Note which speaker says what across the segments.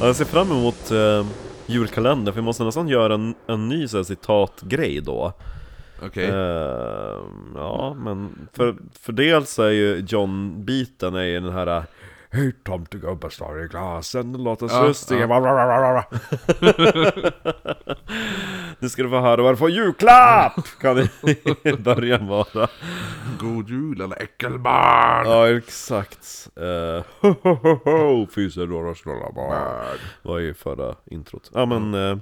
Speaker 1: Ja, jag ser fram emot eh, julkalendern, för vi måste nästan göra en, en ny så här, citatgrej då.
Speaker 2: Okej.
Speaker 1: Eh, ja, men för, för dels är ju John-biten är ju den här eh, Hej tomtegubbar står i glasen och låter
Speaker 2: Ja,
Speaker 1: svulstiga Nu ska du få höra vad du får i julklapp! Kan det i början vara
Speaker 2: God jul alla äckelbarn!
Speaker 1: Ja, exakt eh, ho, ho, ho, ho, Fyser några snälla barn Var ju förra introt Ja
Speaker 2: Mm.
Speaker 1: men, eh,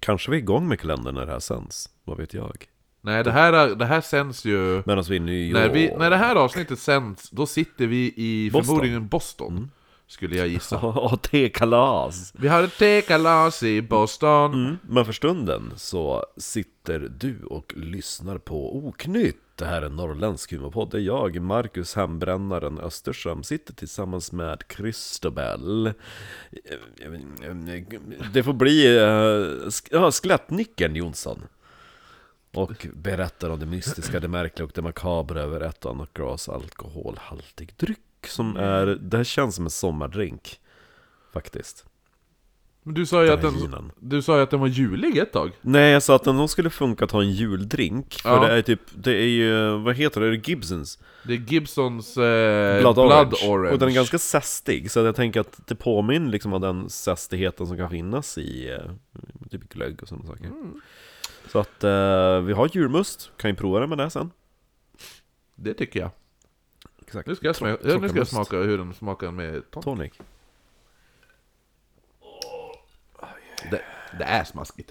Speaker 1: kanske vi är igång med kalendern när det här sänds Vad vet jag?
Speaker 2: Nej, det här, det här sänds ju...
Speaker 1: Medan vi är nyår
Speaker 2: När, vi, när det här avsnittet sänds, då sitter vi i
Speaker 1: Boston. Mm.
Speaker 2: förmodligen Boston, skulle jag gissa.
Speaker 1: Ja, tekalas!
Speaker 2: Vi har ett tekalas i Boston.
Speaker 1: Mm. Men för stunden så sitter du och lyssnar på Oknytt. Det här är en norrländsk humorpodd där jag, Marcus Hembrännaren Östersam, sitter tillsammans med Christobel. Det får bli eh, sk- ja, skelettnyckeln Jonsson. Och berättar om det mystiska, det märkliga och det makabra över ett och annat glas alkoholhaltig dryck. Som är, det här känns som en sommardrink. Faktiskt.
Speaker 2: Men du sa ju att
Speaker 1: här
Speaker 2: den,
Speaker 1: ginen.
Speaker 2: du sa ju att den var julig ett tag.
Speaker 1: Nej, jag sa att den nog skulle funka att ha en juldrink, för
Speaker 2: Ja.
Speaker 1: det är typ, det är ju, vad heter det, är det Gibsons?
Speaker 2: Det är Gibsons eh,
Speaker 1: Blood, Orange.
Speaker 2: Orange.
Speaker 1: Och den är ganska zestig, så jag tänker att det påminner liksom om den zestigheten som kan finnas i eh, typ glögg och sådana saker.
Speaker 2: Mm.
Speaker 1: Så att eh, vi har julmust, kan ju prova det med det sen.
Speaker 2: Det tycker jag.
Speaker 1: Exakt.
Speaker 2: Nu ska jag, smaka, ja, nu ska jag smaka hur den smakar med ton.
Speaker 1: Tonic.
Speaker 2: Det, det är smaskigt.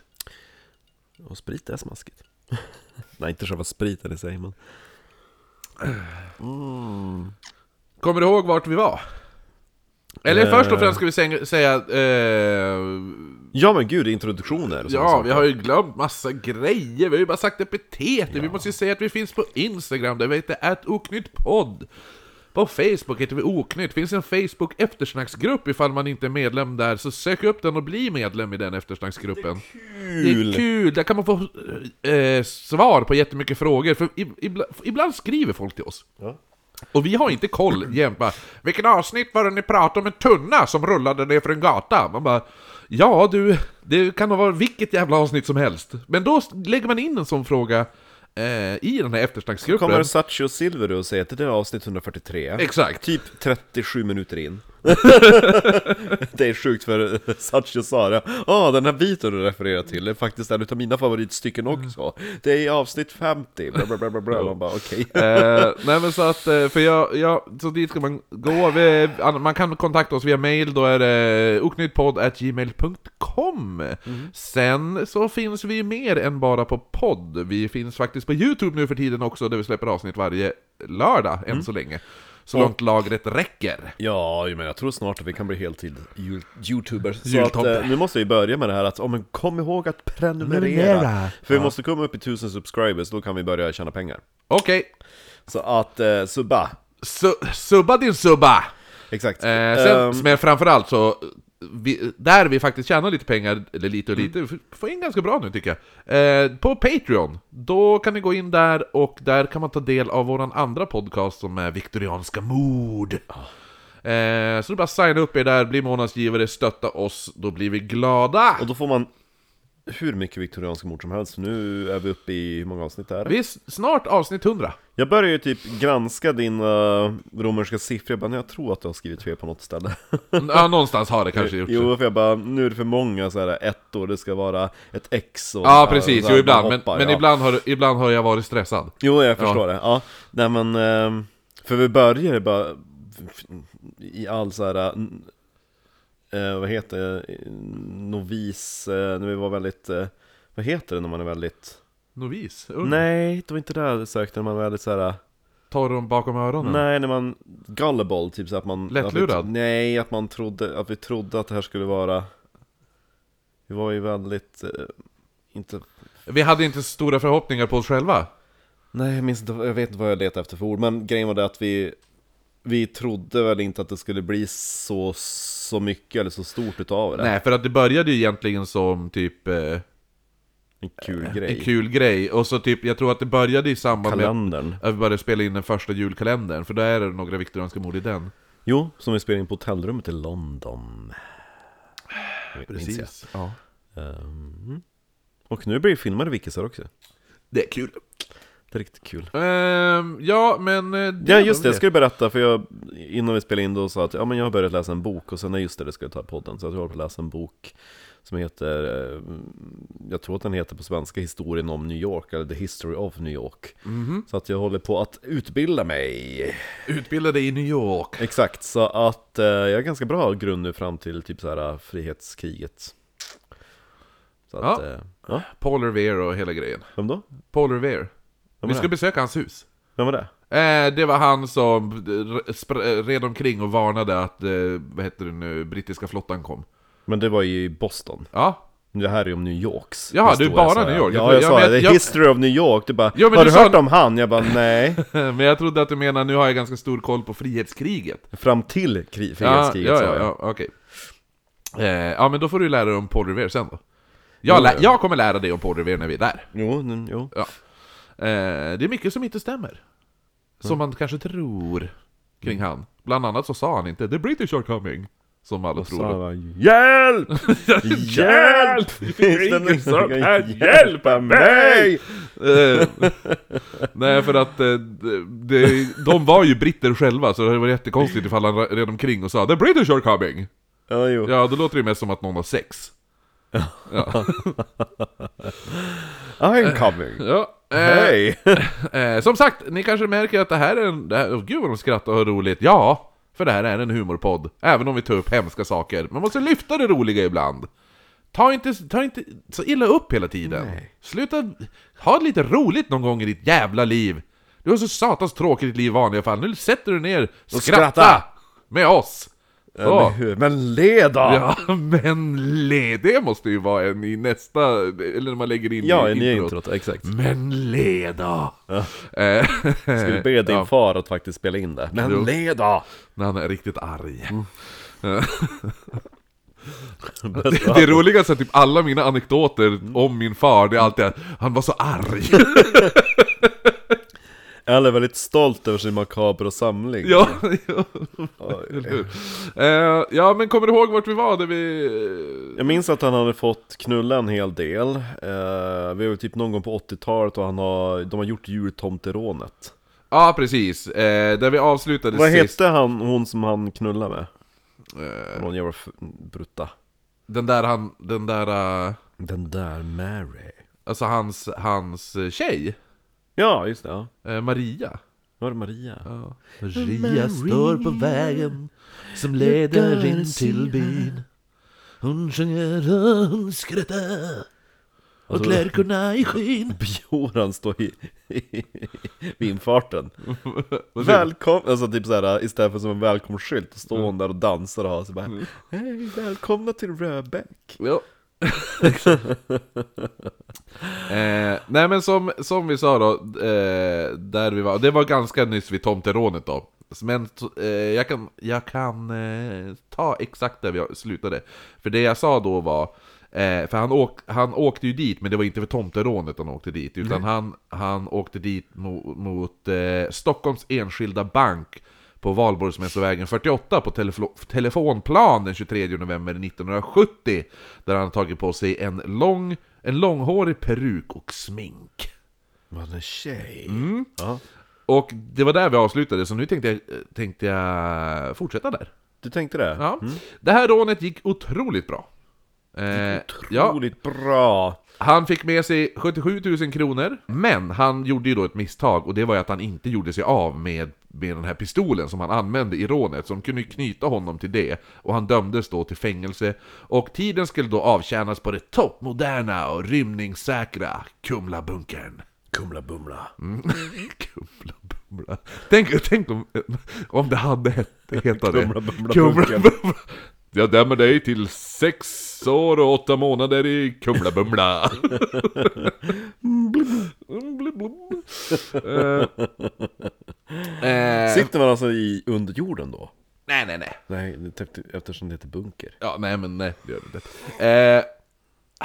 Speaker 1: Och sprit är smaskigt. Nej, inte själva spriten i sig, men...
Speaker 2: Kommer du ihåg vart vi var? Eller
Speaker 1: Eh.
Speaker 2: först och främst ska vi sänga- säga... Eh,
Speaker 1: Ja men gud, introduktioner och såna
Speaker 2: ja, vi
Speaker 1: saker.
Speaker 2: har ju glömt massa grejer, vi har ju bara sagt epiteter, vi måste ju säga att vi finns på Instagram, där vi heter @oknyttpodd. På Facebook heter vi Oknytt, finns en Facebook eftersnacksgrupp ifall man inte är medlem där, så sök upp den och bli medlem i den eftersnacksgruppen. Det är kul! Där kan man få eh, svar på jättemycket frågor, för ib- ibla- ibland skriver folk till oss. Och vi har inte koll jämt bara, Vilken avsnitt var det ni pratade om en tunna som rullade ner för en gata? Man bara, ja du, det kan nog vara vilket jävla avsnitt som helst. Men då s- lägger man in en sån fråga eh, i den här eftersnacksgruppen.
Speaker 1: Kommer Satchio Silver och säger att det där är avsnitt 143
Speaker 2: Exakt!
Speaker 1: Typ 37 minuter in Det är sjukt för Satchio sa det Ja, den här biten du refererar till är faktiskt en utav mina favoritstycken
Speaker 2: Mm.
Speaker 1: också Det är i avsnitt 50, bla bla bla bla, bla. Man bara okej
Speaker 2: eh, nej men så att, eh, för jag, jag, så dit ska man gå, vi, an- man kan kontakta oss via mail, då är det oknyttpodd.gmail.com Sen så finns vi mer än bara på podd, vi finns faktiskt på Youtube nu för tiden också, där vi släpper avsnitt varje lördag, än så länge. Så långt lagret räcker.
Speaker 1: Ja, men jag tror snart att vi kan bli heltid jul- youtubers Så att,
Speaker 2: Jultomte.
Speaker 1: eh, nu måste vi börja med det här att, oh, men kom ihåg att prenumerera
Speaker 2: Prenumerera.
Speaker 1: För vi måste komma upp i 1000 subscribers, då kan vi börja tjäna pengar
Speaker 2: Okej,
Speaker 1: Så att, eh, subba!
Speaker 2: Su- subba din subba!
Speaker 1: Exakt
Speaker 2: Eh, sen,
Speaker 1: Ehm,
Speaker 2: men framförallt så, vi, där vi faktiskt tjänar lite pengar, eller lite och
Speaker 1: Mm.
Speaker 2: lite, vi får in ganska bra nu tycker jag. Eh, på Patreon, då kan ni gå in där och där kan man ta del av våran andra podcast som är Viktorianska mord. Eh, så det är bara att signa upp er där, bli månadsgivare, stötta oss, då blir vi glada!
Speaker 1: Och då får man hur mycket viktorianska mord som helst, nu är vi uppe i, hur många avsnitt är det?
Speaker 2: Vi är s- snart avsnitt 100.
Speaker 1: Jag börjar ju typ granska dina romerska siffror, jag bara, nej, jag tror att du har skrivit fel på något ställe
Speaker 2: Ja, någonstans har det kanske gjort
Speaker 1: Jo, för jag bara, nu är det för många så här ett år, det ska vara ett X och
Speaker 2: Ja,
Speaker 1: så här,
Speaker 2: precis,
Speaker 1: så här,
Speaker 2: jo
Speaker 1: man
Speaker 2: ibland, men,
Speaker 1: hoppar,
Speaker 2: men
Speaker 1: ja.
Speaker 2: ibland, har, ibland har jag varit stressad.
Speaker 1: Jo, jag förstår det, ja Nej men, ehm, för vi börjar bara i all så här n- eh, vad heter det, novis, eh, när vi var väldigt, eh, vad heter det när man är väldigt
Speaker 2: Novis? Ung.
Speaker 1: Nej, det var inte det jag sökte när man var väldigt såhär,
Speaker 2: Tar dem bakom öronen?
Speaker 1: nej när man, gullible, typ så att man
Speaker 2: Lättlurad?
Speaker 1: Att vi, nej, att man trodde, att vi trodde att det här skulle vara Vi var ju väldigt, eh, inte,
Speaker 2: Vi hade inte så stora förhoppningar på oss själva.
Speaker 1: nej jag minns inte, jag vet inte vad jag letade efter för ord Men grejen var det att vi, vi trodde väl inte att det skulle bli så, så mycket eller så stort utav det
Speaker 2: Nej, för att det började ju egentligen som typ eh,
Speaker 1: En kul grej
Speaker 2: en kul grej, och så typ, jag tror att det började i samband med
Speaker 1: Kalendern
Speaker 2: att vi började spela in den första julkalendern, för där är det några viktorianska mord i den.
Speaker 1: Jo, som vi spelade in på hotellrummet i London minns jag.
Speaker 2: Precis. Ja.
Speaker 1: Ehm, och nu blir det filmade wikisar också.
Speaker 2: Det är kul.
Speaker 1: Det är riktigt kul.
Speaker 2: Ehm, ja, men... eh,
Speaker 1: Ja
Speaker 2: var
Speaker 1: just det,
Speaker 2: väl
Speaker 1: jag skulle berätta för jag, innan vi spelade in då sa att ja, men jag har börjat läsa en bok och sen, nej just det, det ska jag ta i podden. Så jag håller på att läsa en bok som heter, eh, jag tror att den heter på svenska Historien om New York, eller The History of New York. Så att jag håller på att utbilda mig.
Speaker 2: Utbildade i New York.
Speaker 1: Exakt, så att eh, jag har ganska bra grund nu fram till typ så här frihetskriget. Så att,
Speaker 2: Ja.
Speaker 1: eh, ja,
Speaker 2: Paul Revere och hela grejen.
Speaker 1: vem då?
Speaker 2: Paul Revere.
Speaker 1: Vem
Speaker 2: Vi
Speaker 1: är
Speaker 2: ska
Speaker 1: det?
Speaker 2: besöka hans hus.
Speaker 1: Vem var det?
Speaker 2: Eh, det var han som eh, spr- eh, red omkring och varnade att, eh, vad heter det nu, brittiska flottan kom.
Speaker 1: Men det var ju i Boston.
Speaker 2: Ja.
Speaker 1: Det här är om New Yorks
Speaker 2: Jaha,
Speaker 1: historia,
Speaker 2: det är bara
Speaker 1: sa jag.
Speaker 2: New York.
Speaker 1: Ja, jag
Speaker 2: Ja,
Speaker 1: sa
Speaker 2: men
Speaker 1: det.
Speaker 2: jag-
Speaker 1: History of New York. Du bara,
Speaker 2: Jo, men
Speaker 1: har du,
Speaker 2: du sa-
Speaker 1: hört om han? Jag bara, nej.
Speaker 2: Men jag trodde att du menar, nu har jag ganska stor koll på frihetskriget.
Speaker 1: Fram till kri-
Speaker 2: Ja,
Speaker 1: frihetskriget
Speaker 2: ja,
Speaker 1: sa
Speaker 2: ja,
Speaker 1: jag.
Speaker 2: ja okej. Eh, ja, men då får du lära dig om Paul Revere sen då. Jag, lä- jag kommer lära dig om Paul Revere när vi är där.
Speaker 1: Jo, nu- jo.
Speaker 2: Eh, det är mycket som inte stämmer.
Speaker 1: Mm.
Speaker 2: Som man kanske tror kring han. Bland annat så sa han inte 'The British are coming' Som alla
Speaker 1: Så han
Speaker 2: tror.
Speaker 1: bara, hjälp! Hjälp! Finns det någon som kan hjälpa mig?
Speaker 2: Eh, Nej, för att eh, det, de var ju britter själva, så det var jättekonstigt ifall han red omkring och sa 'The British are coming'
Speaker 1: Ja, jo.
Speaker 2: Ja, då låter det mest som att någon har sex.
Speaker 1: I'm coming.
Speaker 2: Ja. Eh,
Speaker 1: Hej!
Speaker 2: eh, som sagt, ni kanske märker att det här är en... Det här, oh, gud vad de skrattar och har roligt. Ja, för det här är en humorpodd. Även om vi tar upp hemska saker. Man måste lyfta det roliga ibland. Ta inte, ta inte så illa upp hela tiden. Sluta... Ha lite roligt någon gång i ditt jävla liv. Du har så satans tråkigt i ditt liv i vanliga fall. Nu sätter du ner, skratta!
Speaker 1: skratta.
Speaker 2: Med oss! Så.
Speaker 1: Men hur- Men le då!
Speaker 2: Ja, men le! Det måste ju vara en i nästa... Eller när man lägger in
Speaker 1: Ja,
Speaker 2: i
Speaker 1: i nya introt, exakt.
Speaker 2: Men le då!
Speaker 1: Skulle be din
Speaker 2: Eh, ja.
Speaker 1: far att faktiskt spela in det. Men le då!
Speaker 2: När han är riktigt arg.
Speaker 1: Mm. Bäst
Speaker 2: Det är roligast att typ alla mina anekdoter om min far, det är alltid att han var så arg.
Speaker 1: Eller väldigt stolt över sin makabra samling.
Speaker 2: ja, ja, eller hur? Eh, ja, men kommer du ihåg vart vi var? Där vi...
Speaker 1: Jag minns att han hade fått knulla en hel del. Eh, vi var typ någon gång på 80-talet och han har, de har gjort jultomterånet.
Speaker 2: Ja, precis. Eh, där vi avslutade
Speaker 1: Vad
Speaker 2: sist.
Speaker 1: hette han, hon som han knullade med? Någon jävla f- brutta.
Speaker 2: Den där han... Den där... eh,
Speaker 1: Den där Mary.
Speaker 2: alltså hans, hans eh, tjej.
Speaker 1: Ja, just det. Ja.
Speaker 2: Eh, Maria.
Speaker 1: Var det Maria?
Speaker 2: Maria står på vägen som leder in till byn. Hon sjunger och hon skrattar och klerkorna i skyn.
Speaker 1: Bjoran står i, i, vid infarten. Välkommen, alltså typ såhär istället för som en välkomstskylt, så står hon där och dansar och har så bara Hej, välkomna till Röbäck.
Speaker 2: Ja. eh, nej men som, som vi sa då, eh, där vi var, det var ganska nyss vid tomterånet då. Men t- eh, jag kan, jag kan eh, ta exakt där vi slutade. För det jag sa då var, eh, för han, åk, han åkte ju dit, men det var inte för tomterånet han åkte dit, utan han, han åkte dit mot, mot eh, Stockholms Enskilda Bank på Valborgsmässovägen 48 på telefo- telefonplan den 23 november 1970 där han har tagit på sig en, lång, en långhårig peruk och smink.
Speaker 1: Man är tjej. Ja.
Speaker 2: Och det var där vi avslutade, så nu tänkte jag, tänkte jag fortsätta där.
Speaker 1: Du tänkte det?
Speaker 2: Ja. Det här rånet gick otroligt bra. Eh, ja,
Speaker 1: Otroligt bra!
Speaker 2: han fick med sig 77 000 kronor, men han gjorde ju då ett misstag och det var ju att han inte gjorde sig av med, med den här pistolen som han använde i rånet, som kunde ju knyta honom till det. Och han dömdes då till fängelse och tiden skulle då avtjänas på det toppmoderna och rymningssäkra Kumlabunkern.
Speaker 1: Kumla Bumla.
Speaker 2: Kumla Bumla. Tänk, tänk om, om det hade hett- hetat det.
Speaker 1: Kumla Bumla Bunken.
Speaker 2: Bumla. Jag dömer dig till sex år och åtta månader i Mm, Kumla Bumla. Eh, eh,
Speaker 1: Sitter man alltså i under jorden då?
Speaker 2: nej, nej, nej.
Speaker 1: Nej, det- typ- eftersom det heter bunker.
Speaker 2: Ja, nej men nej, det gör det inte. Eh,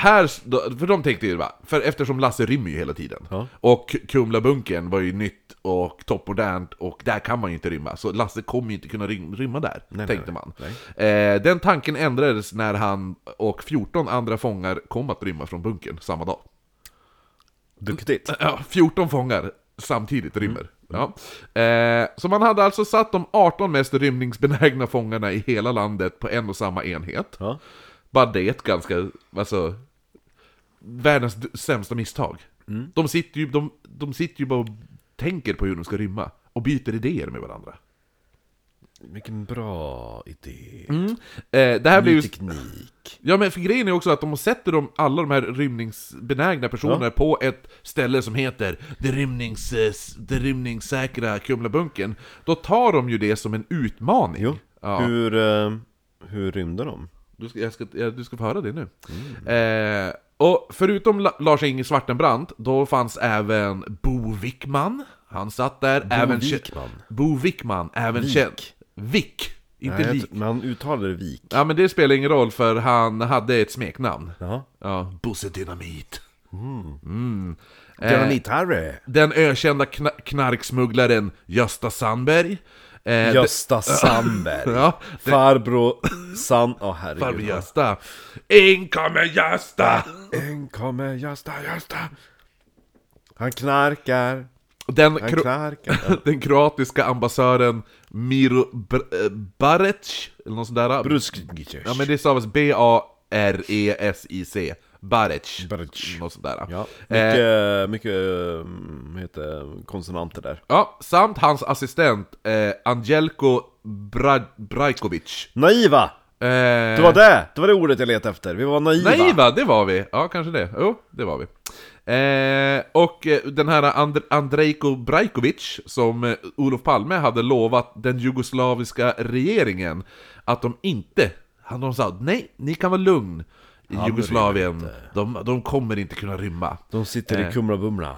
Speaker 2: här, för de tänkte ju bara, för eftersom Lasse rymmer ju hela tiden.
Speaker 1: Ja.
Speaker 2: Och Kumlabunkern var ju nytt och toppmodernt och där kan man ju inte rymma. Så Lasse kommer ju inte kunna rym- rymma där,
Speaker 1: Nej,
Speaker 2: tänkte
Speaker 1: nej,
Speaker 2: man. Eh, den tanken ändrades när han och 14 andra fångar kom att rymma från bunkern samma dag.
Speaker 1: Duktigt.
Speaker 2: Ja, 14 fångar samtidigt rymmer. Ja. Eh, så man hade alltså satt de 18 mest rymningsbenägna fångarna i hela landet på en och samma enhet.
Speaker 1: Ja.
Speaker 2: Bara det är ett ganska, alltså, världens d- sämsta misstag. De, sitter ju, de, de sitter ju bara och tänker på hur de ska rymma, och byter idéer med varandra.
Speaker 1: Vilken bra idé.
Speaker 2: Eh, det här blir
Speaker 1: Ny
Speaker 2: ju...
Speaker 1: teknik.
Speaker 2: Ja men för grejen är också att de sätter de, alla de här rymningsbenägna personerna på ett ställe som heter det, rymnings, eh, s- det rymningssäkra Kumlabunkern. Då tar de ju det som en utmaning.
Speaker 1: Jo.
Speaker 2: Ja.
Speaker 1: Hur, eh, hur rymde de?
Speaker 2: Du, ska, jag ska, ja, du ska få höra det nu.
Speaker 1: Mm.
Speaker 2: Eh, och förutom La- Lars-Inge Svartenbrandt, då fanns även Bo Wickman. Han satt där. Bo även kä-
Speaker 1: Wickman?
Speaker 2: Bo Wickman, även känd. Vick. Inte
Speaker 1: Nej, jag
Speaker 2: Lik.
Speaker 1: tr- Men han uttalade det vik.
Speaker 2: Ja men det spelar ingen roll för han hade ett smeknamn.
Speaker 1: Ja.
Speaker 2: Ja, Bosse Dynamit. Eh.
Speaker 1: Dynamit-Harry.
Speaker 2: Den ökända kna- knarksmugglaren Gösta Sandberg. Eh,
Speaker 1: Gösta Sandberg.
Speaker 2: Ja,
Speaker 1: Farbror San... Åh
Speaker 2: det- Farbror
Speaker 1: herregud.
Speaker 2: Gösta. In kommer Gösta!
Speaker 1: En kommer Gösta, Gösta. Han knarkar.
Speaker 2: Den,
Speaker 1: Han
Speaker 2: kro-
Speaker 1: knarkar.
Speaker 2: den kroatiska ambassören Miro Br- eh, Barec, eller något sånt där.
Speaker 1: Bruskic.
Speaker 2: ja men det stavas E B-A-R-E-S-I-C. Barec.
Speaker 1: Barec.
Speaker 2: Något sånt där.
Speaker 1: Ja,
Speaker 2: Eh,
Speaker 1: mycket, mycket mm, vad heter det, konsonanter där.
Speaker 2: ja, samt hans assistent eh, Angelko Bra- Brajkovic.
Speaker 1: Naiva!
Speaker 2: Eh,
Speaker 1: Det var det! Det var det ordet jag letade efter. Vi var naiva.
Speaker 2: Naiva, det var vi! Ja, kanske det. Jo, det var vi. Eh, och eh, den här And- Andrejko Brajkovic, som eh, Olof Palme hade lovat den jugoslaviska regeringen att de inte... Han, de sa nej, ni kan vara lugn i Jugoslavien. De, de kommer inte kunna rymma.
Speaker 1: De sitter i Kumla-Bumla.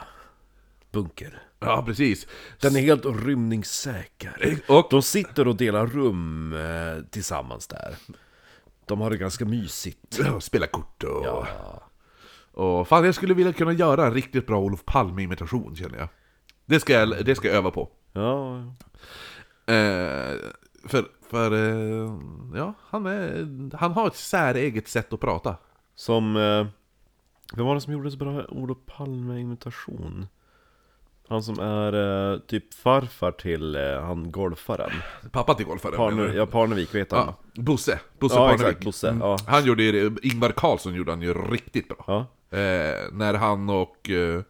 Speaker 1: Bunker.
Speaker 2: Ja, precis.
Speaker 1: Den är helt rymningssäker.
Speaker 2: Och-
Speaker 1: De sitter och delar rum eh, tillsammans där. De har det ganska mysigt.
Speaker 2: Spela kort och...
Speaker 1: Ja.
Speaker 2: och... Fan, jag skulle vilja kunna göra en riktigt bra Olof Palme-imitation, känner jag. Det ska jag, det ska jag öva på.
Speaker 1: Ja,
Speaker 2: Eh, för, för eh, ja, han, är, han har ett säreget sätt att prata.
Speaker 1: som... Eh, vem var det som gjorde så bra Olof Palme-imitation? Han som är eh, typ farfar till eh, han golfaren.
Speaker 2: Pappa till golfaren. menar
Speaker 1: Parne,
Speaker 2: du?
Speaker 1: ja, Parnevik, vet han?
Speaker 2: Ja, Bosse. Bosse
Speaker 1: Ja,
Speaker 2: Parnevik. Mm.
Speaker 1: exakt, Bosse. Ja.
Speaker 2: Han gjorde ju, Ingvar Carlsson gjorde han ju riktigt bra.
Speaker 1: Ja.
Speaker 2: Eh, när han och... Eh,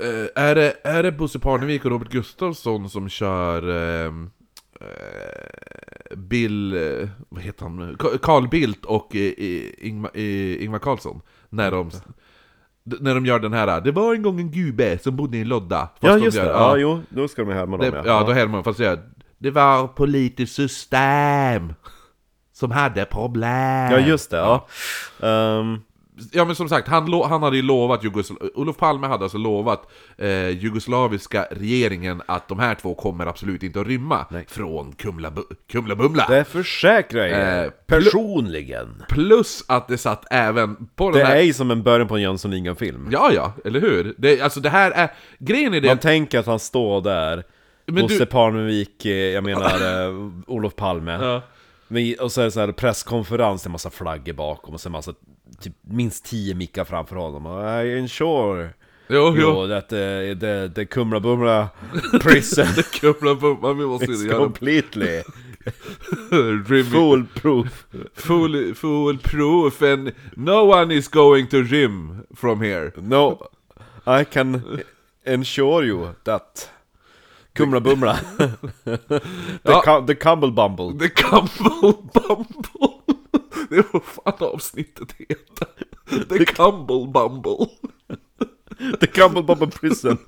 Speaker 2: eh, är, det, är det Bosse Parnevik och Robert Gustafsson som kör... Eh, eh, Bill... eh, Vad heter han? nu? Ka- Carl Bildt och eh, eh, Ingmar, eh, Ingvar Carlsson. När de... d- När de gör den här, det var en gång en gube som bodde i en lodda. Fast
Speaker 1: Ja
Speaker 2: de
Speaker 1: just
Speaker 2: gör-
Speaker 1: det, ja, jo, då ska de härma dem
Speaker 2: det, ja, då härmar de fast gör Det var politiskt system som hade problem.
Speaker 1: Ja just det, ja. Ehm,
Speaker 2: Ja men som sagt, han, lo- han hade ju lovat Jugosla- Olof Palme hade alltså lovat eh, jugoslaviska regeringen att de här två kommer absolut inte att rymma från Kumla, Kumla Bumla.
Speaker 1: det försäkrar jag er,
Speaker 2: Eh,
Speaker 1: personligen.
Speaker 2: Plus att det satt även på
Speaker 1: Det
Speaker 2: den här...
Speaker 1: är ju som en början på en Jönssonligan-film.
Speaker 2: Ja, ja, eller hur? Det, alltså det här är... Grejen är det...
Speaker 1: Man tänker att han står där,
Speaker 2: Men
Speaker 1: Bosse
Speaker 2: du-
Speaker 1: Parnevik, eh, jag menar eh, Olof Palme.
Speaker 2: Ja.
Speaker 1: Men, och så är det så här presskonferens, det är massa flaggor bakom och så är det massa, typ, minst tio mickar framför honom. Och, I ensure
Speaker 2: Jo, jo.
Speaker 1: you that the, the, the Kumla Bumla prison
Speaker 2: Kumla Bumla, vi måste
Speaker 1: is
Speaker 2: göra...
Speaker 1: completely
Speaker 2: Rymning.
Speaker 1: foolproof.
Speaker 2: Fool, foolproof and no one is going to rym from here.
Speaker 1: No, I can ensure you that Kumla Bumla The,
Speaker 2: Ja.
Speaker 1: cu- the Cumble Bumble
Speaker 2: The Cumble Bumble. Det var fan avsnittet heter. The Cumble Bumble.
Speaker 1: The Cumble Bumble Prison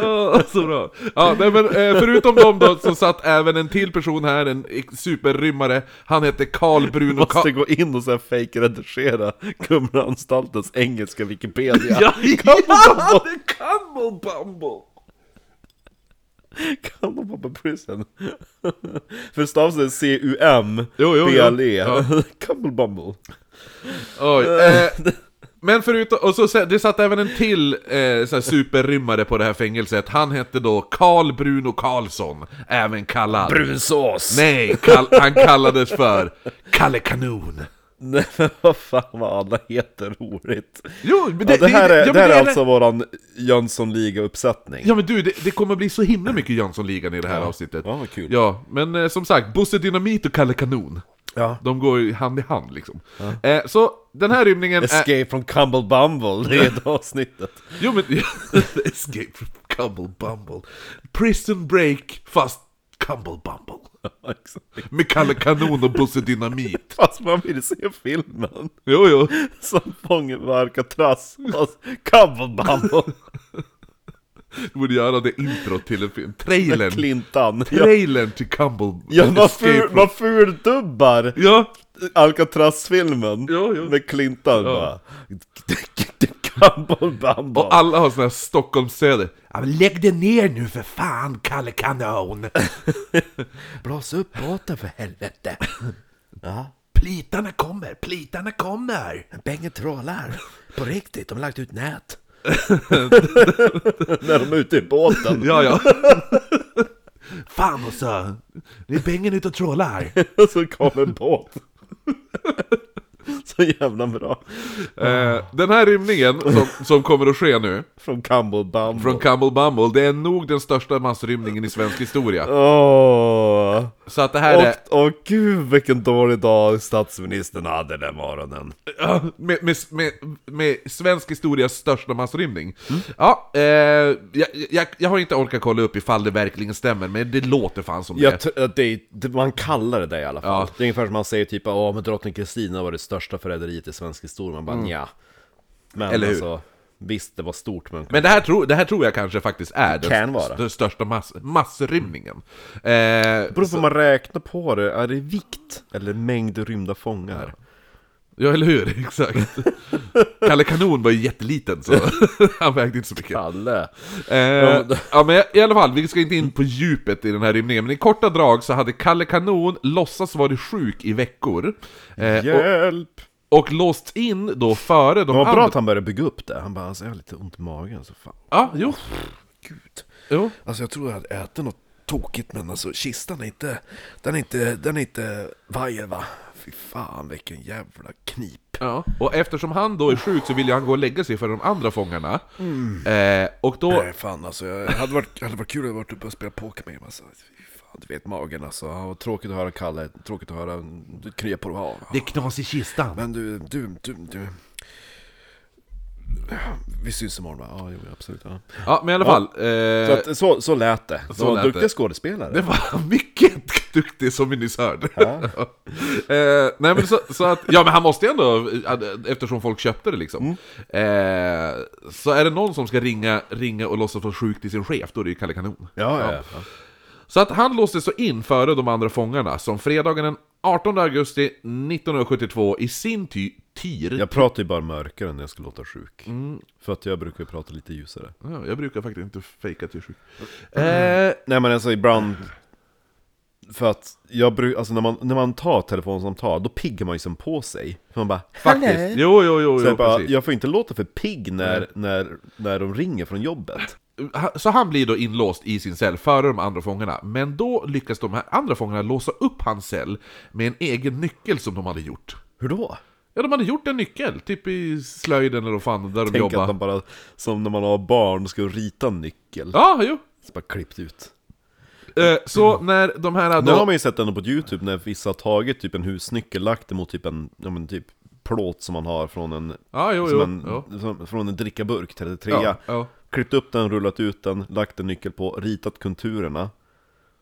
Speaker 2: Ja, så bra. Ja, nej, men, eh, förutom dem då så satt även en till person här, en superrymmare. Han hette Karl Bruno
Speaker 1: Måste
Speaker 2: Ka-
Speaker 1: gå in och så här fake-redigera Kumlaanstaltens engelska Wikipedia
Speaker 2: Ja, ja, The Cumble Bumble.
Speaker 1: Cumble Bumble Prison För stavs det C-U-M E.
Speaker 2: Jo, jo, jo.
Speaker 1: B-L-E
Speaker 2: Ja.
Speaker 1: Cumble Bumble
Speaker 2: Oj. Eh, Men förutom, och så, sen- det satt även en till eh, så här superrymmare på det här fängelset. Han hette då Karl Bruno Karlsson, även kallad...
Speaker 1: Brunsås! Nej.
Speaker 2: Nej, kall, han kallades för Kalle Kanon.
Speaker 1: men vad fan vad alla heter roligt.
Speaker 2: Jo, men det,
Speaker 1: ja, det här är,
Speaker 2: ja, men
Speaker 1: det här är
Speaker 2: det-
Speaker 1: alltså våran Jönssonliga-uppsättning.
Speaker 2: Ja men du, det, det kommer bli så himla mycket Jönssonligan i det här avsnittet.
Speaker 1: Ja, vad kul.
Speaker 2: Ja, men eh, som sagt, Bosse Dynamit och Kalle Kanon.
Speaker 1: Ja.
Speaker 2: De går ju hand i hand liksom. Eh, så den här rymningen är...
Speaker 1: Escape from Cumble Bumble, det är det avsnittet.
Speaker 2: Jo men... Escape from Cumble Bumble. Prison Break fast Cumble Bumble. Med Kalle Kanon och Bosse Dynamit.
Speaker 1: Fast man vill se filmen.
Speaker 2: Jo, jo.
Speaker 1: Som fången på Alcatraz, fast Cumble Bumble.
Speaker 2: Du borde göra det intro till en film. Trailern.
Speaker 1: Clintan. Ja,
Speaker 2: Trailern till Cumble...
Speaker 1: ja man,
Speaker 2: Escape
Speaker 1: ful,
Speaker 2: from-
Speaker 1: man fuldubbar
Speaker 2: Ja,
Speaker 1: Alcatraz-filmen
Speaker 2: Ja, ja.
Speaker 1: med Clintan bara. Cumble Bumble.
Speaker 2: Och alla har såna här Stockholmssöder. Ja, men lägg dig ner nu för fan, Kalle Kanon!
Speaker 1: Blås upp båten för helvete. Ja.
Speaker 2: Plitarna kommer, plitarna kommer!
Speaker 1: Bänge trålar. På riktigt, de har lagt ut nät. När de är ute i båten.
Speaker 2: Ja, ja. fan också! Det är bängen ute och trålar.
Speaker 1: Och så kom en båt. Så jävla bra.
Speaker 2: eh, den här rymningen som, som kommer att ske nu,
Speaker 1: Från Cumble Bumble.
Speaker 2: från Cumble Bumble, det är nog den största massrymningen i svensk historia.
Speaker 1: Åh.
Speaker 2: Så att det här är...
Speaker 1: Och, och gud vilken dålig dag statsministern hade den morgonen.
Speaker 2: Ja, med, med, med, med svensk historias största massrymning. Ja, eh, jag, jag, jag har inte orkat kolla upp ifall det verkligen stämmer, men det låter fan som det.
Speaker 1: Jag tr- att det, är- det, man kallar det det i alla fall.
Speaker 2: Ja.
Speaker 1: Det är ungefär som man säger typ att drottning Kristina var det största förräderiet i svensk historia. Man bara nja. Men
Speaker 2: Eller hur?
Speaker 1: alltså, visst det var stort men...
Speaker 2: Men det här, tror, det här tror jag kanske faktiskt är den
Speaker 1: kan
Speaker 2: st-
Speaker 1: vara.
Speaker 2: st- största mass, massrymningen. Eh,
Speaker 1: Beror på om man räknar på det, är det vikt eller mängd rymda fångar?
Speaker 2: ja, eller hur? Exakt. Kalle Kanon var ju jätteliten, så han vägde inte så mycket.
Speaker 1: Kalle!
Speaker 2: Eh, ja, men i alla fall, vi ska inte in på djupet i den här rymningen, men i korta drag så hade Kalle Kanon låtsas vara sjuk i veckor. Eh, och,
Speaker 1: Hjälp!
Speaker 2: och låsts in då före de
Speaker 1: Det var bra
Speaker 2: andra...
Speaker 1: att han började bygga upp det, han bara alltså, jag har lite ont i magen så fan.
Speaker 2: Ja, jo.
Speaker 1: Gud.
Speaker 2: jo.
Speaker 1: Alltså jag tror jag hade ätit något tokigt men alltså kistan är inte, den är inte, den är inte vajer va? Fy fan vilken jävla knip.
Speaker 2: Ja. Och eftersom han då är sjuk så vill ju han gå och lägga sig för de andra fångarna. Eh, och då...
Speaker 1: Nej fan alltså, jag hade varit, hade varit kul att varit uppe och spela poker med honom alltså. Fy fan, du vet magen alltså. Ja, och tråkigt att höra Kalle, tråkigt att höra, du kryar på det. Ja,
Speaker 2: Det är knas i kistan.
Speaker 1: Men du, du, du, du. Vi syns imorgon va? Ja, jo, absolut. Ja.
Speaker 2: Ja, men i alla fall. Eh,
Speaker 1: Så, att, så, så lät det. Så,
Speaker 2: lät
Speaker 1: duktiga
Speaker 2: det.
Speaker 1: skådespelare.
Speaker 2: det var mycket duktig som vi nyss hörde. eh, nej, men så, så att, ja, men han måste ju ändå, eh, eftersom folk köpte det liksom. Eh, så är det någon som ska ringa, ringa och låtsas vara sjuk till sin chef, då är det ju Kalle Kanon.
Speaker 1: Ja, ja, ja.
Speaker 2: Så att han låstes så in före de andra fångarna, som fredagen den 18 augusti 1972 i sin ty- tir...
Speaker 1: Jag pratar ju bara mörkare när jag ska låta sjuk. För att jag brukar ju prata lite ljusare.
Speaker 2: Ja, Jag brukar faktiskt inte fejka till sjuk. Eh,
Speaker 1: Nej men alltså ibland... För att jag brukar, alltså när man, när man tar ett telefonsamtal, då piggar man ju som på sig. För man bara
Speaker 2: faktiskt. Jo, jo, jo,
Speaker 1: Så
Speaker 2: jo
Speaker 1: jag, bara,
Speaker 2: precis.
Speaker 1: jag får inte låta för pigg när, när, när de ringer från jobbet.
Speaker 2: Ha- Så han blir då inlåst i sin cell före de andra fångarna, men då lyckas de här andra fångarna låsa upp hans cell med en egen nyckel som de hade gjort.
Speaker 1: Hur då?
Speaker 2: Ja, de hade gjort en nyckel, typ i slöjden eller vad fan, där de
Speaker 1: Tänk att
Speaker 2: jobbade.
Speaker 1: de bara, som när man har barn, ska rita en nyckel.
Speaker 2: Ja, jo.
Speaker 1: Så bara klippt ut.
Speaker 2: Eh, Så när de här
Speaker 1: Nu har
Speaker 2: då...
Speaker 1: man ju sett ändå på Youtube när vissa har tagit typ en husnyckel, lagt det mot typ en, ja men typ plåt som man har från en,
Speaker 2: Ja, jo,
Speaker 1: som
Speaker 2: jo.
Speaker 1: en
Speaker 2: jo.
Speaker 1: som, från en drickaburk, 33
Speaker 2: Ja, ja.
Speaker 1: Klippt upp den, rullat ut den, lagt en nyckel på, ritat konturerna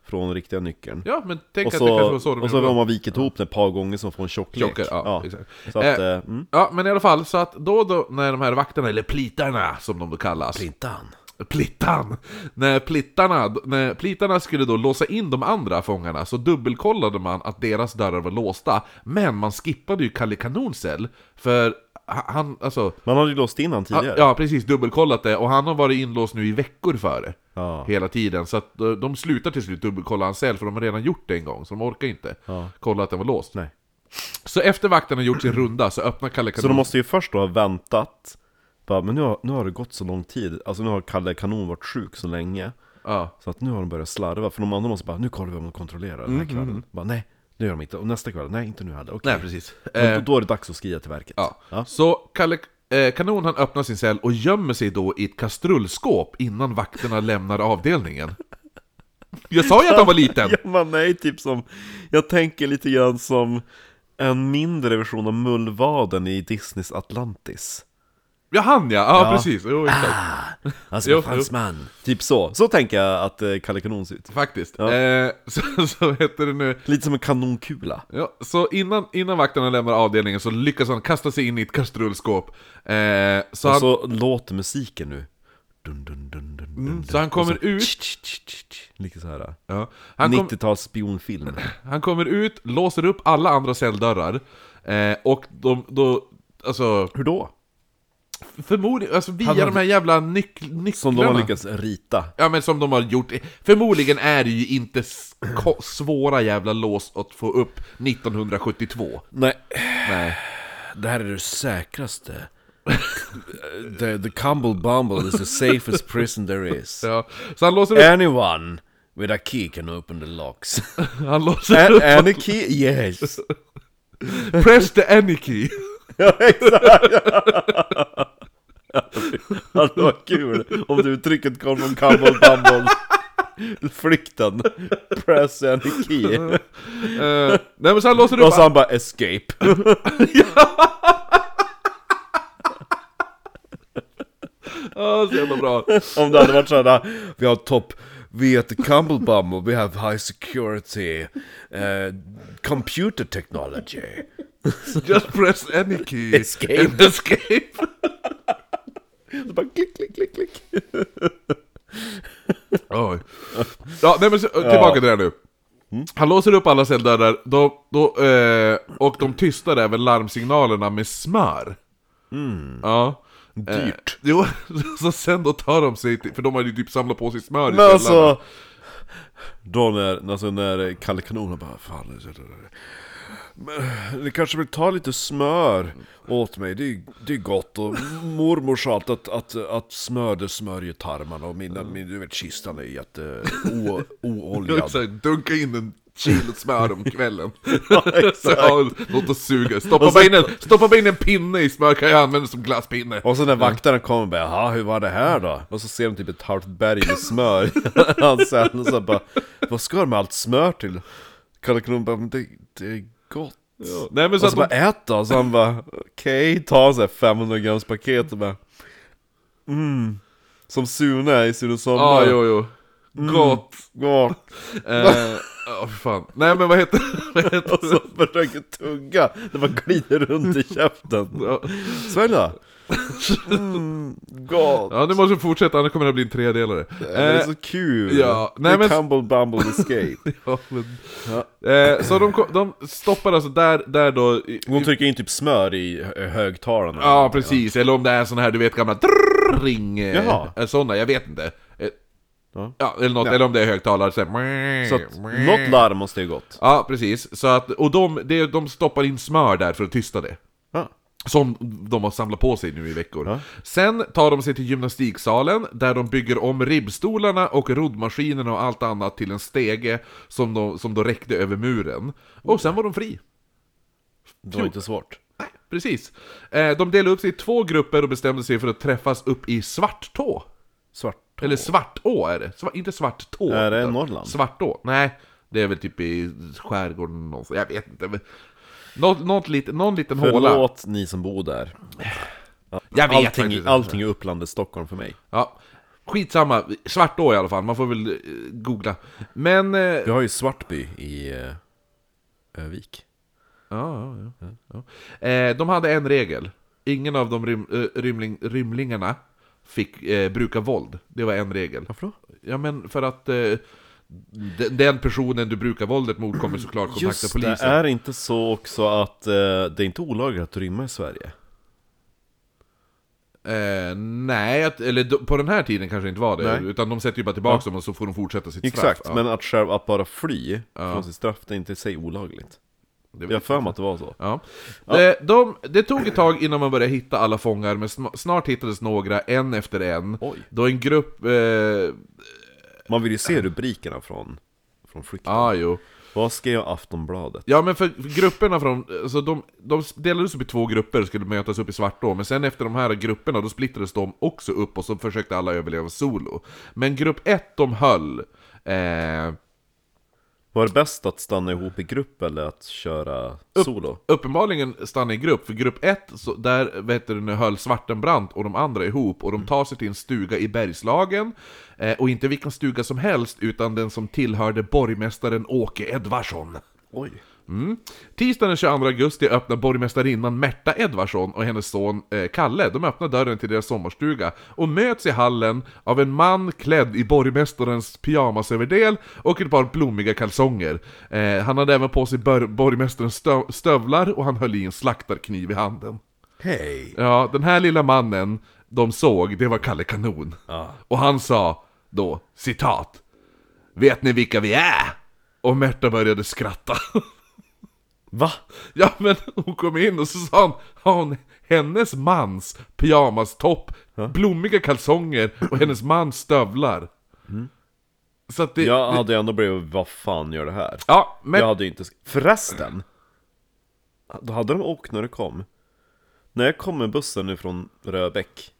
Speaker 1: Från riktiga nyckeln
Speaker 2: Ja, men tänk
Speaker 1: Och
Speaker 2: att det kanske
Speaker 1: så,
Speaker 2: var så de
Speaker 1: och så
Speaker 2: gjorde.
Speaker 1: har man vikit ihop den ett par gånger som får en tjocklek
Speaker 2: Tjockare, ja, exakt.
Speaker 1: Så att,
Speaker 2: Eh,
Speaker 1: eh, mm.
Speaker 2: Ja, men i alla fall, så att då, då när de här vakterna, eller plitarna som de då kallas,
Speaker 1: Plintan
Speaker 2: Plittan! När plittarna, när plittarna skulle då låsa in de andra fångarna så dubbelkollade man att deras dörrar var låsta, men man skippade ju Kalle Kanons cell, för ha- han, alltså...
Speaker 1: Man hade ju låst in han
Speaker 2: ha-
Speaker 1: tidigare
Speaker 2: Ja, precis, dubbelkollat det, och han har varit inlåst nu i veckor före.
Speaker 1: Ja.
Speaker 2: Hela tiden, så att eh, de slutar till slut dubbelkolla hans cell, för de har redan gjort det en gång, så de orkar inte kolla att den var låst.
Speaker 1: Nej
Speaker 2: Så efter vakten har gjort sin runda så öppnar Kalle
Speaker 1: Så de
Speaker 2: Kanon.
Speaker 1: måste ju först då ha väntat bara, Men nu har, nu har det gått så lång tid Alltså nu har Kalle Kanon varit sjuk så länge
Speaker 2: Ja.
Speaker 1: Så att nu har de börjat slarva För de andra måste bara Nu kollar vi om de kontrollerar den här kvällen Bara nej, det gör de inte Och nästa kväll, nej inte nu heller Okej
Speaker 2: Mm-hmm. Nej, precis.
Speaker 1: Men
Speaker 2: Eh,
Speaker 1: då, då är det dags att skrida till verket
Speaker 2: Ja. Så Kalle eh, Kanon han öppnar sin cell och gömmer sig då i ett kastrullskåp innan vakterna lämnar avdelningen. Jag sa ju att han var liten!
Speaker 1: Ja, man är ju typ som, jag tänker lite grann som en mindre version av Mullvaden i Disneys Atlantis.
Speaker 2: Ja, han ja! Ja, precis. Jo, exakt.
Speaker 1: Alltså,
Speaker 2: Jo,
Speaker 1: vad fanns
Speaker 2: jo.
Speaker 1: man? Typ så, så tänker jag att eh, Kalle Kanon ser ut.
Speaker 2: Faktiskt. Eh, så, så heter det nu.
Speaker 1: Lite som en kanonkula.
Speaker 2: Ja, så innan, innan vakterna lämnar avdelningen så lyckas han kasta sig in i ett kastrullskåp. Eh, så,
Speaker 1: Och
Speaker 2: han,
Speaker 1: så låter musiken nu. Dun, dun, dun, dun, dun, dun.
Speaker 2: så han kommer ut...
Speaker 1: Tsch, tsch, tsch, tsch, tsch. Lite så här.
Speaker 2: Ja, han kom-
Speaker 1: 90-tals spionfilm.
Speaker 2: Han kommer ut, låser upp alla andra celldörrar eh, och de, då, alltså
Speaker 1: Hur då?
Speaker 2: förmodligen, alltså via
Speaker 1: Han har-
Speaker 2: de här jävla nyck, nycklarna
Speaker 1: Som de har lyckats rita.
Speaker 2: Ja men som de har gjort, förmodligen är det ju inte s- ko- svåra jävla lås att få upp 1972
Speaker 1: Nej,
Speaker 2: Nej,
Speaker 1: det här är det säkraste. the, the Cumble Bumble is the safest prison there is.
Speaker 2: ja. Så han låser upp,
Speaker 1: Anyone with a key can open the locks.
Speaker 2: han låser upp,
Speaker 1: any key? Yes.
Speaker 2: press the Eh, any key
Speaker 1: Hade varit kul om det uttrycket kom från Cumble Bumble. Flykten. Press any key.
Speaker 2: eh, Nej men så han låser upp
Speaker 1: Och så han bara escape.
Speaker 2: ah, så jävla bra
Speaker 1: Om det hade varit sådär, vi har topp, vi heter Cumble Bumble, we have high security, eh, computer technology.
Speaker 2: Just press any key
Speaker 1: Escape.
Speaker 2: And escape
Speaker 1: Så bara klick, klick, klick, klick.
Speaker 2: Oj. Ja, nej men så, tillbaka till det här nu.
Speaker 1: Mm.
Speaker 2: Han låser upp alla celldörrar, då, då, eh, och de tystar även larmsignalerna med smör. Ja.
Speaker 1: Mm. Dyrt.
Speaker 2: Eh, jo, så sen då tar de sig till, för de har ju typ samlat på sig smör i
Speaker 1: Men
Speaker 2: cellarna.
Speaker 1: alltså... Då när, alltså när Kalle Kanon bara Fan, det- det- det- men, ni kanske vill ta lite smör åt mig, det är, det är gott och mormor sa alltid att, att, att smör det smörjer tarmarna och mina, min, du vet kistan är jätte o,
Speaker 2: Jag
Speaker 1: ooljad
Speaker 2: säger, dunka in en kilo smör om kvällen.
Speaker 1: Ja,
Speaker 2: så, ja, låt oss suga. Stoppa, bara in en, stoppa bara in en pinne i smör, kan jag använda som glasspinne.
Speaker 1: Och så när vakterna kommer och bara Jaha, hur var det här då? Och så ser de typ ett halvt berg med smör i hans hand och så bara Vad ska de med allt smör till? Kalle Kanon bara, men det, det är gott
Speaker 2: Nej men så
Speaker 1: Och så
Speaker 2: att de
Speaker 1: bara ät då, så han bara okej, ta en sån här 500 grams paket och bara mm. Som Sune i Sune
Speaker 2: Ja, ah,
Speaker 1: Sommar
Speaker 2: jo, jo.
Speaker 1: Mm.
Speaker 2: Gott.
Speaker 1: Gott.
Speaker 2: Eh, Ja, för fan. Nej men vad heter, vad heter
Speaker 1: Och så försöker tugga, det bara glider runt i käften
Speaker 2: Ja.
Speaker 1: Svälj då! Mm, gott!
Speaker 2: Ja, nu måste vi fortsätta, annars kommer det bli en tredelare.
Speaker 1: Det är
Speaker 2: Eh,
Speaker 1: så kul!
Speaker 2: ja, nej,
Speaker 1: The
Speaker 2: men-
Speaker 1: Cumble Bumble Escape
Speaker 2: ja, men, eh, så de, ko- de stoppar alltså där, där då... i-
Speaker 1: Hon trycker in typ smör i hö- högtalarna
Speaker 2: Ja, precis. Eller om det är sån här, du vet, gamla drrrr, ring... eh,
Speaker 1: Jaha.
Speaker 2: eh, Såna, jag vet inte. Eh,
Speaker 1: Ja.
Speaker 2: Ja, eller, något, eller om det är högtalare, så,
Speaker 1: Så att något larm måste ju gått
Speaker 2: Ja, precis. Så att, och de, det- de stoppar in smör där för att tysta det.
Speaker 1: ja.
Speaker 2: Som de har samlat på sig nu i veckor.
Speaker 1: Ja.
Speaker 2: Sen tar de sig till gymnastiksalen, där de bygger om ribbstolarna och roddmaskinerna och allt annat till en stege som, de, som då räckte över muren. Och sen var de fri.
Speaker 1: Det var inte svårt
Speaker 2: Nej, precis. Eh, De delade upp sig i två grupper och bestämde sig för att träffas upp i Svartå.
Speaker 1: Svart
Speaker 2: Eller Svartå är det. Sva- inte Svartå.
Speaker 1: Är det
Speaker 2: utan
Speaker 1: Norrland?
Speaker 2: Svartå. Nej, det är väl typ i skärgården någonstans. Jag vet inte. Men... Något, något lit, någon liten håla.
Speaker 1: Förlåt ni som bor där
Speaker 2: Jag vet faktiskt
Speaker 1: Allting,
Speaker 2: inte.
Speaker 1: allting är upplandet Stockholm för mig.
Speaker 2: Ja, skitsamma. Svartå i alla fall, man får väl eh, googla. Men... eh,
Speaker 1: Vi har ju Svartby i eh, Övik.
Speaker 2: Ja, ja, ja, ja. Eh, de hade en regel. Ingen av de rym, eh, rymling, rymlingarna fick eh, bruka våld. Det var en regel.
Speaker 1: Varför då?
Speaker 2: Ja, men för att eh, de- den personen du brukar våldet mot kommer såklart kontakta
Speaker 1: Just det,
Speaker 2: polisen.
Speaker 1: är det inte så också att eh, det är inte olagligt att rymma i Sverige?
Speaker 2: Eh, nej, att, eller d- på den här tiden kanske det inte var det.
Speaker 1: Nej.
Speaker 2: Utan de sätter ju bara tillbaka dem och så får de fortsätta sitt straff.
Speaker 1: Exakt,
Speaker 2: Ja.
Speaker 1: men att själv att bara fly från sitt straff, det är inte i sig olagligt.
Speaker 2: Det vet
Speaker 1: Jag har för mig att det var så.
Speaker 2: Ja. Det, de, det tog ett tag innan man började hitta alla fångar, men sn- snart hittades några, en efter en.
Speaker 1: Oj.
Speaker 2: Då en grupp... Eh,
Speaker 1: Man vill ju se rubrikerna från, från flykten.
Speaker 2: ah, jo.
Speaker 1: Vad skrev Aftonbladet?
Speaker 2: Ja men för för grupperna från, så de, de delades upp i två grupper och skulle mötas upp i Svartå, men sen efter de här grupperna då splittrades de också upp och så försökte alla överleva solo. Men grupp ett de höll, eh,
Speaker 1: Var det bäst att stanna ihop i grupp eller att köra solo?
Speaker 2: uppenbarligen stanna i grupp, för grupp 1, så där vet du, nu höll Svartenbrandt och de andra ihop, och de tar sig till en stuga i Bergslagen, eh, och inte vilken stuga som helst, utan den som tillhörde borgmästaren Åke Edvardsson.
Speaker 1: Oj.
Speaker 2: Mm. Tisdagen den 22 augusti öppnar borgmästarinnan Märta Edvardsson och hennes son eh, Kalle, de öppnar dörren till deras sommarstuga och möts i hallen av en man klädd i borgmästarens pyjamasöverdel och ett par blommiga kalsonger. Eh, han hade även på sig bör- borgmästarens stö- stövlar och han höll i en slaktarkniv i handen.
Speaker 1: Hej!
Speaker 2: Ja, den här lilla mannen de såg, det var Kalle Kanon.
Speaker 1: Ja.
Speaker 2: Och han sa då, citat, Vet ni vilka vi är? Och Märta började skratta.
Speaker 1: Va?
Speaker 2: Ja men hon kom in och så sa han, har hon hennes mans pyjamastopp, blommiga kalsonger och hennes mans stövlar.
Speaker 1: Mm.
Speaker 2: Så att det...
Speaker 1: Jag
Speaker 2: det
Speaker 1: hade ju ändå blivit, vad fan gör det här?
Speaker 2: ja men...
Speaker 1: Jag hade ju inte... sk- Förresten! Då hade de åkt när det kom. När jag kom med bussen nu från Röbäck.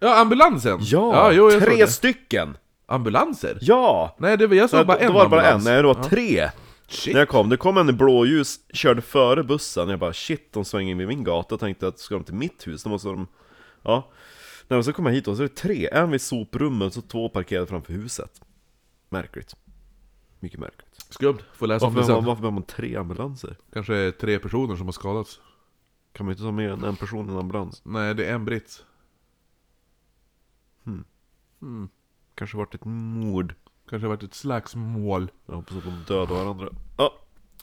Speaker 2: Ja, ambulansen!
Speaker 1: Ja,
Speaker 2: jo, jag såg
Speaker 1: tre
Speaker 2: det.
Speaker 1: stycken!
Speaker 2: Ambulanser?
Speaker 1: Ja!
Speaker 2: Nej, det var, jag såg
Speaker 1: Nej,
Speaker 2: bara
Speaker 1: då
Speaker 2: en
Speaker 1: var det bara en,
Speaker 2: ambulans.
Speaker 1: nej det var tre!
Speaker 2: Shit.
Speaker 1: När jag kom, det kom en i blåljus, körde före bussen, jag bara shit, de svänger in vid min gata, tänkte att ska de till mitt hus, då måste de... Ja. Nej men så kom jag hit och så är det tre, en vid soprummet och två parkerade framför huset. Märkligt. Mycket märkligt.
Speaker 2: Skumt, får läsa om
Speaker 1: Varför
Speaker 2: det
Speaker 1: behöver man,
Speaker 2: sen.
Speaker 1: varför behöver man tre ambulanser?
Speaker 2: Kanske tre personer som har skadats.
Speaker 1: Kan man inte ta med en, en person i en ambulans?
Speaker 2: Nej, det är en britt.
Speaker 1: Kanske varit ett mord.
Speaker 2: Kanske har varit ett slagsmål.
Speaker 1: Jag hoppas att de dödar varandra. Ja,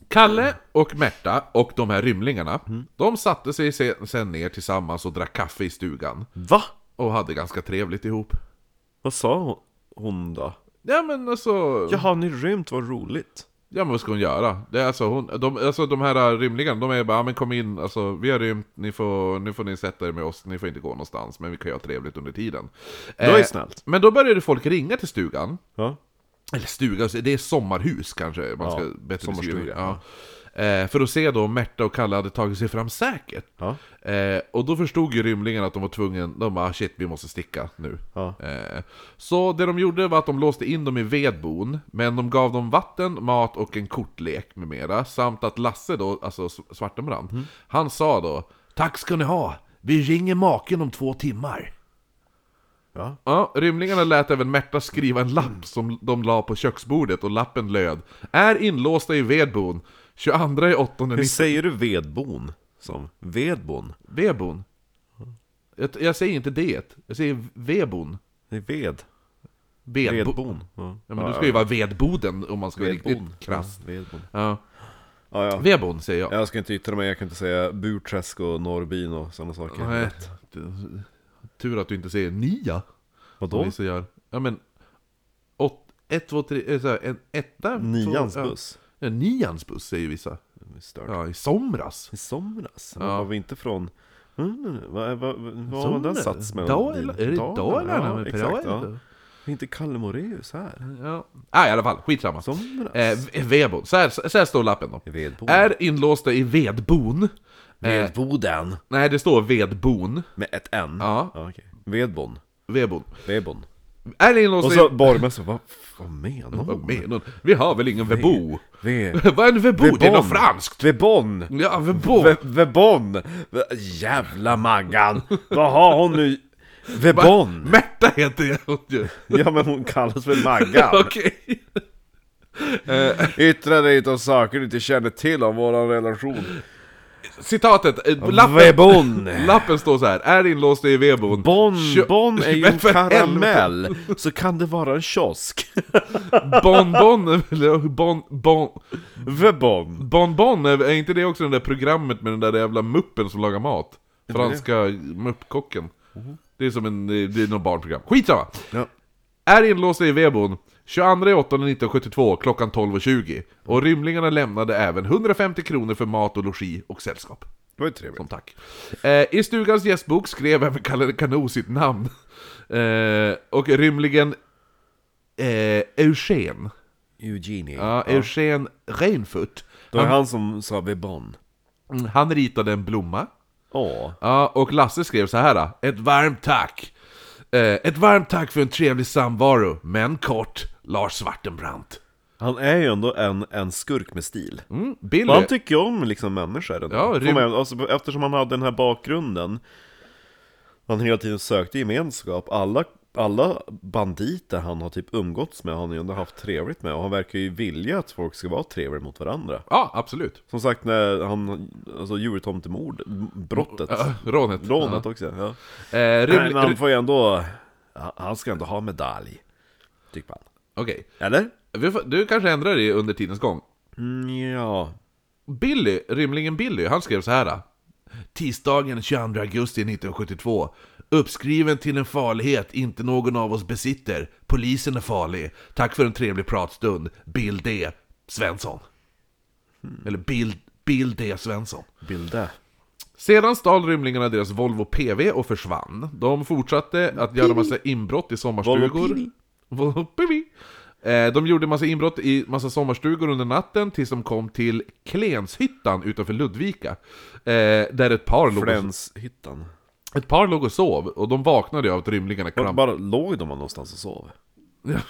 Speaker 2: Kalle och Märta och de här rymlingarna,
Speaker 1: Mm.
Speaker 2: de satte sig se- sen ner tillsammans och drack kaffe i stugan.
Speaker 1: va?
Speaker 2: Och hade ganska trevligt ihop.
Speaker 1: Vad sa hon, hon då?
Speaker 2: Ja men alltså, ja,
Speaker 1: Jaha, ni rymt, vad roligt.
Speaker 2: men vad ska hon göra? Det är alltså, hon, de, alltså de här rymlingarna, de är bara, ja, men kom in, alltså vi har rymt, ni får, nu får ni sätta er med oss, ni får inte gå någonstans, men vi kan ju ha trevligt under tiden. Eh,
Speaker 1: Det var ju snällt.
Speaker 2: Men då började folk ringa till stugan,
Speaker 1: Ja.
Speaker 2: eller stuga, alltså, det är sommarhus kanske man ska
Speaker 1: Ja,
Speaker 2: bättre
Speaker 1: sommarstuga,
Speaker 2: beskriva. Ja. Eh, för att se då om Märta och Kalle hade tagit sig fram säkert.
Speaker 1: Ja.
Speaker 2: Eh, och då förstod ju rymlingen att de var tvungna, de bara "Ah, shit vi måste sticka nu.
Speaker 1: Ja.
Speaker 2: Eh, så det de gjorde var att de låste in dem i vedbon, men de gav dem vatten, mat och en kortlek med mera. Samt att Lasse då, alltså S- Svartenbrandt,
Speaker 1: Mm.
Speaker 2: han sa då Tack ska ni ha, vi ringer maken om två timmar.
Speaker 1: Ja.
Speaker 2: Ja, rymlingarna lät även Märta skriva en lapp som de la på köksbordet och lappen löd Är inlåsta i vedbon 22 i
Speaker 1: Hur
Speaker 2: 8
Speaker 1: säger du vedbon? Som vedbon?
Speaker 2: Vedbon.
Speaker 1: Mm.
Speaker 2: Jag, jag säger inte det, jag säger vedbon.
Speaker 1: Det är ved.
Speaker 2: Vedbo-
Speaker 1: Vedbon. Ja.
Speaker 2: Ja, men du ska ju vara vedboden om man ska vara riktigt
Speaker 1: Vedbon.
Speaker 2: krass.
Speaker 1: Ja, vedbon.
Speaker 2: Ja.
Speaker 1: Ja, ja.
Speaker 2: Vedbon säger jag.
Speaker 1: Jag ska inte yttra mig, jag kan inte säga Burträsk och Norrbyn och sådana saker.
Speaker 2: Nej. eh. Tur att du inte säger nia. Som
Speaker 1: Vadå?
Speaker 2: vissa gör. Ja men... Åt, ett, två, tre, eh, så här, en etta?
Speaker 1: Nians
Speaker 2: två, ja.
Speaker 1: buss?
Speaker 2: Ja, nians buss säger vissa.
Speaker 1: Stört.
Speaker 2: Ja, i somras.
Speaker 1: I somras? Var vi inte från... Mm, vad vad- vad har den
Speaker 2: Somras?
Speaker 1: sats med?
Speaker 2: Dal- är det Dalarna
Speaker 1: Ja,
Speaker 2: med
Speaker 1: exakt, ja.
Speaker 2: Dalarna?
Speaker 1: Det är Inte Kalle Moraeus här?
Speaker 2: Ja. Ah, i alla fall, skitsamma.
Speaker 1: Somras?
Speaker 2: Eh, v- vedbon. Så här, så här står lappen då.
Speaker 1: Vedbon?
Speaker 2: Är inlåsta i vedbon. Eh,
Speaker 1: Vedboden?
Speaker 2: nej, det står vedbon.
Speaker 1: Med ett N?
Speaker 2: Ja.
Speaker 1: okej. Vedbon?
Speaker 2: Vedbon.
Speaker 1: Vedbon?
Speaker 2: Är
Speaker 1: Och
Speaker 2: inlåsta i...
Speaker 1: så borgmästaren, vad, vad menar hon?
Speaker 2: Vad menar hon? Vi har väl ingen vebo?
Speaker 1: Ve-
Speaker 2: Vad är en vebo? Det är något franskt!
Speaker 1: Vebon!
Speaker 2: Ja, vebo!
Speaker 1: Ve- Vebon! Ve- Jävla Maggan! Vad har hon nu? Vebon!
Speaker 2: Märta heter jag ju!
Speaker 1: Ja men hon kallas för Maggan!
Speaker 2: Okej! eh.
Speaker 1: Yttra dig inte om saker du inte känner till om våran relation.
Speaker 2: Citatet, eh, lappen,
Speaker 1: Vebon!
Speaker 2: lappen står så här. är inlåst i vebon.
Speaker 1: Bon,
Speaker 2: Kö-
Speaker 1: bon är ju
Speaker 2: Men
Speaker 1: en
Speaker 2: för
Speaker 1: karamell, så kan det vara en kiosk.
Speaker 2: Bon bon, är väl- bon bon,
Speaker 1: Vebon!
Speaker 2: bon bon, är är inte det också det där programmet med den där jävla muppen som lagar mat? Franska
Speaker 1: Mhm.
Speaker 2: muppkocken. Det är som en, det är något barnprogram. Skitsamma!
Speaker 1: Ja.
Speaker 2: Är inlåsta i vebon 22.08.1972 klockan 12.20. Och rymlingarna lämnade även 150 kronor för mat och logi och sällskap.
Speaker 1: Det var ju trevligt.
Speaker 2: Som tack. Eh, I stugans gästbok skrev även Kalle Kano sitt namn. Eh, och rymlingen eh, Eugen,
Speaker 1: Eugenie.
Speaker 2: ja, Eugen Reinfurt,
Speaker 1: Det var han som sa Vebon.
Speaker 2: Mm, han ritade en blomma.
Speaker 1: Ja.
Speaker 2: Ja, och Lasse skrev så här. då. Ett varmt tack! Eh, ett varmt tack för en trevlig samvaro, men kort, Lars Svartenbrandt.
Speaker 1: Han är ju ändå en, en skurk med stil.
Speaker 2: Mm, Billy,
Speaker 1: Och han tycker ju om liksom människor ändå.
Speaker 2: Ja,
Speaker 1: Får
Speaker 2: rym-
Speaker 1: man- alltså, eftersom han hade den här bakgrunden Han hela tiden sökte gemenskap Alla, alla banditer han har typ umgåtts med har han ju ändå haft trevligt med Och han verkar ju vilja att folk ska vara trevliga mot varandra
Speaker 2: ja absolut.
Speaker 1: Som sagt när han, alltså djurtomtemord, brottet
Speaker 2: Ja, rånet.
Speaker 1: Rånet också ja.
Speaker 2: Ja. Eh,
Speaker 1: Nej, men
Speaker 2: ryml-
Speaker 1: han får ju ändå, han ska ändå ha medalj Tycker man
Speaker 2: Okej,
Speaker 1: Eller?
Speaker 2: Vi får- du kanske ändrar det under tidens gång.
Speaker 1: Mm, ja
Speaker 2: Billy, rymlingen Billy, han skrev så här. Tisdagen 22 augusti 1972. Uppskriven till en farlighet inte någon av oss besitter. Polisen är farlig. Tack för en trevlig pratstund. Bill D. Svensson. Eller Bill, Bill D. Svensson.
Speaker 1: Bilde
Speaker 2: Sedan stal rymlingarna deras Volvo PV och försvann. De fortsatte att göra massa inbrott i
Speaker 1: Volvo
Speaker 2: sommarstugor.
Speaker 1: PV.
Speaker 2: Volvo PV. Eh, De gjorde massa inbrott i massa sommarstugor under natten tills de kom till Klenshyttan utanför Ludvika. Eh, Där ett par låg, och,
Speaker 1: Flänshyttan
Speaker 2: ett par låg och sov och de vaknade av att rymlingarna
Speaker 1: Bara,
Speaker 2: kramp...
Speaker 1: bara låg de någonstans och sov?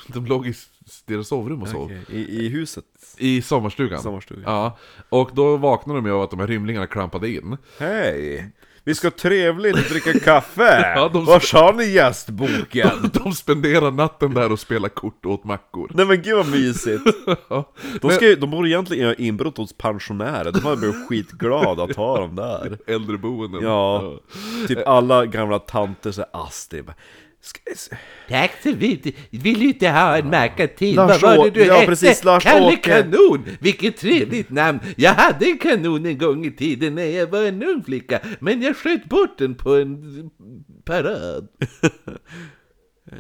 Speaker 2: De låg i s- deras sovrum och sov.
Speaker 1: I, I huset?
Speaker 2: I sommarstugan.
Speaker 1: Sommarstugan.
Speaker 2: Ja. Och då vaknade de ju av att de här rymlingarna krampade in.
Speaker 1: Hej! Vi ska trevligt dricka kaffe!
Speaker 2: Ja, de-
Speaker 1: Var har ni gästboken?
Speaker 2: De spenderade natten där och spelade kort och åt mackor.
Speaker 1: Nej men gud vad mysigt!
Speaker 2: Ja.
Speaker 1: De, ska, ju- de borde egentligen göra inbrott hos pensionärer, de hade blivit skitglada att ha dem där
Speaker 2: Äldreboenden.
Speaker 1: Ja, typ alla gamla tanter såhär astig bara, "Ska- s-
Speaker 3: Tack så mycket. Vill du inte ha en macka till?
Speaker 1: Lars
Speaker 3: Vad var
Speaker 1: Å-
Speaker 3: det du
Speaker 1: ja,
Speaker 3: hette?
Speaker 1: precis, Lars
Speaker 3: Kalle
Speaker 1: Åke.
Speaker 3: Kanon! Vilket trevligt namn! Jag hade en kanon en gång i tiden när jag var en ung flicka, men jag sköt bort den på en parad.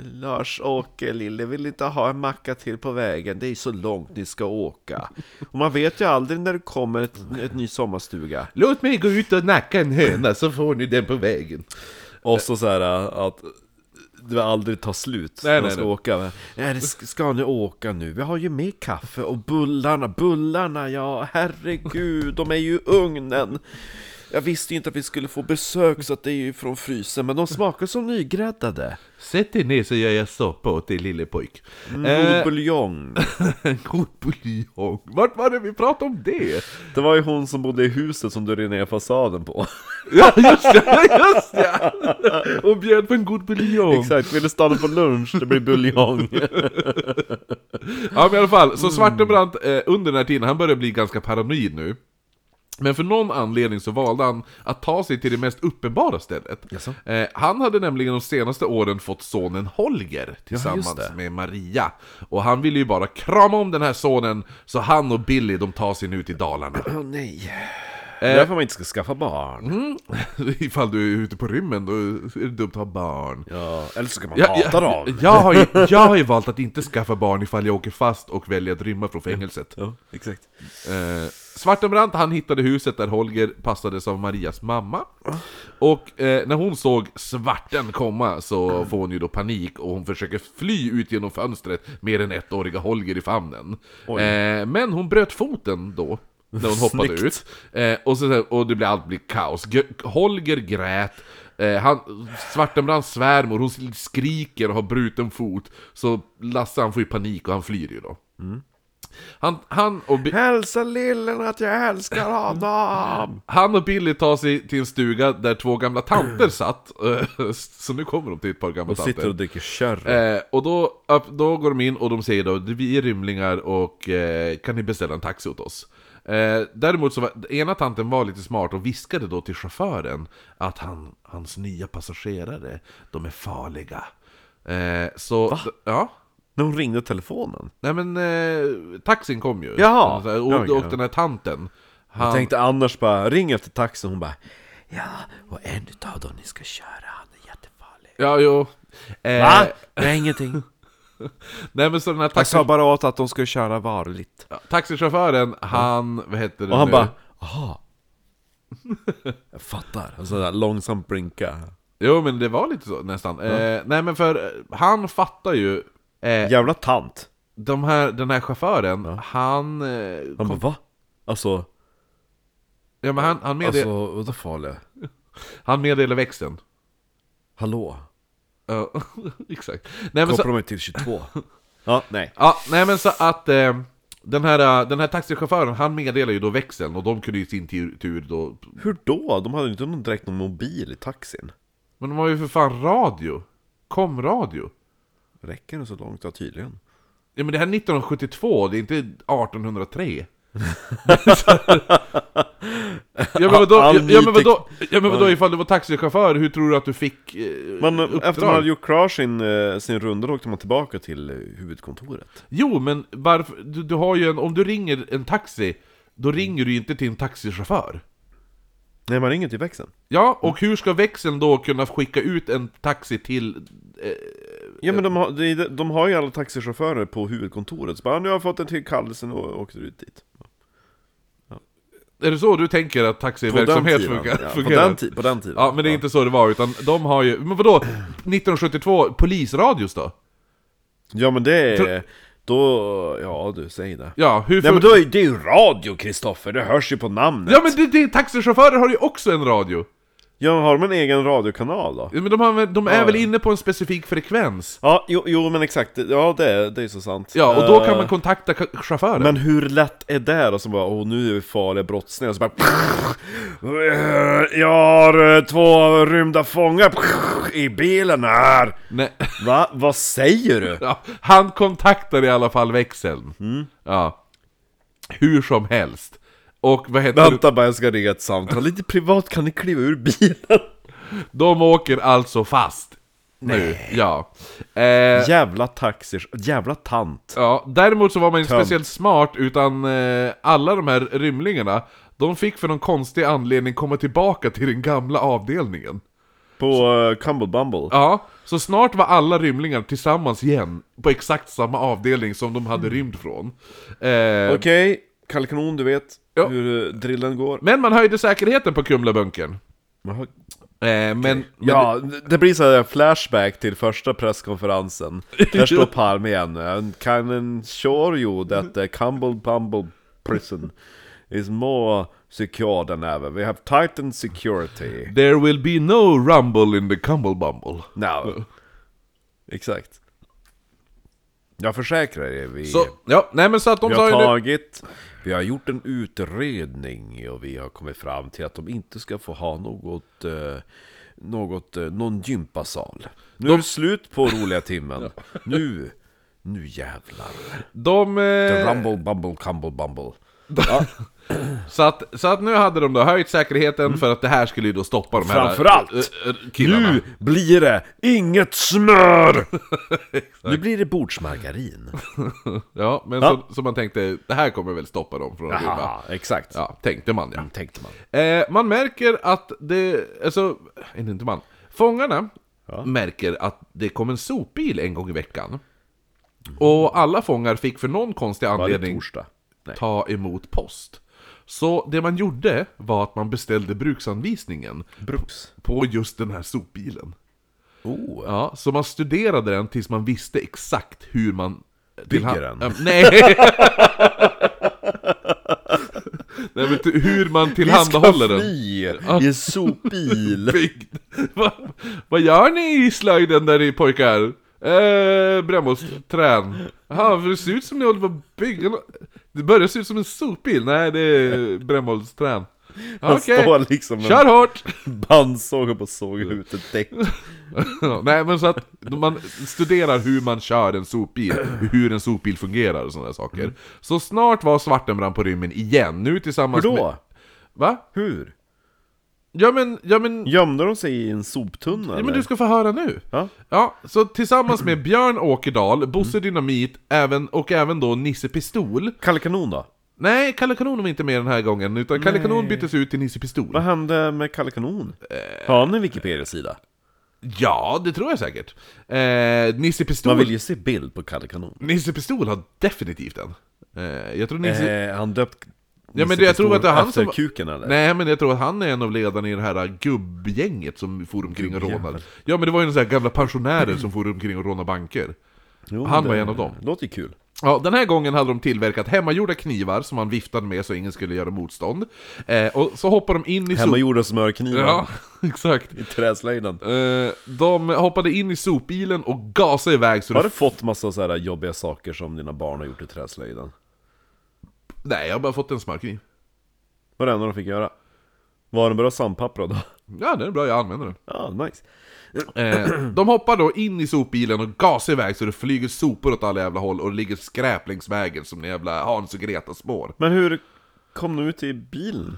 Speaker 1: Lars-Åke eh, Lille vill inte ha en macka till på vägen, det är så långt ni ska åka Och man vet ju aldrig när det kommer ett, ett ny sommarstuga
Speaker 3: Låt mig gå ut och nacka en höna så får ni den på vägen.
Speaker 1: Och så så här äh, att du aldrig tar slut
Speaker 2: Nej,
Speaker 1: när du
Speaker 2: nej,
Speaker 1: ska
Speaker 2: nej.
Speaker 1: åka. Men, Nej, det ska ska ni åka nu? Vi har ju med kaffe och bullarna, bullarna ja, herregud, de är ju i ugnen. Jag visste ju inte att vi skulle få besök så att det är ju från frysen, men de smakar som nygräddade.
Speaker 3: Sätt dig ner så gör jag soppa åt dig lille pojk.
Speaker 1: God buljong.
Speaker 3: En god buljong.
Speaker 2: Vart var det vi pratade om det?
Speaker 1: Det var ju hon som bodde i huset som du red ner fasaden på.
Speaker 2: Ja, just det! Just det. Och bjöd på en god buljong.
Speaker 1: Exakt, ville stanna på lunch, det blir buljong.
Speaker 2: Ja, men i alla fall.
Speaker 1: Mm.
Speaker 2: Så Svartenbrandt, eh, under den här tiden, han började bli ganska paranoid nu. Men för någon anledning så valde han att ta sig till det mest uppenbara stället.
Speaker 1: Jaså?
Speaker 2: Eh, han hade nämligen de senaste åren fått sonen Holger tillsammans
Speaker 1: det.
Speaker 2: med Maria. Och han ville ju bara krama om den här sonen, så han och Billy de tar sig nu till Dalarna.
Speaker 1: Åh nej. Det är därför man inte ska skaffa barn.
Speaker 2: Ifall du är ute på rymmen, då är det dumt att ha barn.
Speaker 1: Ja, eller så kan man
Speaker 2: Ja,
Speaker 1: hata
Speaker 2: ja,
Speaker 1: dem.
Speaker 2: Jag har, ju, jag har ju valt att inte skaffa barn ifall jag åker fast och väljer att rymma från fängelset.
Speaker 1: Ja, exakt.
Speaker 2: Eh, Svartenbrandt han hittade huset där Holger passades av Marias mamma. Och eh, när hon såg svarten komma så får hon ju då panik och hon försöker fly ut genom fönstret med den ettåriga Holger i famnen. Eh, men hon bröt foten då. När hon hoppade
Speaker 1: Snyggt.
Speaker 2: ut. Eh, och, så, och det blir allt blir kaos. G- Holger grät. Eh, han, Svartenbrandts svärmor, hon skriker och har bruten fot. Så Lasse han får ju panik och han flyr ju då. Han, han och... Bi-
Speaker 1: Hälsa lillen att jag älskar honom!
Speaker 2: Han och Billy tar sig till en stuga där två gamla tanter satt. eh, Så nu kommer de till ett par gamla
Speaker 1: Mm. Och sitter
Speaker 2: tanter.
Speaker 1: och dricker sherry.
Speaker 2: Eh, och då, öpp- då går de in och de säger då vi är rymlingar och eh, kan ni beställa en taxi åt oss? Eh, däremot så var ena tanten var lite smart och viskade då till chauffören att han, hans nya passagerare, de är farliga. Eh, så, d- ja.
Speaker 1: När hon ringde telefonen.
Speaker 2: Nej men, eh, taxin kom ju.
Speaker 1: Jaha. Ja,
Speaker 2: Och,
Speaker 1: ja.
Speaker 2: och den här tanten.
Speaker 1: Jag
Speaker 2: Han,
Speaker 1: tänkte annars bara, ring efter taxin. Hon bara, ja, och en utav dem ni ska köra, han är jättefarlig.
Speaker 2: ja, jo. Eh,
Speaker 1: Det är ingenting.
Speaker 2: Nej men så den här
Speaker 4: Jag
Speaker 2: taxi,
Speaker 4: sa bara åt att de skulle köra varligt.
Speaker 2: ja, taxichauffören, han, vad heter det
Speaker 1: Och han
Speaker 2: nu?
Speaker 1: bara aha Jag fattar. Och så där, långsamt blinka.
Speaker 2: Jo men det var lite så nästan. Eh, nej men för eh, han fattar ju, eh,
Speaker 1: Jävla tant.
Speaker 2: de här, den här chauffören, han, eh,
Speaker 1: Han bara va? Alltså,
Speaker 2: ja, men han, han, medde,
Speaker 1: alltså vadå farlig?
Speaker 2: han meddelar växeln.
Speaker 1: Hallå?
Speaker 2: Ja, exakt. Nej men, så,
Speaker 1: Kopplar mig till 22. Ja, nej.
Speaker 2: ja, nej men så att eh, den, här, eh, den här taxichauffören, han meddelar ju då växeln och de kunde ju i sin tur, tur då,
Speaker 1: Hur då? De hade ju inte någon, direkt någon mobil i taxin.
Speaker 2: men de har ju för fan radio. Kom radio.
Speaker 1: Räcker det så långt? Ja, tydligen.
Speaker 2: Ja men det här är 1972, det är inte 1803. ja men vadå, ja, ja, men vadå, ja men vadå ifall du var taxichaufför, hur tror du att du fick eh,
Speaker 1: Men eh,
Speaker 2: uppdrag?
Speaker 1: efter man hade gjort klar sin, eh, sin runda då åkte man tillbaka till eh, huvudkontoret.
Speaker 2: Jo men varför, du, du har ju en, om du ringer en taxi, då ringer du ju inte till en taxichaufför.
Speaker 1: Nej, man ringer till växeln.
Speaker 2: Ja, och
Speaker 1: Mm.
Speaker 2: hur ska växeln då kunna skicka ut en taxi till... Eh,
Speaker 1: Ja, men de har, det är- de har ju alla taxichaufförer på huvudkontoret. Så bara, nu har jag fått en till kallelsen och åkte ut dit.
Speaker 2: är det så du tänker att taxiverksamhet
Speaker 1: tiden,
Speaker 2: funkar?
Speaker 1: ja, på,
Speaker 2: fungerar?
Speaker 1: den ti- på den tiden.
Speaker 2: Ja, men det är inte så det var, utan de har ju... Men vadå? 1972, polisradios då?
Speaker 1: Ja, men det
Speaker 2: Tror-
Speaker 1: är... Då... Ja, du, säg det.
Speaker 2: Ja, hur...
Speaker 1: Nej,
Speaker 2: fun-
Speaker 1: men då är, det är ju radio, Kristoffer. Det hörs ju på namnet.
Speaker 2: Ja men det, det, taxichaufförer har ju också en radio!
Speaker 1: Ja, men har de en egen radiokanal då?
Speaker 2: Ja, Men de, har, väl- de är
Speaker 1: Ja,
Speaker 2: väl
Speaker 1: ja.
Speaker 2: inne på en specifik frekvens?
Speaker 1: Ja, jo, jo men exakt. Ja, det, är- det är ju så sant.
Speaker 2: Ja, och då kan
Speaker 1: Eh,
Speaker 2: man kontakta ka- chauffören.
Speaker 1: Men hur lätt är det då? Som bara, åh nu är vi farliga brottslingar, så bara... Jag har eh, två rymda fångar i bilen här!
Speaker 2: Nej,
Speaker 1: Va? Vad säger du?
Speaker 2: ja, han kontaktar i alla fall växeln.
Speaker 1: Mm.
Speaker 2: Ja. Hur som helst. Och vad heter det?
Speaker 1: Vänta bara, jag ska ringa ett samtal. Lite privat, kan ni kliva ur bilen?
Speaker 2: De åker alltså fast. Nu, ja. Eh,
Speaker 1: Jävla taxis, jävla tant.
Speaker 2: ja. Däremot så var man inte
Speaker 1: Tönt.
Speaker 2: speciellt smart, utan eh, alla de här rymlingarna, de fick för någon konstig anledning komma tillbaka till den gamla avdelningen.
Speaker 1: På uh, Cumble Bumble.
Speaker 2: Ja, så snart var alla rymlingar tillsammans igen, på exakt samma avdelning som de
Speaker 1: Mm.
Speaker 2: hade rymt från. Eh,
Speaker 1: Okej, Kalkanon, du vet
Speaker 2: Ja.
Speaker 1: hur eh, drillen går.
Speaker 2: Men man höjde säkerheten på Kumlabunkern.
Speaker 1: Jaha.
Speaker 2: Eh, men, men...
Speaker 1: Ja, det blir så här flashback till första presskonferensen. Där står Palme igen. And can ensure you that the Cumble Bumble prison is more secure than ever. We have tightened security.
Speaker 2: There will be no rumble in the cumble bumble.
Speaker 1: Now. Exakt. Jag försäkrar er, vi,
Speaker 2: Så, ja, nej men så att de
Speaker 1: vi
Speaker 2: sa
Speaker 1: har
Speaker 2: ju nu...
Speaker 1: tagit, vi har gjort en utredning och vi har kommit fram till att de inte ska få ha något, eh, något eh, någon gympasal. Nu är det slut på roliga timmen. Nu, nu jävlar.
Speaker 2: De...
Speaker 1: The
Speaker 2: Eh,
Speaker 1: rumble, bumble, cumble, bumble.
Speaker 2: så, att, så att nu hade de då höjt säkerheten för att det här skulle ju då stoppa de här...
Speaker 1: Mm. Framförallt,
Speaker 2: eh, eh, killarna.
Speaker 1: Nu blir det inget smör! Nu blir det bordsmargarin.
Speaker 2: Ja, men
Speaker 1: Ja.
Speaker 2: Så, så man tänkte, det här kommer väl stoppa dem från att rymma.
Speaker 1: Aha, exakt.
Speaker 2: Ja, tänkte man ja.
Speaker 1: Tänkte man.
Speaker 2: Eh, man märker att det, alltså, eller inte man, fångarna märker att det kom en sopbil en gång i veckan. Och alla fångar fick för någon konstig
Speaker 1: Varje
Speaker 2: anledning
Speaker 1: torsdag. Nej.
Speaker 2: ta emot post. Så det man gjorde var att man beställde bruksanvisningen
Speaker 1: Bruks.
Speaker 2: på just den här sopbilen.
Speaker 1: Oh.
Speaker 2: Ja, så man studerade den tills man visste exakt hur man... eh,
Speaker 1: Bygger den?
Speaker 2: Ja, nej! nej men hur man tillhandahåller den.
Speaker 1: Vi ska fly i en sopbil!
Speaker 2: byggd. Vad vad gör ni i slöjden där i pojkar? Eh, brännbollsträn. Jaha, för det ser ut som ni håller på att bygga nå- Det börjar se ut som en sopbil. Nej, det är brännbollsträn. Ja,
Speaker 1: Han
Speaker 2: Okej,
Speaker 1: står liksom med
Speaker 2: kör
Speaker 1: en
Speaker 2: hårt!
Speaker 1: bandsåg och bara sågar ut ett däck.
Speaker 2: Ja, Nej men så att man studerar hur man kör en sopbil, hur en sopbil fungerar och sådana
Speaker 1: Mm.
Speaker 2: saker. Så snart var Svartenbrand på rymmen igen, nu
Speaker 1: Hur
Speaker 2: tillsammans med...
Speaker 1: då?
Speaker 2: Va?
Speaker 1: Hur?
Speaker 2: Ja men, ja men...
Speaker 1: Gömde de sig i en soptunna
Speaker 2: Ja,
Speaker 1: eller?
Speaker 2: men du ska få höra nu!
Speaker 1: Ja.
Speaker 2: Ja, så tillsammans med Björn Åkerdal,
Speaker 1: Mm.
Speaker 2: Bosse Dynamit även, och även då Nisse Pistol.
Speaker 1: Kalle Kanon då?
Speaker 2: Nej, Kalle Kanon var inte med den här gången, utan Kalle Kanon byttes ut till Nisse Pistol. Eh.
Speaker 1: Vad hände med Kalle Kanon? Har han en Wikipedia-sida?
Speaker 2: Ja, det tror jag säkert. Eh, Nisse Pistol...
Speaker 1: Man vill ju se bild på Kalle Kanon
Speaker 2: Nisse Pistol har definitivt en. Eh, jag tror Nisse...
Speaker 1: eh, Han döpt
Speaker 2: Ja, men det- jag tror att det är han
Speaker 1: efter
Speaker 2: som-
Speaker 1: kuken eller?
Speaker 2: Nej, men jag tror att han är en av ledarna i det här gubbgänget som for omkring och
Speaker 1: Gubbjävel.
Speaker 2: rånade. Ja, men det var ju några så här gamla pensionärer som for omkring och rånade banker.
Speaker 1: Jo,
Speaker 2: han
Speaker 1: det
Speaker 2: var en av dem.
Speaker 1: Låter ju kul
Speaker 2: Ja, den här gången hade de tillverkat hemmagjorda knivar som man viftade med så ingen skulle göra motstånd. Eh, och så hoppar de in i sop...
Speaker 1: Hemmagjorda smörknivar
Speaker 2: Ja, exakt.
Speaker 1: i träslöjden
Speaker 2: Eh, de hoppade in i sopbilen och gasade iväg så
Speaker 1: Har
Speaker 2: det...
Speaker 1: du fått massa så här jobbiga saker som dina barn har gjort i träslöjden?
Speaker 2: Nej, jag har bara fått en smörkniv.
Speaker 1: Vad var det enda de fick göra? Var den bra sandpapprad då?
Speaker 2: Ja, den är bra, jag använder den.
Speaker 1: Ja, nice
Speaker 2: Eh, de hoppar då in i sopbilen och gasar iväg så det flyger sopor åt alla jävla håll och det ligger skräp längs vägen som en jävla Hans och Greta-spår.
Speaker 1: Men hur kom ni ut i bilen?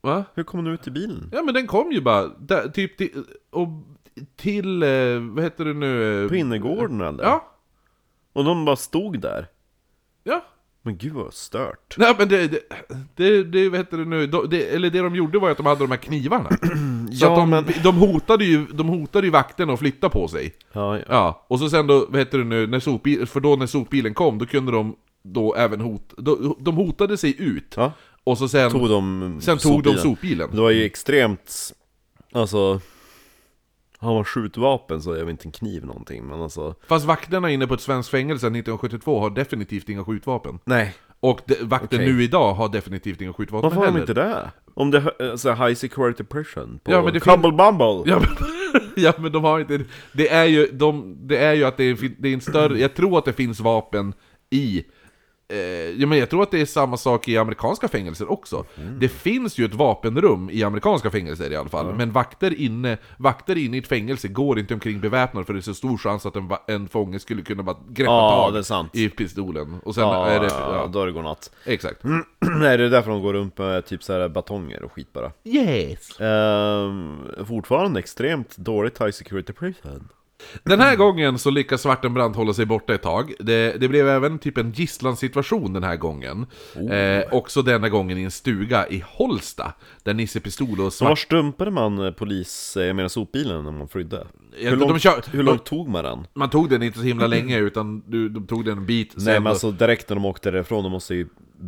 Speaker 2: Va?
Speaker 1: Hur kom ni ut i bilen?
Speaker 2: Ja men den kom ju bara, där, typ till, och till, eh, vad heter det nu? eh,
Speaker 1: På innergården eller?
Speaker 2: Ja,
Speaker 1: Och de bara stod där?
Speaker 2: ja.
Speaker 1: Men gud vad stört
Speaker 2: Nej men det, det, det, det vad heter det nu, de, det, eller det de gjorde var ju att de hade de här knivarna. Så
Speaker 1: Ja,
Speaker 2: att de,
Speaker 1: men-
Speaker 2: de hotade ju, de hotade ju vakterna att flytta på sig.
Speaker 1: Ja, ja.
Speaker 2: Ja, och så sen då, vad heter det nu, när sopbil, för då när sopbilen kom, då kunde de då även hot, då, de hotade sig ut.
Speaker 1: ja.
Speaker 2: Och så sen,
Speaker 1: Tog de
Speaker 2: sen tog de sopbilen.
Speaker 1: Det var ju extremt, alltså Har man skjutvapen så är väl inte en kniv någonting men alltså
Speaker 2: Fast vakterna inne på ett svenskt fängelse 1972 har definitivt inga skjutvapen.
Speaker 1: Nej
Speaker 2: Och de, vakter
Speaker 1: Okej.
Speaker 2: nu idag har definitivt inga skjutvapen
Speaker 1: Varför har de
Speaker 2: heller.
Speaker 1: inte det? Om det är så här high security person på
Speaker 2: Ja, men det fin-
Speaker 1: Cumble Bumble
Speaker 2: Ja men, ja men de har inte... Det är ju, de, det är ju att det är, en fin- det är en större... Jag tror att det finns vapen i... Eh, ja, men jag tror att det är samma sak i amerikanska fängelser också.
Speaker 1: Mm.
Speaker 2: Det finns ju ett vapenrum i amerikanska fängelser i alla fall. Men vakter inne, vakter inne i ett fängelse går inte omkring beväpnade för det är så stor chans att en, va- en fånge skulle kunna bara greppa
Speaker 1: Ja,
Speaker 2: tag
Speaker 1: det är sant.
Speaker 2: i pistolen. Och sen
Speaker 1: Ja,
Speaker 2: är det...
Speaker 1: ja,
Speaker 2: Ja,
Speaker 1: då är det godnatt
Speaker 2: exakt.
Speaker 1: Nej det är därför de går runt med typ så här batonger och skit bara
Speaker 2: Yes!
Speaker 1: Ehm, Fortfarande extremt dåligt high security person
Speaker 2: Den här gången så lyckas Svartenbrandt hålla sig borta ett tag. Det, det blev även typ en gisslansituation den här gången.
Speaker 1: Oh.
Speaker 2: Eh, också denna gången i en stuga i Holsta. Där Nisse Pistol och
Speaker 1: Så var
Speaker 2: Svart...
Speaker 1: stumpade man eh, polis, eh, jag menar sopbilen när man flydde?
Speaker 2: de
Speaker 1: Hur långt,
Speaker 2: kör-
Speaker 1: hur långt tog man den?
Speaker 2: Man tog den inte så himla länge utan du, de tog den en bit.
Speaker 1: Nej
Speaker 2: sen
Speaker 1: men alltså direkt när de åkte därifrån, då måste ju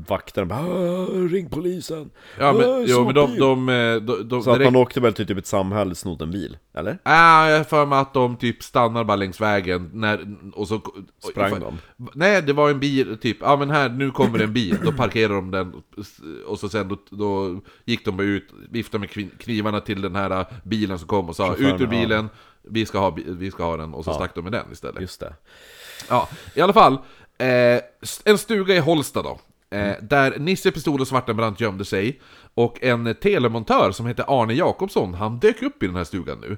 Speaker 1: vakterna bara "Ah, ring polisen!
Speaker 2: Ja
Speaker 1: Ah,
Speaker 2: men, jo, men de...
Speaker 1: sopbil."
Speaker 2: de, eh, de, de
Speaker 1: Så att
Speaker 2: direkt...
Speaker 1: man åkte väl till typ ett samhälle och snodde en bil, eller?
Speaker 2: Ah, jag har för mig att de typ stannar bara längs vägen när, och så...
Speaker 1: Sprang de?
Speaker 2: Nej, det var en bil, typ, ja ah, men här, nu kommer en bil, då parkerar de den och så sen då, då gick de ut, viftade med kvin- knivarna till den här äh, bilen som kom och sa
Speaker 1: Chauffören,
Speaker 2: ut ur
Speaker 1: ja.
Speaker 2: bilen, vi ska ha, bi- vi ska ha den, och så stack de med den istället.
Speaker 1: Just det
Speaker 2: Ja, i alla fall. Eh, s- en stuga i Holsta då. Eh, där Nisse Pistol och Svartenbrandt gömde sig. Och en telemontör som hette Arne Jakobsson, han dök upp i den här stugan nu.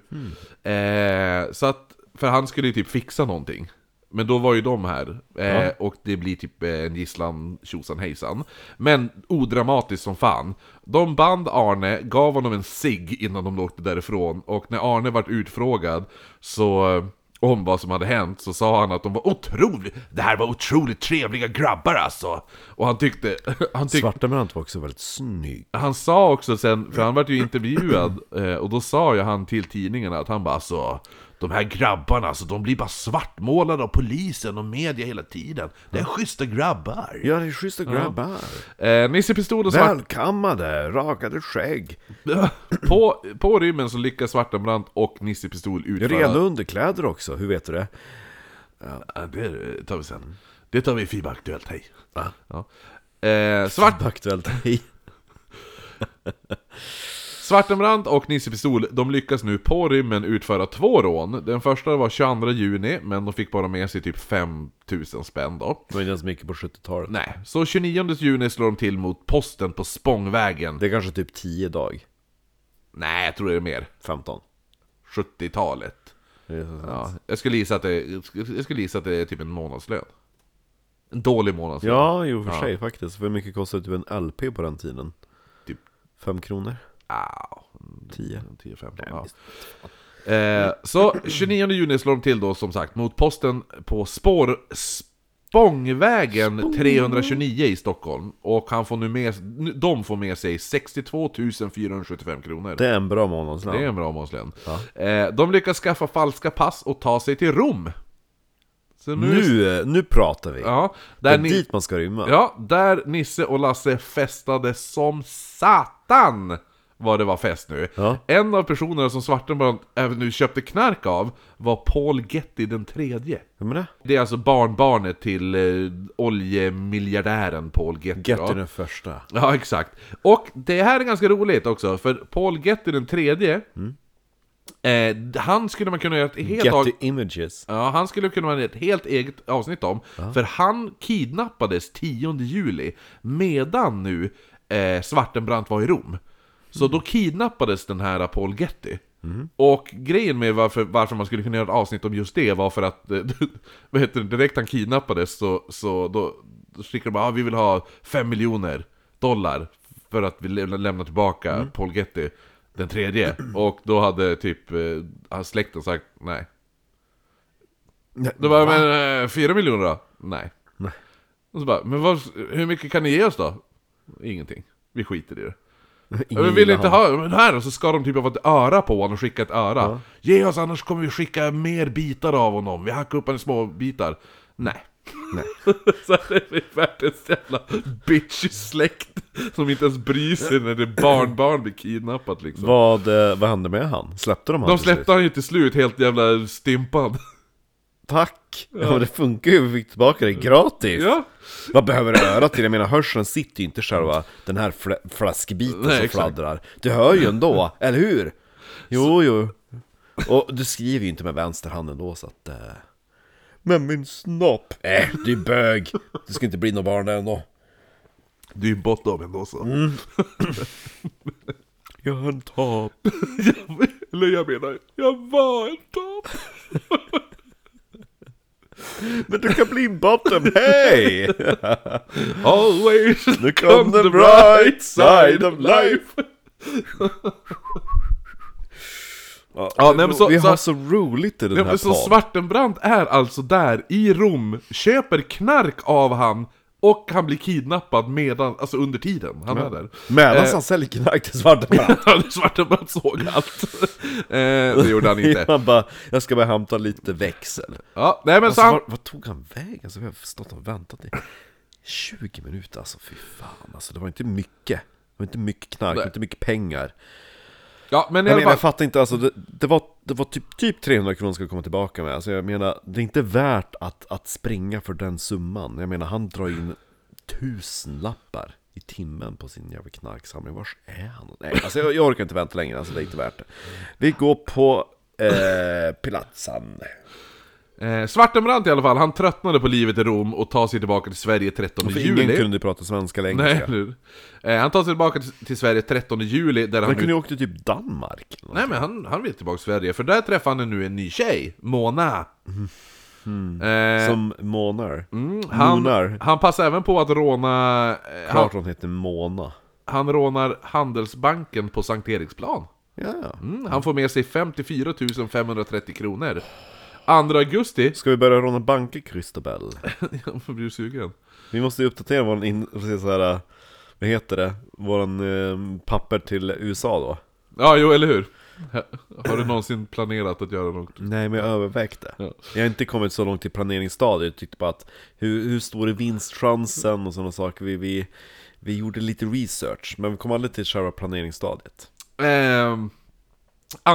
Speaker 2: Eh, så att, för han skulle ju typ fixa någonting. Men då var ju de här, eh, och det blir typ eh, en gisslan tjosan hejsan. Men odramatiskt som fan. De band Arne, gav honom en cigg innan de åkte därifrån, och när Arne vart utfrågad så om vad som hade hänt så sa han att de var otroligt, det här var otroligt trevliga grabbar alltså. Och han tyckte, han tyckte
Speaker 1: Svartenbrandt var också väldigt snygg
Speaker 2: han sa också sen, för han vart ju intervjuad, eh, och då sa ju han till tidningen att han bara alltså de här grabbarna, alltså, de blir bara svartmålade av polisen och media hela tiden. Det är schyssta grabbar.
Speaker 1: Ja det är schyssta grabbar
Speaker 2: Eh, Nisse Pistol och Svart...
Speaker 1: Välkammade, rakade skägg
Speaker 2: på, på rymmen så lyckas Svartenbrandt och Nisse Pistol utföra...
Speaker 1: Rena underkläder också, hur vet du det?
Speaker 2: Ja, det tar vi sen. Det tar vi i FIBA Aktuellt, hej. Ja. Eh, Svart...
Speaker 1: Aktuellt
Speaker 2: Svartenbrandt och Nisse Pistol, de lyckas nu på rymmen utföra två rån. Den första var 22 juni, men de fick bara med sig typ 5000 spänn då.
Speaker 1: Det var inte ens mycket på 70-talet
Speaker 2: Nej, så 29 juni slår de till mot posten på Spångvägen.
Speaker 1: Det är kanske typ 10 dag,
Speaker 2: Nej, jag tror det är mer.
Speaker 1: 15
Speaker 2: 70-talet.
Speaker 1: Det är så sant.
Speaker 2: Ja, jag skulle gissa att det, jag skulle gissa att det är typ en månadslön. En dålig månadslön.
Speaker 1: Ja, jo för sig faktiskt. För hur mycket kostade typ en LP på den tiden?
Speaker 2: Typ.
Speaker 1: Fem kronor?
Speaker 2: Au.
Speaker 1: 10?
Speaker 2: 10-15, ja. Eh, så 29 juni slår de till då som sagt mot posten på spår... Spångvägen 329 i Stockholm. Och han får nu med, de får med sig 62 475 kronor.
Speaker 1: Det är en bra månadslön.
Speaker 2: Det är en bra månadslön. Eh, de lyckas skaffa falska pass och ta sig till Rom. Så
Speaker 1: Nu, nu pratar vi!
Speaker 2: Ja,
Speaker 1: det är
Speaker 2: där, ni,
Speaker 1: dit man ska rymma.
Speaker 2: ja, där Nisse och Lasse festade som satan! Vad det var fest nu.
Speaker 1: Ja.
Speaker 2: En av personerna som Svartenbrandt även nu köpte knark av var Paul Getty den tredje.
Speaker 1: Vem är det?
Speaker 2: Det är alltså barnbarnet till eh, oljemiljardären Paul Getty.
Speaker 1: Getty
Speaker 2: ja.
Speaker 1: den första.
Speaker 2: Ja, exakt. Och det här är ganska roligt också, för Paul Getty den tredje, eh, han skulle man kunna göra ett helt,
Speaker 1: Mm. Getty
Speaker 2: tag,
Speaker 1: Images.
Speaker 2: ja, han skulle kunna göra ett helt eget avsnitt om, för han kidnappades 10 juli, medan nu eh, Svartenbrandt var i Rom. Så då kidnappades den här Paul Getty. Och grejen med varför, varför man skulle kunna göra ett avsnitt om just det var för att, eh, vad heter det, direkt han kidnappades så, så då, då skickade de bara ah, vi vill ha 5 miljoner dollar för att vi lä- lämnar tillbaka Paul Getty, den tredje. Och då hade typ eh, hans släkten sagt nej. Då bara, men eh, 4 miljoner då? Nej.
Speaker 1: Nej.
Speaker 2: Och så bara, men vad, hur mycket kan ni ge oss då? Ingenting. Vi skiter i det. Ja, Vi vill inte ha, men här! Och så ska de typ av ett öra på honom och skicka ett öra. Ge oss annars kommer vi skicka mer bitar av honom, vi hackar upp honom i små bitar. Nej. Nej. så är det världens jävla bitchy släkt som inte ens bryr sig när det barnbarn blir kidnappat liksom.
Speaker 1: Vad, eh, vad hände med han? Släppte de han
Speaker 2: De
Speaker 1: till slut?
Speaker 2: släppte han ju till slut helt jävla stympad.
Speaker 1: Tack! Ja. men det funkar ju, vi fick tillbaka det gratis!
Speaker 2: Ja.
Speaker 1: Vad behöver du örat till? Jag menar hörseln sitter ju inte själva den här fl- flaskbiten
Speaker 2: Nej,
Speaker 1: som
Speaker 2: exakt.
Speaker 1: fladdrar Du hör ju ändå, eller hur? Jo, jo Och du skriver ju inte med vänster hand ändå så att... Eh... Men min snopp! Äh, du är bög! Det ska inte bli något barn där ändå
Speaker 2: Du är ju bottom ändå så.
Speaker 1: Jag har en topp
Speaker 2: Eller jag menar, jag var en top.
Speaker 1: Men du kan bli en bottom, hej!
Speaker 2: Always
Speaker 1: Nu kom the bright side of life
Speaker 2: Ja, nej, men så-
Speaker 1: Vi
Speaker 2: så-
Speaker 1: har så roligt i den
Speaker 2: Ja,
Speaker 1: här
Speaker 2: men så
Speaker 1: podden
Speaker 2: Svartenbrandt är alltså där i Rom, köper knark av han och han blir kidnappad medan, alltså under tiden han är där.
Speaker 1: Medan
Speaker 2: Eh,
Speaker 1: han säljer knark till Svartenbrandt
Speaker 2: Svartenbrandt såg allt. eh, det gjorde han inte.
Speaker 1: Han bara, jag ska bara hämta lite växel
Speaker 2: Ja, nej men så
Speaker 1: Alltså,
Speaker 2: han,
Speaker 1: var, vad tog han vägen? Alltså, vi har stått och väntat i 20 minuter alltså, fy fan alltså, Det var inte mycket Det var inte mycket knark,
Speaker 2: Nej.
Speaker 1: inte mycket pengar
Speaker 2: ja men i
Speaker 1: Jag
Speaker 2: alla
Speaker 1: menar, jag
Speaker 2: fall,
Speaker 1: fattar inte alltså, det, det var, det var typ, typ 300 kronor ska komma tillbaka med Alltså jag menar, det är inte värt att, att springa för den summan Jag menar, han drar in tusenlappar i timmen på sin jävla knarksamling Vars är han? Nej, alltså jag, jag orkar inte vänta längre, alltså det är inte värt det Vi går på eh, Pilatsan
Speaker 2: eh, Svartenbrandt i alla fall, han tröttnade på livet i Rom och tar sig tillbaka till Sverige 13
Speaker 1: För
Speaker 2: juli.
Speaker 1: ingen kunde prata svenska eller engelska
Speaker 2: nej, eller hur? eh, Han tar sig tillbaka till, till Sverige 13 juli där han...
Speaker 1: Han kunde ju åkt till typ Danmark eller
Speaker 2: Nej men han, han vill tillbaka till Sverige, för där träffar han nu en ny tjej, Mona.
Speaker 1: Mm.
Speaker 2: Eh,
Speaker 1: Som Månar
Speaker 2: Mm, Han,
Speaker 1: Monar.
Speaker 2: han passar även på att råna... eh, Han,
Speaker 1: Klart hon heter Mona
Speaker 2: han rånar Handelsbanken på Sankt Eriksplan.
Speaker 1: Ja,
Speaker 2: Mm, han får med sig 54 530 kronor. 2 augusti...
Speaker 1: ska vi börja råna banker Christobel?
Speaker 2: Jag blir sugen.
Speaker 1: Vi måste ju uppdatera våran, in, precis så här, äh, vad heter det? Våran eh, papper till USA då
Speaker 2: Ja, jo, eller hur? Har du någonsin planerat att göra något?
Speaker 1: Nej men jag övervägde
Speaker 2: Ja.
Speaker 1: Jag har inte kommit så långt i planeringsstadiet, jag tyckte bara att hur, hur stor är vinstchansen och sådana saker vi, vi, vi gjorde lite research, men vi kom aldrig till själva planeringsstadiet
Speaker 2: Ehm,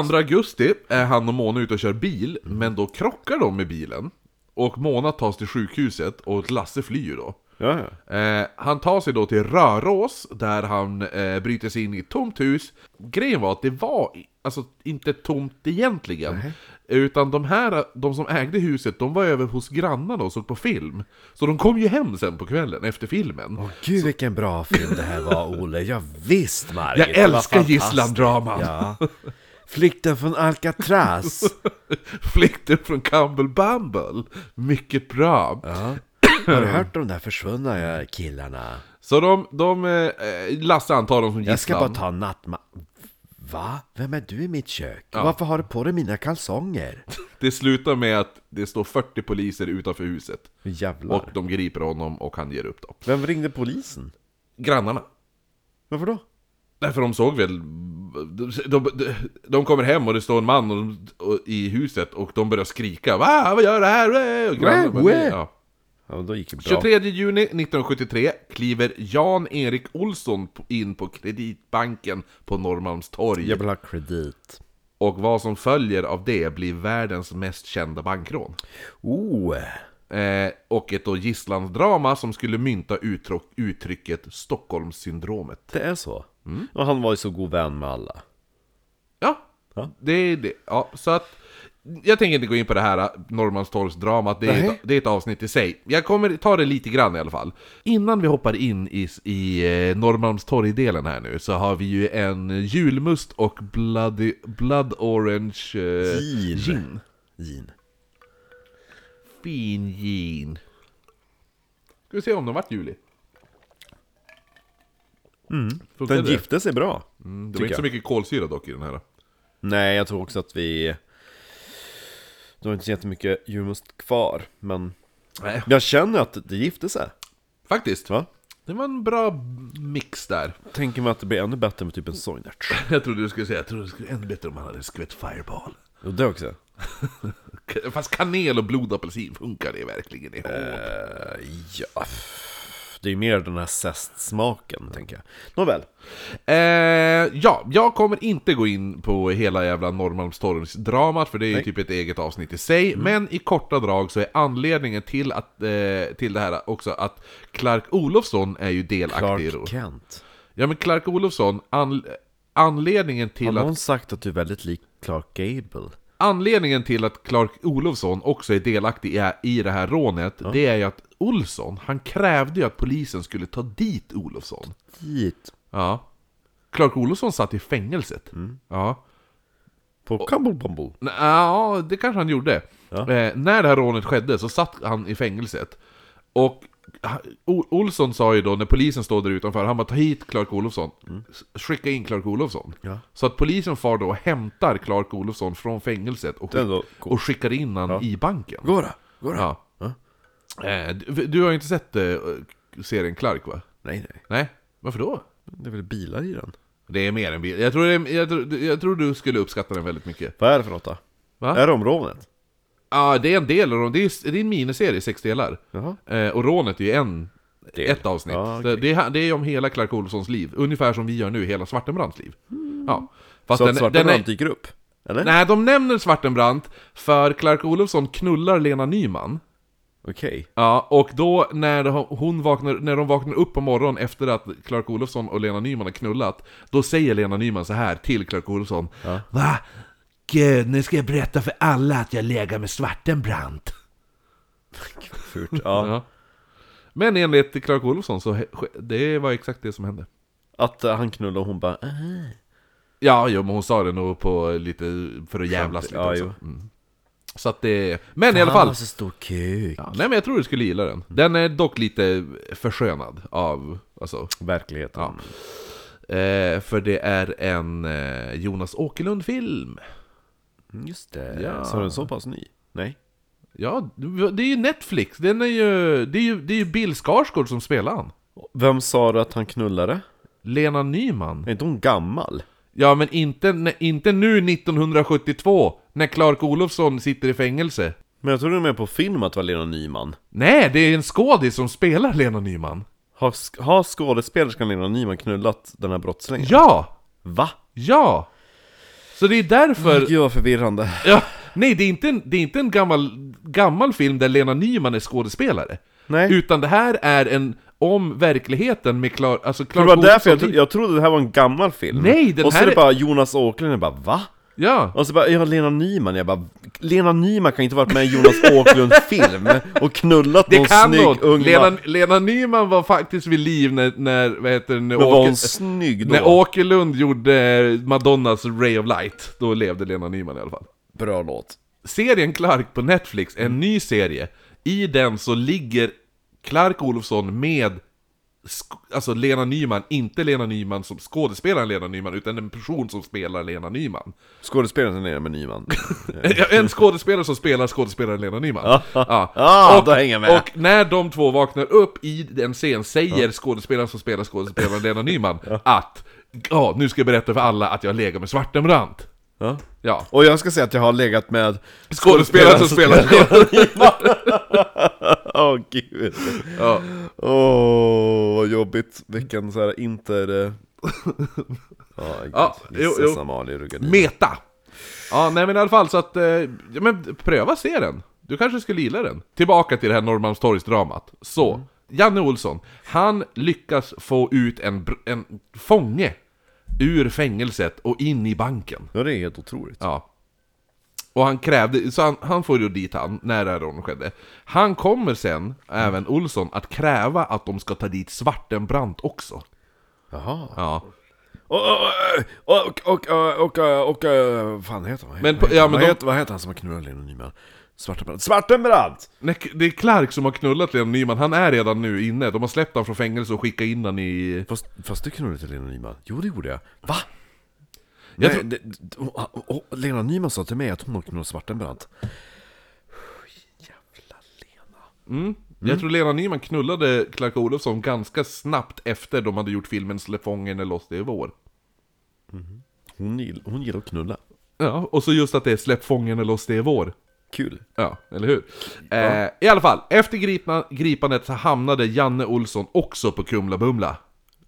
Speaker 2: 2 augusti är han och Mona ute och kör bil,
Speaker 1: Mm.
Speaker 2: men då krockar de med bilen. Och Mona tas till sjukhuset och Lasse flyr då.
Speaker 1: Ja, ja.
Speaker 2: Eh, han tar sig då till Rörås, där han eh, bryter sig in i ett tomt hus. Grejen var att det var i- alltså, inte tomt egentligen. Utan de här, de som ägde huset, de var över hos grannarna och såg på film. Så de kom ju hem sen på kvällen, efter filmen.
Speaker 1: Åh gud vilken bra film det här var Olle, ja, visst Margit!
Speaker 2: Jag
Speaker 1: det var
Speaker 2: älskar
Speaker 1: fantastiskt.
Speaker 2: gisslandraman!
Speaker 1: Ja. Flykten från Alcatraz!
Speaker 2: Flykten från Campbell Bumble! Mycket bra!
Speaker 1: Har du hört om de där försvunna eh, killarna?
Speaker 2: Så de, de eh, eh, Lasse antar dem som gisslan.
Speaker 1: Jag ska bara ta en nattma... Va? Vem är du i mitt kök? Varför har du på dig mina kalsonger?
Speaker 2: Det slutar med att Det står 40 poliser utanför huset.
Speaker 1: Jävlar.
Speaker 2: Och de griper honom och han ger upp dem.
Speaker 1: Vem ringde polisen?
Speaker 2: Grannarna.
Speaker 1: Varför då?
Speaker 2: Därför de såg väl... De, de, de kommer hem och det står en man och de, och, i huset och de börjar skrika Va? Vad gör det här? Och grannarna,
Speaker 1: Wä, wä.
Speaker 2: Ja.
Speaker 1: Ja, men då gick det bra.
Speaker 2: 23 juni 1973 kliver Jan-Erik Olsson p- in på Kreditbanken på Norrmalmstorg.
Speaker 1: Jag vill ha kredit.
Speaker 2: Och vad som följer av det blir världens mest kända bankrån.
Speaker 1: Oh!
Speaker 2: Eh, och ett då gisslandrama som skulle mynta uttro- uttrycket Stockholmssyndromet.
Speaker 1: Det är så? Och han var ju så god vän med alla.
Speaker 2: Ja,
Speaker 1: Ja.
Speaker 2: det är det. Ja, så att, jag tänker inte gå in på det här äh, Norrmalmstorgsdramat, det, är
Speaker 1: Nej.
Speaker 2: ett- det är ett avsnitt i sig. Jag kommer ta det lite grann i alla fall. Innan vi hoppar in i, i eh, Norrmalmstorg-delen här nu, så har vi ju en julmust och bloody, blood orange eh,
Speaker 1: Gin.
Speaker 2: gin.
Speaker 1: Gin.
Speaker 2: Fin gin. Ska vi se om den vart julig? Mm,
Speaker 1: Den gifte sig bra.
Speaker 2: Det var inte så mycket kolsyra dock i den här.
Speaker 1: Nej, jag tror också att vi... Det var inte så jättemycket julmust kvar, men...
Speaker 2: Nej.
Speaker 1: Jag känner att det gifte sig.
Speaker 2: Faktiskt.
Speaker 1: Va?
Speaker 2: Det var en bra mix där.
Speaker 1: Tänker mig att det blir ännu bättre med typ en soinert.
Speaker 2: Jag trodde du skulle säga, jag trodde det skulle bli ännu bättre om han hade skvätt Fireball.
Speaker 1: Och det också.
Speaker 2: Fast kanel och blodapelsin funkar det verkligen ihop.
Speaker 1: Äh. Eh, Ja. f- Det är ju mer den här zestsmaken, tänker jag. Nåväl.
Speaker 2: Eh, ja, jag kommer inte gå in på hela jävla Norrmalmstorgsdramat, för det är ju
Speaker 1: Nej. Mm.
Speaker 2: typ ett eget avsnitt i sig. Men i korta drag så är anledningen till, att, eh, till det här också att Clark Olofsson är ju delaktig i
Speaker 1: Clark
Speaker 2: det.
Speaker 1: Kent.
Speaker 2: Ja men Clark Olofsson, an, anledningen
Speaker 1: Har
Speaker 2: till att
Speaker 1: någon sagt att du är väldigt lik Clark Gable?
Speaker 2: Anledningen till att Clark Olofsson också är delaktig i- i det här rånet, det är ju att Olsson, han krävde ju att polisen skulle ta dit Olofsson.
Speaker 1: Dit.
Speaker 2: Ja. Clark Olofsson satt i fängelset. Ja.
Speaker 1: På Cumble Bumble.
Speaker 2: N- ja, det kanske han gjorde.
Speaker 1: Ja.
Speaker 2: Eh, när det här rånet skedde så satt han i fängelset. Och ha- O- Olsson sa ju då, när polisen stod där utanför, han bara ta hit Clark Olofsson. S- Skicka in Clark Olofsson.
Speaker 1: Mm. Ja.
Speaker 2: Så att polisen far då och hämtar Clark Olofsson från fängelset och,
Speaker 1: Det är ändå coolt.
Speaker 2: och skickar in han i banken.
Speaker 1: Går det? Går
Speaker 2: Ja. Eh, du, du har ju inte sett eh, serien Clark va?
Speaker 1: Nej, nej.
Speaker 2: Nej, varför då?
Speaker 1: Det är väl bilar i den?
Speaker 2: Det är mer än bil. Jag tror, det är, jag, tror, jag tror du skulle uppskatta den väldigt mycket.
Speaker 1: Vad är det för något då?
Speaker 2: Va?
Speaker 1: Är det om rånet?
Speaker 2: Ja, det är en del av dem. Det är, det är en miniserie i sex delar.
Speaker 1: Jaha.
Speaker 2: Eh, och rånet är ju en,
Speaker 1: Del.
Speaker 2: ett avsnitt.
Speaker 1: Ja,
Speaker 2: Så det, är, det är om hela Clark Olofssons liv. Ungefär som vi gör nu, hela Svartenbrandts liv. Ja. Fast
Speaker 1: Mm. Så att Svartenbrandt
Speaker 2: är,
Speaker 1: dyker upp? Eller?
Speaker 2: Nej, de nämner Svartenbrandt för Clark Olofsson knullar Lena Nyman.
Speaker 1: Okej.
Speaker 2: Ja, och då när, hon vaknar, när de vaknar upp på morgonen efter att Clark Olofsson och Lena Nyman har knullat Då säger Lena Nyman så här till Clark Olofsson Va? Gud, nu ska jag berätta för alla att jag lägger med Svartenbrandt
Speaker 1: Fult. Ja.
Speaker 2: ja. Men enligt Clark Olofsson så he- ske- det var exakt det som hände
Speaker 1: Att eh, han knullar och hon bara "Äh, "Aha."
Speaker 2: Ja, jo, men hon sa det nog på lite för att jävlas lite
Speaker 1: Ja,
Speaker 2: också.
Speaker 1: jo.
Speaker 2: Mm. Så att det... Men i alla
Speaker 1: Han
Speaker 2: fall!
Speaker 1: har så stor kuk.
Speaker 2: Ja, nej men jag tror du skulle gilla den. Den är dock lite förskönad av, alltså,
Speaker 1: Verkligheten.
Speaker 2: Ja. Eh, för det är en eh, Jonas Åkerlund-film.
Speaker 1: Mm, Just det.
Speaker 2: Ja.
Speaker 1: Så är den så pass ny? Nej.
Speaker 2: Ja, det är ju Netflix. Den är ju, det, är ju, det är ju Bill Skarsgård som spelar han.
Speaker 1: Vem sa du att han knullade?
Speaker 2: Lena Nyman.
Speaker 1: Är inte hon gammal?
Speaker 2: Ja, men inte, ne- inte nu 1972, när Clark Olofsson sitter i fängelse.
Speaker 1: Men jag tror du är med på film att det var Lena Nyman.
Speaker 2: Nej, det är en skådis som spelar Lena Nyman.
Speaker 1: Har, sk- har skådespelerskan Lena Nyman knullat den här brottslingen?
Speaker 2: Ja!
Speaker 1: Va?
Speaker 2: Ja! Så det är därför...
Speaker 1: Gud vad förvirrande.
Speaker 2: Ja, nej, det är inte en, det är inte en gammal, gammal film där Lena Nyman är skådespelare.
Speaker 1: Nej.
Speaker 2: Utan det här är en om verkligheten med Klar... Alltså Clark
Speaker 1: Det var därför jag,
Speaker 2: Olofsson
Speaker 1: tro-
Speaker 2: i-
Speaker 1: jag trodde det här var en gammal film.
Speaker 2: Nej, den
Speaker 1: Och så
Speaker 2: här
Speaker 1: är det
Speaker 2: är-
Speaker 1: bara Jonas Åkerlund, jag bara va?
Speaker 2: Ja,
Speaker 1: Och så bara, ja Lena Nyman, jag bara Lena Nyman kan inte varit med i Jonas Åkerlund-film och knullat
Speaker 2: det
Speaker 1: någon
Speaker 2: kan
Speaker 1: snygg
Speaker 2: något.
Speaker 1: ung
Speaker 2: Lena,
Speaker 1: man.
Speaker 2: Lena Nyman var faktiskt vid liv när, när vad heter det, när,
Speaker 1: Men var hon
Speaker 2: Åke,
Speaker 1: snygg då?
Speaker 2: när Åkerlund gjorde Madonnas Ray of Light. Då levde Lena Nyman i alla fall.
Speaker 1: Bra låt.
Speaker 2: Serien Clark på
Speaker 1: Mm.
Speaker 2: Netflix, en ny serie. I den så ligger Clark Olofsson med sk- Alltså Lena Nyman, inte Lena Nyman som skådespelaren Lena Nyman, utan en person som spelar Lena Nyman.
Speaker 1: Skådespelaren är med Nyman.
Speaker 2: Ja, En skådespelare som spelar skådespelaren Lena Nyman. Ja.
Speaker 1: Ja, då hänger jag med.
Speaker 2: och när de två vaknar upp i den scen säger skådespelaren som spelar skådespelaren Lena Nyman att Ja, nu ska jag berätta för alla att jag lägger med Svartenbrandt.
Speaker 1: Ja.
Speaker 2: Ja.
Speaker 1: Och jag ska säga att jag har legat med...
Speaker 2: Skådespelaren som spelar
Speaker 1: Åh gud.
Speaker 2: Ja.
Speaker 1: Åh, vad jobbigt. Vilken så här inter... eh, Ja, gud.
Speaker 2: Ja, jo,
Speaker 1: Vissa
Speaker 2: jo.
Speaker 1: Somalier och gardiner.
Speaker 2: Meta! Ja, nej men i alla fall så att... Eh, ja, men pröva se den! Du kanske skulle gilla den. Tillbaka till det här Norrmalmstorgsdramat. Så, Janne Olsson, han lyckas få ut en, br- en fånge ur fängelset och in i banken.
Speaker 1: Ja, det är helt otroligt.
Speaker 2: Ja. Och han krävde, så han, han får ju dit han, när det här rånet skedde. Han kommer sen, även Olsson, att kräva att de ska ta dit Svartenbrandt också.
Speaker 1: Jaha.
Speaker 2: Ja.
Speaker 1: Och, och, och, och, och, och, och, vad fan heter han?
Speaker 2: Men på-
Speaker 1: vad, heter,
Speaker 2: ja,
Speaker 1: han?
Speaker 2: men
Speaker 1: vad,
Speaker 2: de-
Speaker 1: heter, vad heter han som har knullat Lena Nyman? Svartenbrandt. Svartenbrandt!
Speaker 2: Nej, det är Clark som har knullat Lena Nyman, han är redan nu inne. De har släppt han från fängelse och skickat in han i...
Speaker 1: Fast, fast du knullade inte Lena Nyman? Jo, det gjorde jag. Va?
Speaker 2: Jag
Speaker 1: Nej,
Speaker 2: tror-
Speaker 1: det, det- och, och, och, Lena Nyman sa till mig att hon har knullat Svartenbrandt.
Speaker 2: Jag tror Lena Nyman knullade Clark Olofsson ganska snabbt efter de hade gjort filmen Släpp fången är loss, det är vår.
Speaker 1: Hon, gill- hon gillar att knulla.
Speaker 2: Ja, och så just att det är Släpp fången är loss, det är vår.
Speaker 1: Kul.
Speaker 2: Ja, eller hur? Eh, I alla fall, efter gripna, gripandet så hamnade Janne Olsson också på Kumla Bumla.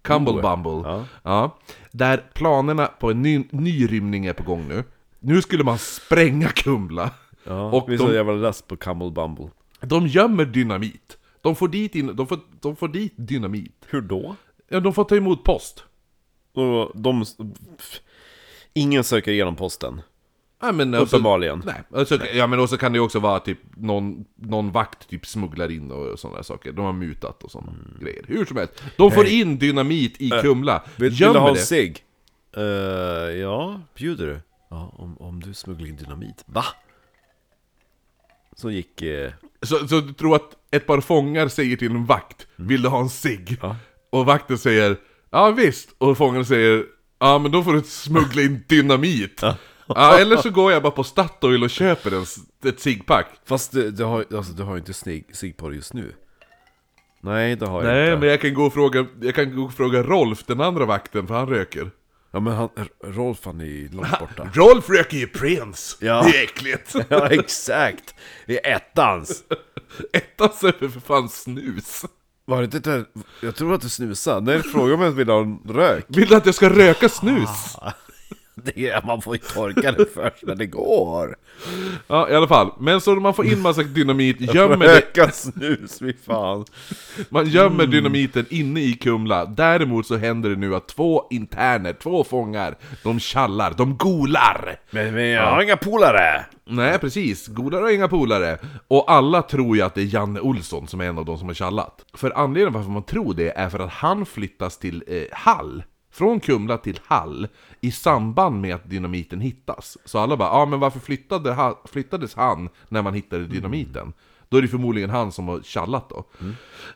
Speaker 2: Cumble Bumble.
Speaker 1: Ja.
Speaker 2: Oh. Ja. Där planerna på en ny, ny rymning är på gång nu. Nu skulle man spränga Kumla.
Speaker 1: Ja,
Speaker 2: och
Speaker 1: vi de...
Speaker 2: de,
Speaker 1: jävla less på Camel Bumble.
Speaker 2: de gömmer dynamit. De får, dit in, de, får, de får dit dynamit.
Speaker 1: Hur då?
Speaker 2: Ja, de får ta emot post.
Speaker 1: Och de... Ingen söker igenom posten.
Speaker 2: Ja, men, alltså-
Speaker 1: Uppenbarligen.
Speaker 2: Nej, alltså, ja men och så kan det ju också vara typ någon, någon vakt typ smugglar in och sådana saker. De har mutat och sådana
Speaker 1: Mm.
Speaker 2: grejer. Hur som helst, de får in dynamit i Kumla,
Speaker 1: Äh, Vill, vill du ha
Speaker 2: gömmer
Speaker 1: en
Speaker 2: det.
Speaker 1: cigg? Eh, ja, bjuder du? Ja, om, om du smugglar in dynamit. Va? Så gick... eh,
Speaker 2: Så, så du tror att ett par fångar säger till en vakt, vill du ha en cigg? Och vakten säger, ja visst. Och fången säger, ja men då får du smuggla in dynamit. ja, eller så går jag bara på Statoil och köper en, s- ett ciggpack.
Speaker 1: Fast du, du har ju alltså, du har ju inte cigg cigg på dig just nu. Nej, det har jag
Speaker 2: Nej
Speaker 1: inte.
Speaker 2: men jag kan gå och fråga, jag kan gå och fråga Rolf, den andra vakten, för han röker.
Speaker 1: Ja, men han, Rolf han är ju långt borta.
Speaker 2: Rolf röker ju Prince!
Speaker 1: Ja.
Speaker 2: Det är äckligt!
Speaker 1: ja, exakt! Det är ettans!
Speaker 2: Ettan söper för fan snus!
Speaker 1: Var det inte där? Jag tror att du snusade. Nej, fråga om jag vill ha en rök.
Speaker 2: Vill du att jag ska röka snus?
Speaker 1: Det är, man får ju torka det först när det går.
Speaker 2: Ja, i alla fall. Men så man får in massa dynamit, gömmer det,
Speaker 1: Röka snus, fy fan.
Speaker 2: man gömmer dynamiten inne i Kumla. Däremot så händer det nu att två interner, två fångar, de tjallar, de golar!
Speaker 1: Men, men jag har inga polare!
Speaker 2: Nej, precis. Godare har inga polare. Och alla tror ju att det är Janne Olsson som är en av de som har tjallat. För anledningen varför man tror det är för att han flyttas till eh, Hall. Från Kumla till Hall i samband med att dynamiten hittas. Så alla bara, ja ah, men varför flyttade ha, flyttades han när man hittade dynamiten? Då är det förmodligen han som har tjallat då.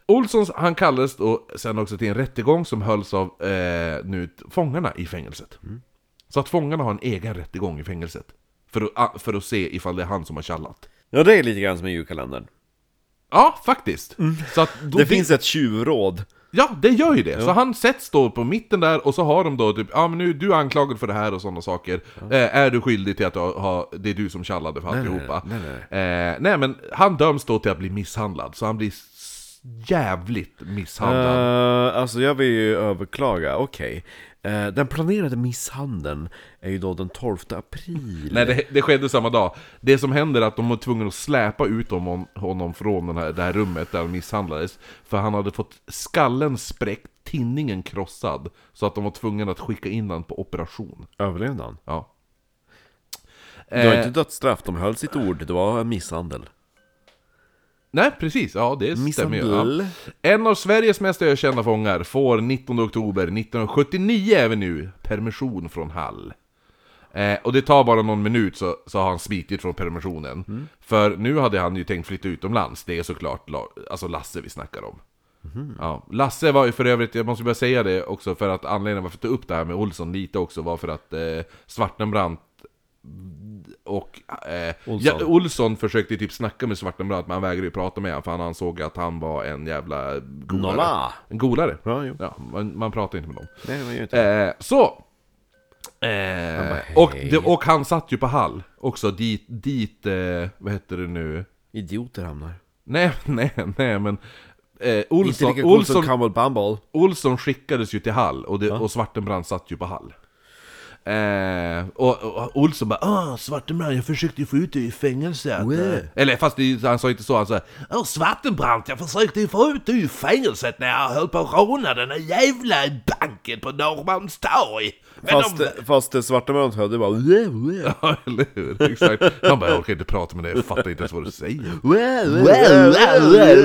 Speaker 2: Olssons, han kallades då sen också till en rättegång som hölls av eh, nu fångarna i fängelset. Så att fångarna har en egen rättegång i fängelset. För att, a- för att se ifall det är han som har tjallat.
Speaker 1: Ja, det är lite grann som i julkalendern.
Speaker 2: Ja, faktiskt! Så att då,
Speaker 1: Mm. Det finns ett tjuvråd.
Speaker 2: Ja, det gör ju det! Så han sätts då på mitten där och så har de då typ Ja men nu, du är anklagad för det här och sådana saker eh, Är du skyldig till att du har, det är du som tjallade för alltihopa?
Speaker 1: nej,
Speaker 2: Eh, nej men han döms då till att bli misshandlad Så han blir s- jävligt misshandlad
Speaker 1: Uh, alltså jag vill ju överklaga, okej. Eh, den planerade misshandeln är ju då den 12 april.
Speaker 2: Nej, det, det skedde samma dag. Det som händer är att de var tvungna att släpa ut honom, honom från den här, det här rummet där han misshandlades. För han hade fått skallen spräckt, tinningen krossad. Så att de var tvungna att skicka in honom på operation.
Speaker 1: Överlevde han?
Speaker 2: Ja.
Speaker 1: Det var
Speaker 2: Eh,
Speaker 1: inte dödsstraff, de höll sitt ord, det var misshandel.
Speaker 2: Nej, precis. Ja, det stämmer ju.
Speaker 1: Misshandel.
Speaker 2: Ja. En av Sveriges mest ökända fångar får 19 oktober 1979 även nu permission från Hall. Eh, och det tar bara någon minut så, så har han smitit från permissionen. För nu hade han ju tänkt flytta utomlands, det är såklart La- alltså Lasse vi snackar om. Ja. Lasse var ju för övrigt, jag måste bara säga det också, för att anledningen varför jag tog upp det här med Olsson lite också var för att eh, Svartenbrandt och eh,
Speaker 1: Olsson.
Speaker 2: Ja, Olsson försökte typ snacka med Svartenbrandt, men han vägrade ju prata med honom för han ansåg att han var en jävla golare.
Speaker 1: Nolla.
Speaker 2: En golare.
Speaker 1: Ja, jo.
Speaker 2: Ja, man, man pratar inte med dem.
Speaker 1: Nej, man gör inte det.
Speaker 2: Eh, så!
Speaker 1: Han bara,
Speaker 2: Eh, och,
Speaker 1: "Hej."
Speaker 2: det- och han satt ju på Hall också, dit, dit eh, vad heter det nu?
Speaker 1: Idioter hamnar.
Speaker 2: Nej, nej, nej men... Eh,
Speaker 1: Inte
Speaker 2: Olsson,
Speaker 1: lika cool som
Speaker 2: Olsson,
Speaker 1: Campbell Bumble.
Speaker 2: Olsson skickades ju till Hall och, det, och Svartenbrand satt ju på Hall. Eh, och, och Olsson bara ah, Svartenbrand jag försökte ju få ut dig i fängelse
Speaker 1: Wow.
Speaker 2: Eller fast det, han sa inte så, han sa Åh Svartenbrand jag försökte ju få ut dig i fängelset när jag höll på att råna den här jävla banken på Norrmalmstorg! Men
Speaker 1: Fast,
Speaker 2: de-
Speaker 1: fast det svarta med hörde bara "Wä, wä,
Speaker 2: Ja, eller hur? Exakt. Han bara jag orkar inte prata med dig, jag fattar inte ens vad du säger.
Speaker 1: wä, wä,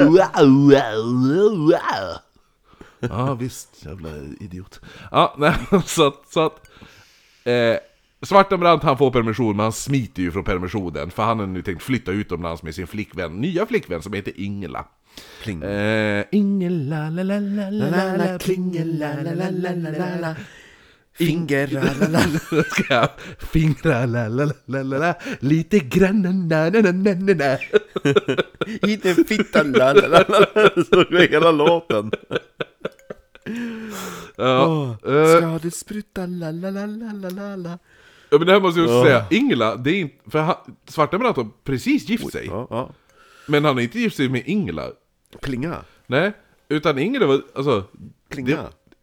Speaker 1: wä, wä, wä."
Speaker 2: Ja visst, jävla idiot. Ja, nej, så att... Så att eh, Svartenbrandt han får permission, men han smiter ju från permissionen för han har nu tänkt flytta utomlands med sin flickvän, nya flickvän som heter Ingela.
Speaker 1: Pling.
Speaker 2: Eh, Ingela, la la la la la la,
Speaker 1: Klingela, la, la, la, la, la, la. Finger, la, la, la.
Speaker 2: Ska jag fingra, la la la la la la, lite grann, na na na na na na.
Speaker 1: in i fittan, la, la, la, la. Så det är hela låten.
Speaker 2: Ja, eh,
Speaker 1: Ska det spruta, la, la, la, la, la, la, la.
Speaker 2: Ja men det här måste jag också säga, Ingela, det är inte... För han, Svartenbrandt har precis gift sig,
Speaker 1: Ja, ja.
Speaker 2: men han är inte gift sig med Ingela.
Speaker 1: Plinga,
Speaker 2: Nej, utan Ingela var... Alltså,
Speaker 1: plinga.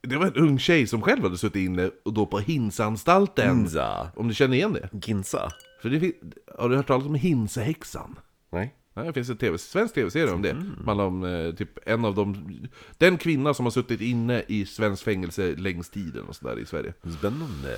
Speaker 2: det, det var en ung tjej som själv hade suttit inne, och då på Hinsanstalten.
Speaker 1: Ginza.
Speaker 2: Om du känner igen det?
Speaker 1: Ginza?
Speaker 2: För det fin- har du hört talas om Hinsehäxan?
Speaker 1: Nej.
Speaker 2: Ja, det finns en TV, svensk tv-serie om det. Mm. Man om eh, typ en av de... Den kvinna som har suttit inne i svensk fängelse längst tiden och sådär i Sverige.
Speaker 1: Spännande.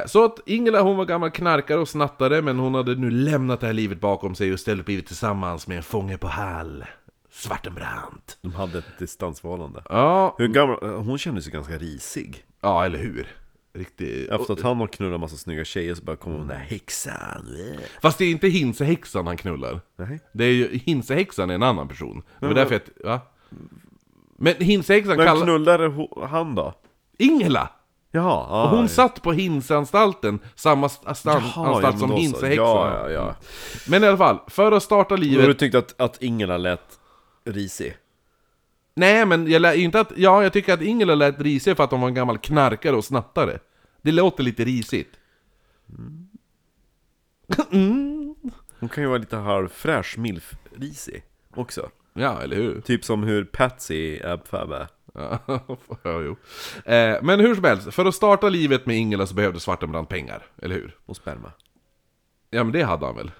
Speaker 2: Eh, så att Ingela hon var gammal knarkare och snattare men hon hade nu lämnat det här livet bakom sig och istället blivit tillsammans med en fånge på Hall. Svartenbrandt.
Speaker 1: De hade ett distansförhållande.
Speaker 2: Ja,
Speaker 1: Hur gammal? Hon kändes ju ganska risig.
Speaker 2: ja eller hur? Riktigt.
Speaker 1: Efter att han har knullat en massa snygga tjejer så bara kommer hon där häxan.
Speaker 2: Fast det är inte Hinsehäxan han knullar.
Speaker 1: Nej.
Speaker 2: Det är ju, Hinsehäxan är en annan person. Det var därför jag... Va? Men Hinsehäxan
Speaker 1: Men
Speaker 2: kallar...
Speaker 1: knullade ho- han då?
Speaker 2: Ingela!
Speaker 1: Jaha, ah,
Speaker 2: Hon satt på Hinseanstalten, samma st- stan- anstalt som Hinsehäxan.
Speaker 1: Ja, ja, ja.
Speaker 2: Men i alla fall, för att starta
Speaker 1: Och
Speaker 2: livet...
Speaker 1: du tyckte att, att Ingela lät risig?
Speaker 2: Nej, men jag lär, inte att, ja, jag tycker att Ingela lät risig för att hon var en gammal knarkare och snattare. Det låter lite risigt.
Speaker 1: Hon kan ju vara lite halvfräsch milf-risig också.
Speaker 2: Ja, eller hur?
Speaker 1: Typ som hur Patsy i Ab Fab är.
Speaker 2: Ja, jo. Eh, men hur som helst, för att starta livet med Ingela så behövde Svartenbrandt pengar, eller hur?
Speaker 1: och sperma.
Speaker 2: Ja, men det hade han väl?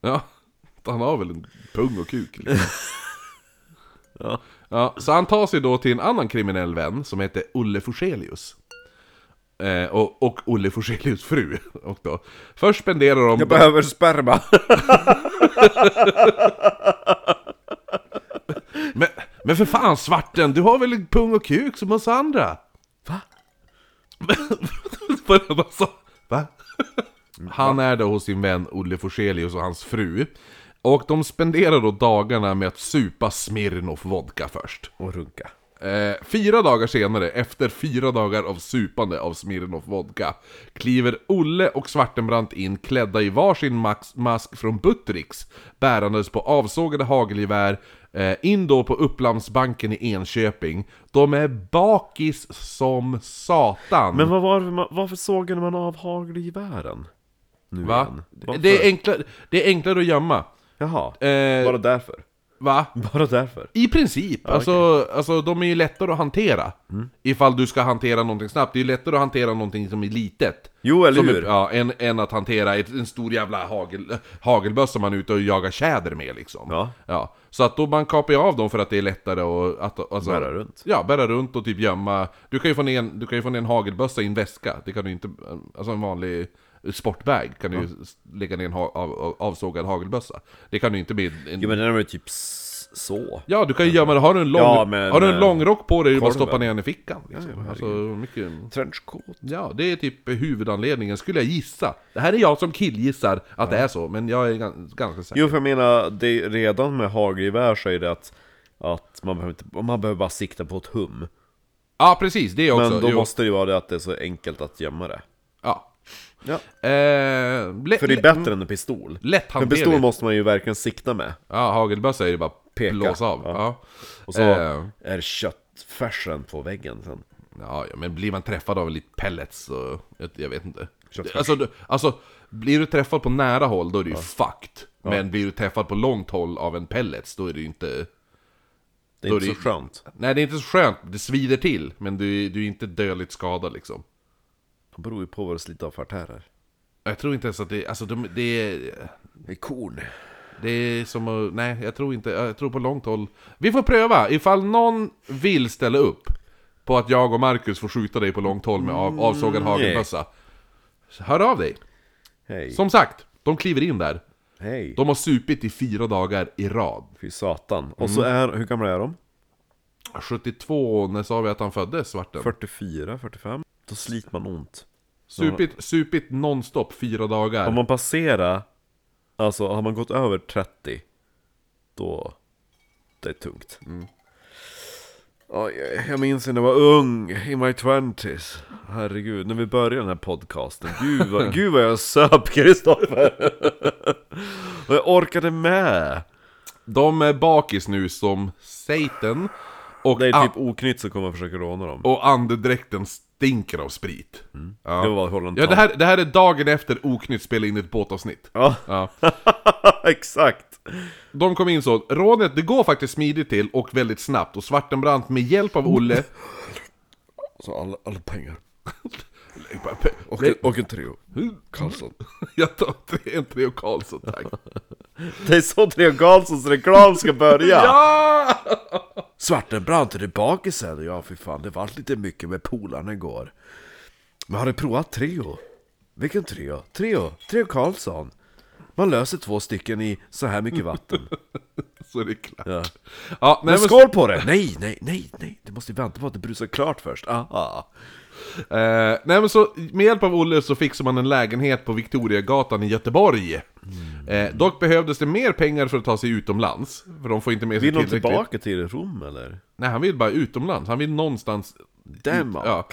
Speaker 2: Ja, han har väl en pung och kuk liksom.
Speaker 1: Ja.
Speaker 2: ja, Så han tar sig då till en annan kriminell vän som heter Olle Forselius. Eh, och, och Olle Forselius fru. Och då. Först spenderar de...
Speaker 1: Jag behöver sperma!
Speaker 2: Men, men för fan Svarten, du har väl en pung och kuk som oss andra? Va? Bara- bara så, Va? Han är då hos sin vän Olle Forselius och hans fru. Och de spenderar då dagarna med att supa Smirnoff vodka först.
Speaker 1: och runka.
Speaker 2: Eh, fyra dagar senare, efter fyra dagar av supande av Smirnoff vodka, kliver Olle och Svartenbrandt in klädda i varsin max- mask från Buttericks, bärandes på avsågade hagelgevär, eh, in då på Upplandsbanken i Enköping. De är bakis som satan.
Speaker 1: Men vad var det man, varför sågade man av hagelgevären? Nu
Speaker 2: Va?
Speaker 1: igen. Varför?
Speaker 2: Det är, enklare, det är enklare att gömma.
Speaker 1: Jaha,
Speaker 2: Eh,
Speaker 1: bara därför.
Speaker 2: Va?
Speaker 1: Bara därför.
Speaker 2: I princip, alltså, alltså de är ju lättare att hantera
Speaker 1: Mm.
Speaker 2: Ifall du ska hantera någonting snabbt, det är ju lättare att hantera någonting som är litet
Speaker 1: Jo, eller
Speaker 2: som
Speaker 1: hur?
Speaker 2: Är, ja, än, än att hantera ett, en stor jävla hagel, hagelböss som man är ute och jagar tjäder med liksom
Speaker 1: Ja.
Speaker 2: Så att då man kapar ju av dem för att det är lättare och att... Alltså,
Speaker 1: Bära runt.
Speaker 2: Ja, bära runt och typ gömma Du kan ju få ner, en- du kan ju få ner en hagelbössa i en väska, det kan du inte... Alltså en vanlig sportbag kan du ju s- lägga ner en ha, av, av, avsågad hagelbössa Det kan du inte med en,
Speaker 1: Jo men den var ju typ s- så.
Speaker 2: Ja, du kan ju gömma det. Har du en lång,
Speaker 1: Ja, men,
Speaker 2: har du en
Speaker 1: eh,
Speaker 2: lång rock på dig, du bara
Speaker 1: korven.
Speaker 2: stoppa ner den i fickan. Liksom. alltså, mycket,
Speaker 1: Trenchcoat.
Speaker 2: ja, det är typ huvudanledningen, skulle jag gissa. Det här är jag som killgissar att det är så, men jag är gans- ganska säker.
Speaker 1: Jo för jag menar, det, redan med hagelgevär så är det att Att man behöver, inte, man behöver bara sikta på ett hum.
Speaker 2: Ja, precis, det också.
Speaker 1: Men då
Speaker 2: jo.
Speaker 1: måste det ju vara det att det är så enkelt att gömma det.
Speaker 2: ja.
Speaker 1: Ja.
Speaker 2: Eh, lä-
Speaker 1: För det är bättre än en pistol. En
Speaker 2: Lätthanterligt.
Speaker 1: pistol måste man ju verkligen sikta med.
Speaker 2: Ja, hagelbössa är ju bara
Speaker 1: Peka.
Speaker 2: blåsa av.
Speaker 1: Ja.
Speaker 2: Ja.
Speaker 1: Och så
Speaker 2: Eh.
Speaker 1: är köttfärsen på väggen sen.
Speaker 2: Ja, ja, men blir man träffad av lite pellets så... Jag, jag vet inte.
Speaker 1: Köttfärs.
Speaker 2: Alltså, du, alltså, blir du träffad på nära håll då är det ju fucked. Men blir du träffad på långt håll av en pellets då är det ju inte...
Speaker 1: Det är
Speaker 2: Då
Speaker 1: inte
Speaker 2: är
Speaker 1: så
Speaker 2: det-
Speaker 1: skönt.
Speaker 2: Nej, det är inte så skönt. Det svider till, men du, du är inte dödligt skadad liksom.
Speaker 1: Det beror ju på vad du sliter av för artärer.
Speaker 2: Jag tror inte ens att det... Alltså, de, det är...
Speaker 1: Det är korn.
Speaker 2: Det är som att... Nej, jag tror inte... Jag tror på långt håll... Vi får pröva! Ifall någon vill ställa upp på att jag och Marcus får skjuta dig på långt håll med av, avsågad hagelbössa. Hör av dig!
Speaker 1: Hej.
Speaker 2: Som sagt, de kliver in där.
Speaker 1: Hej.
Speaker 2: De har supit i fyra dagar i rad.
Speaker 1: Fy satan. Och
Speaker 2: Mm.
Speaker 1: så är, hur gamla är de?
Speaker 2: 72, när sa vi att han föddes, svarten?
Speaker 1: 44, 45? Då sliter man ont.
Speaker 2: Supit, supit nonstop fyra dagar.
Speaker 1: Om man passerar, alltså har man gått över 30, då, det är tungt.
Speaker 2: Mm.
Speaker 1: Oj, oj, jag minns när jag var ung, i my twenties. Herregud, när vi började den här podcasten, gud vad, gud vad jag söp Kristoffer! Och jag orkade med!
Speaker 2: De är bakis nu som Satan. Och,
Speaker 1: Det är
Speaker 2: an-
Speaker 1: typ oknytt som kommer försöka råna dem.
Speaker 2: och andedräkten stinker av sprit.
Speaker 1: Mm.
Speaker 2: Ja.
Speaker 1: Det var Holland
Speaker 2: Ja, det här, det här är dagen efter Oknytt spelade in ett båtavsnitt.
Speaker 1: Ja,
Speaker 2: Ja.
Speaker 1: exakt!
Speaker 2: De kom in så, rånet det går faktiskt smidigt till och väldigt snabbt och Svartenbrandt med hjälp av Olle...
Speaker 1: Så alla, alla pengar. Och,
Speaker 2: Nej,
Speaker 1: och en trio. Karlsson.
Speaker 2: Jag tar tre- en Treo Karlsson, tack.
Speaker 1: Det är så Trio Karlssons reklam ska börja!
Speaker 2: Ja!
Speaker 1: Svartenbrandt är tillbaka sen och ja fy fan det vart lite mycket med polarna igår. Men har du provat Trio? Vilken Trio? Trio? Trio Karlsson? Man löser två stycken i så här mycket vatten.
Speaker 2: Så är det klart.
Speaker 1: Ja.
Speaker 2: Ja, nej,
Speaker 1: Men
Speaker 2: men,
Speaker 1: skål på det! Nej, nej, nej, nej! Du måste ju vänta på att det brusar klart först. Aha.
Speaker 2: eh, nej men så, med hjälp av Olle så fixade man en lägenhet på Victoriagatan i Göteborg.
Speaker 1: Mm.
Speaker 2: Eh, dock behövdes det mer pengar för att ta sig utomlands, för de får inte med sig
Speaker 1: Vill de
Speaker 2: tillräckligt.
Speaker 1: tillbaka till Rom eller?
Speaker 2: Nej, han vill bara utomlands, han vill någonstans...
Speaker 1: Danmark?
Speaker 2: Ja.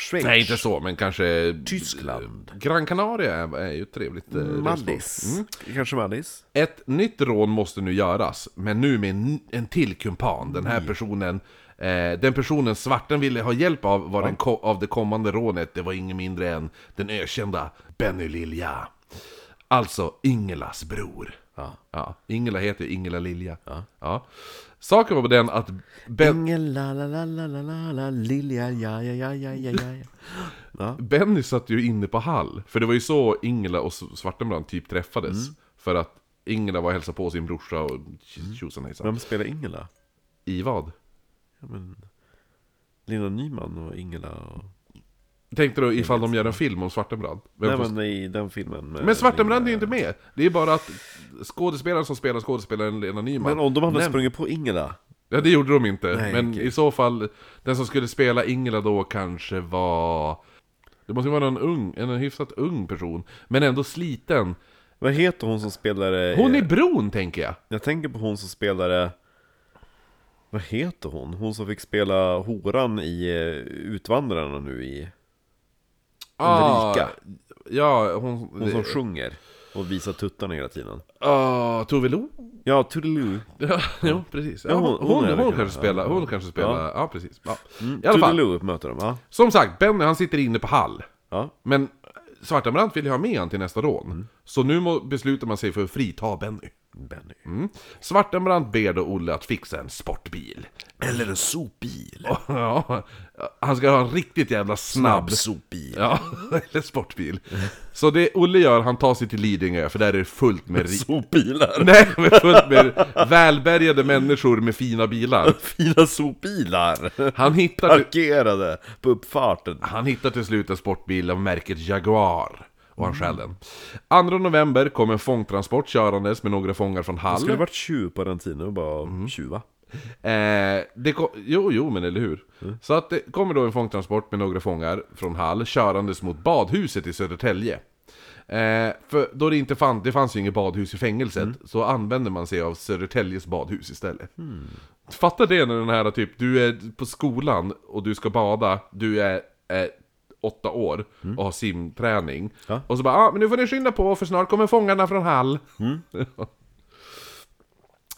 Speaker 1: Schweiz?
Speaker 2: Nej, inte så, men kanske...
Speaker 1: Tyskland?
Speaker 2: Gran Canaria är, är ju ett trevligt... eh, resmål.
Speaker 1: Mallis? Kanske Mallis?
Speaker 2: Ett nytt rån måste nu göras, men nu med en, en till kumpan. Den här
Speaker 1: Mm.
Speaker 2: personen, eh, den personen svarten ville ha hjälp av var den ko- av det kommande rånet, det var ingen mindre än den ökända Benny Lilja. Alltså Ingelas bror.
Speaker 1: Ja.
Speaker 2: Ingela heter ju Ingela Lilja. Ja. Saken var den att ben,
Speaker 1: Ingen la la la la la la la lilja ja ja ja ja ja ja
Speaker 2: Benny satt ju inne på Hall, för det var ju så Ingela och S- Svartenbrand typ träffades.
Speaker 1: Mm.
Speaker 2: För att Ingela var och hälsade på sin brorsa och
Speaker 1: Mm.
Speaker 2: tj- tjosan hejsan.
Speaker 1: Vem spelar Ingela?
Speaker 2: I vad?
Speaker 1: Lina Nyman och Ingela och...
Speaker 2: Tänkte du ifall de gör en film om Svartenbrand? Vem
Speaker 1: Nej
Speaker 2: får-
Speaker 1: men i den filmen med
Speaker 2: Men Svartenbrand är ju inte med! Det är bara att skådespelaren som spelar skådespelaren Lena Nyman
Speaker 1: Men om de hade
Speaker 2: nämns-
Speaker 1: sprungit på Ingela
Speaker 2: Ja det gjorde de inte,
Speaker 1: Nej,
Speaker 2: men
Speaker 1: okej.
Speaker 2: i så fall Den som skulle spela Ingela då kanske var... Det måste ju vara en ung, en hyfsat ung person Men ändå sliten
Speaker 1: Vad heter hon som spelade...
Speaker 2: Hon är bron tänker jag!
Speaker 1: Jag tänker på hon som spelade... Vad heter hon? Hon som fick spela horan i eh, Utvandrarna nu i... Ulrika.
Speaker 2: Ah, Ja, hon...
Speaker 1: Hon som sjunger och visar tuttarna hela tiden
Speaker 2: Ah, Tove Lo?
Speaker 1: Ja, Toodiloo
Speaker 2: Ja, jo, precis. Ja,
Speaker 1: Ja,
Speaker 2: hon,
Speaker 1: hon-
Speaker 2: hon,
Speaker 1: hon är
Speaker 2: hon,
Speaker 1: det kanske. Mm.
Speaker 2: kanske spelar, hon kanske spelar, ja, precis. Ja. I alla fall,
Speaker 1: Toodiloo möter de, ja
Speaker 2: som sagt, Benny han sitter inne på Hall
Speaker 1: Ja,
Speaker 2: Men Svartenbrandt vill ju ha med han till nästa rån. Så nu må- beslutar man sig för att frita Benny.
Speaker 1: Benny
Speaker 2: Mm. Svartenbrandt ber då Olle att fixa en sportbil.
Speaker 1: Eller en sopbil
Speaker 2: Ja, han ska ha en riktigt jävla snabb...
Speaker 1: Sopbil
Speaker 2: Ja, eller sportbil. Så det Olle gör, han tar sig till Lidingö, för där är det fullt med... Ri-
Speaker 1: Sopbilar
Speaker 2: Nej, men fullt med välbärgade människor med fina bilar.
Speaker 1: Fina sopbilar
Speaker 2: Han hittar...
Speaker 1: Parkerade på uppfarten
Speaker 2: Han hittar till slut en sportbil av märket Jaguar. Och han stjäl den. 2 november kom en fångtransport körandes med några fångar från Hall.
Speaker 1: Det skulle varit tjuv på den tiden och bara
Speaker 2: Mm.
Speaker 1: tjuva
Speaker 2: Eh, det kom, jo, jo, men eller hur? Så att det kommer då en fångtransport med några fångar från Hall körandes mot badhuset i Södertälje. Eh, för då det inte fanns, det fanns ju inget badhus i fängelset, så använde man sig av Södertäljes badhus istället. Fatta det när den här typ, du är på skolan och du ska bada, du är eh, åtta år och har simträning.
Speaker 1: Ja.
Speaker 2: Och så bara, ah, men nu får ni skynda på för snart kommer fångarna från Hall.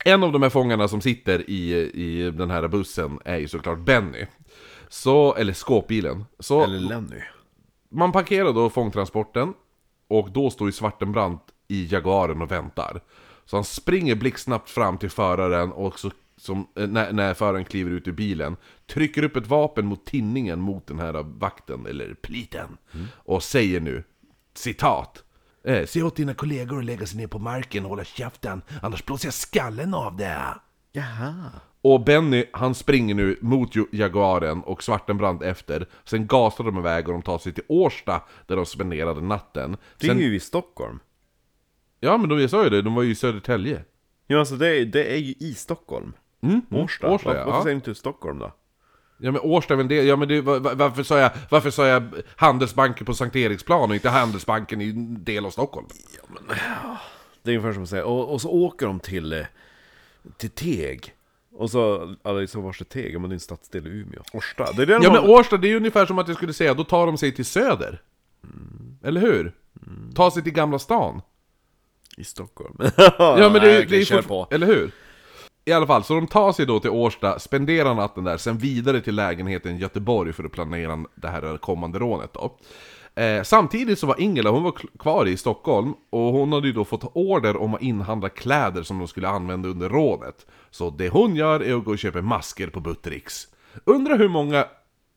Speaker 2: En av de här fångarna som sitter i, i den här bussen är ju såklart Benny. Så, eller skåpbilen. Så
Speaker 1: Eller Lenny.
Speaker 2: man parkerar då fångtransporten och då står ju Svartenbrandt i Jaguaren och väntar. Så han springer blixtsnabbt fram till föraren och så, som, eh, när, när föraren kliver ut ur bilen trycker upp ett vapen mot tinningen mot den här vakten, eller pliten, och säger nu citat. Eh, se åt dina kollegor att lägga sig ner på marken och hålla käften, annars blåser jag skallen av det.
Speaker 1: Jaha.
Speaker 2: Och Benny, han springer nu mot ju- Jaguaren och Svartenbrandt efter. Sen gasar de iväg och de tar sig till Årsta, där de spenderade natten.
Speaker 1: Det är
Speaker 2: Sen,
Speaker 1: ju i Stockholm.
Speaker 2: ja, men de jag sa ju det, de var ju i Södertälje.
Speaker 1: Ja, alltså det är, det är ju i Stockholm.
Speaker 2: Mm?
Speaker 1: Årsta.
Speaker 2: Årsta,
Speaker 1: Var-
Speaker 2: ja.
Speaker 1: Varför säger du inte Stockholm då?
Speaker 2: Ja, men Årsta är väl det, ja men det, va- va- varför sa jag, varför sa jag Handelsbanken på Sankt Eriksplan och inte Handelsbanken i en del av Stockholm?
Speaker 1: Det är ungefär som att säga, och, och så åker de till, eh, till Teg. Och så, alla så vars är Teg? Ja, men det är en stadsdel i Umeå. Årsta. Det är det
Speaker 2: Ja,
Speaker 1: de-
Speaker 2: men Årsta, det är ju ungefär som att jag skulle säga, då tar de sig till Söder. Eller hur? Ta sig till Gamla stan.
Speaker 1: I Stockholm.
Speaker 2: Ja men det, är-
Speaker 1: Nej,
Speaker 2: det är
Speaker 1: kör
Speaker 2: fort-
Speaker 1: på.
Speaker 2: eller hur? I alla fall, så de tar sig då till Årsta, spenderar natten där, sen vidare till lägenheten i Göteborg för att planera det här kommande rånet då. Eh, samtidigt så var Ingela, hon var kl- kvar i Stockholm, och hon hade ju då fått order om att inhandla kläder som de skulle använda under rånet. Så det hon gör är att gå och köpa masker på Buttericks. Undrar hur många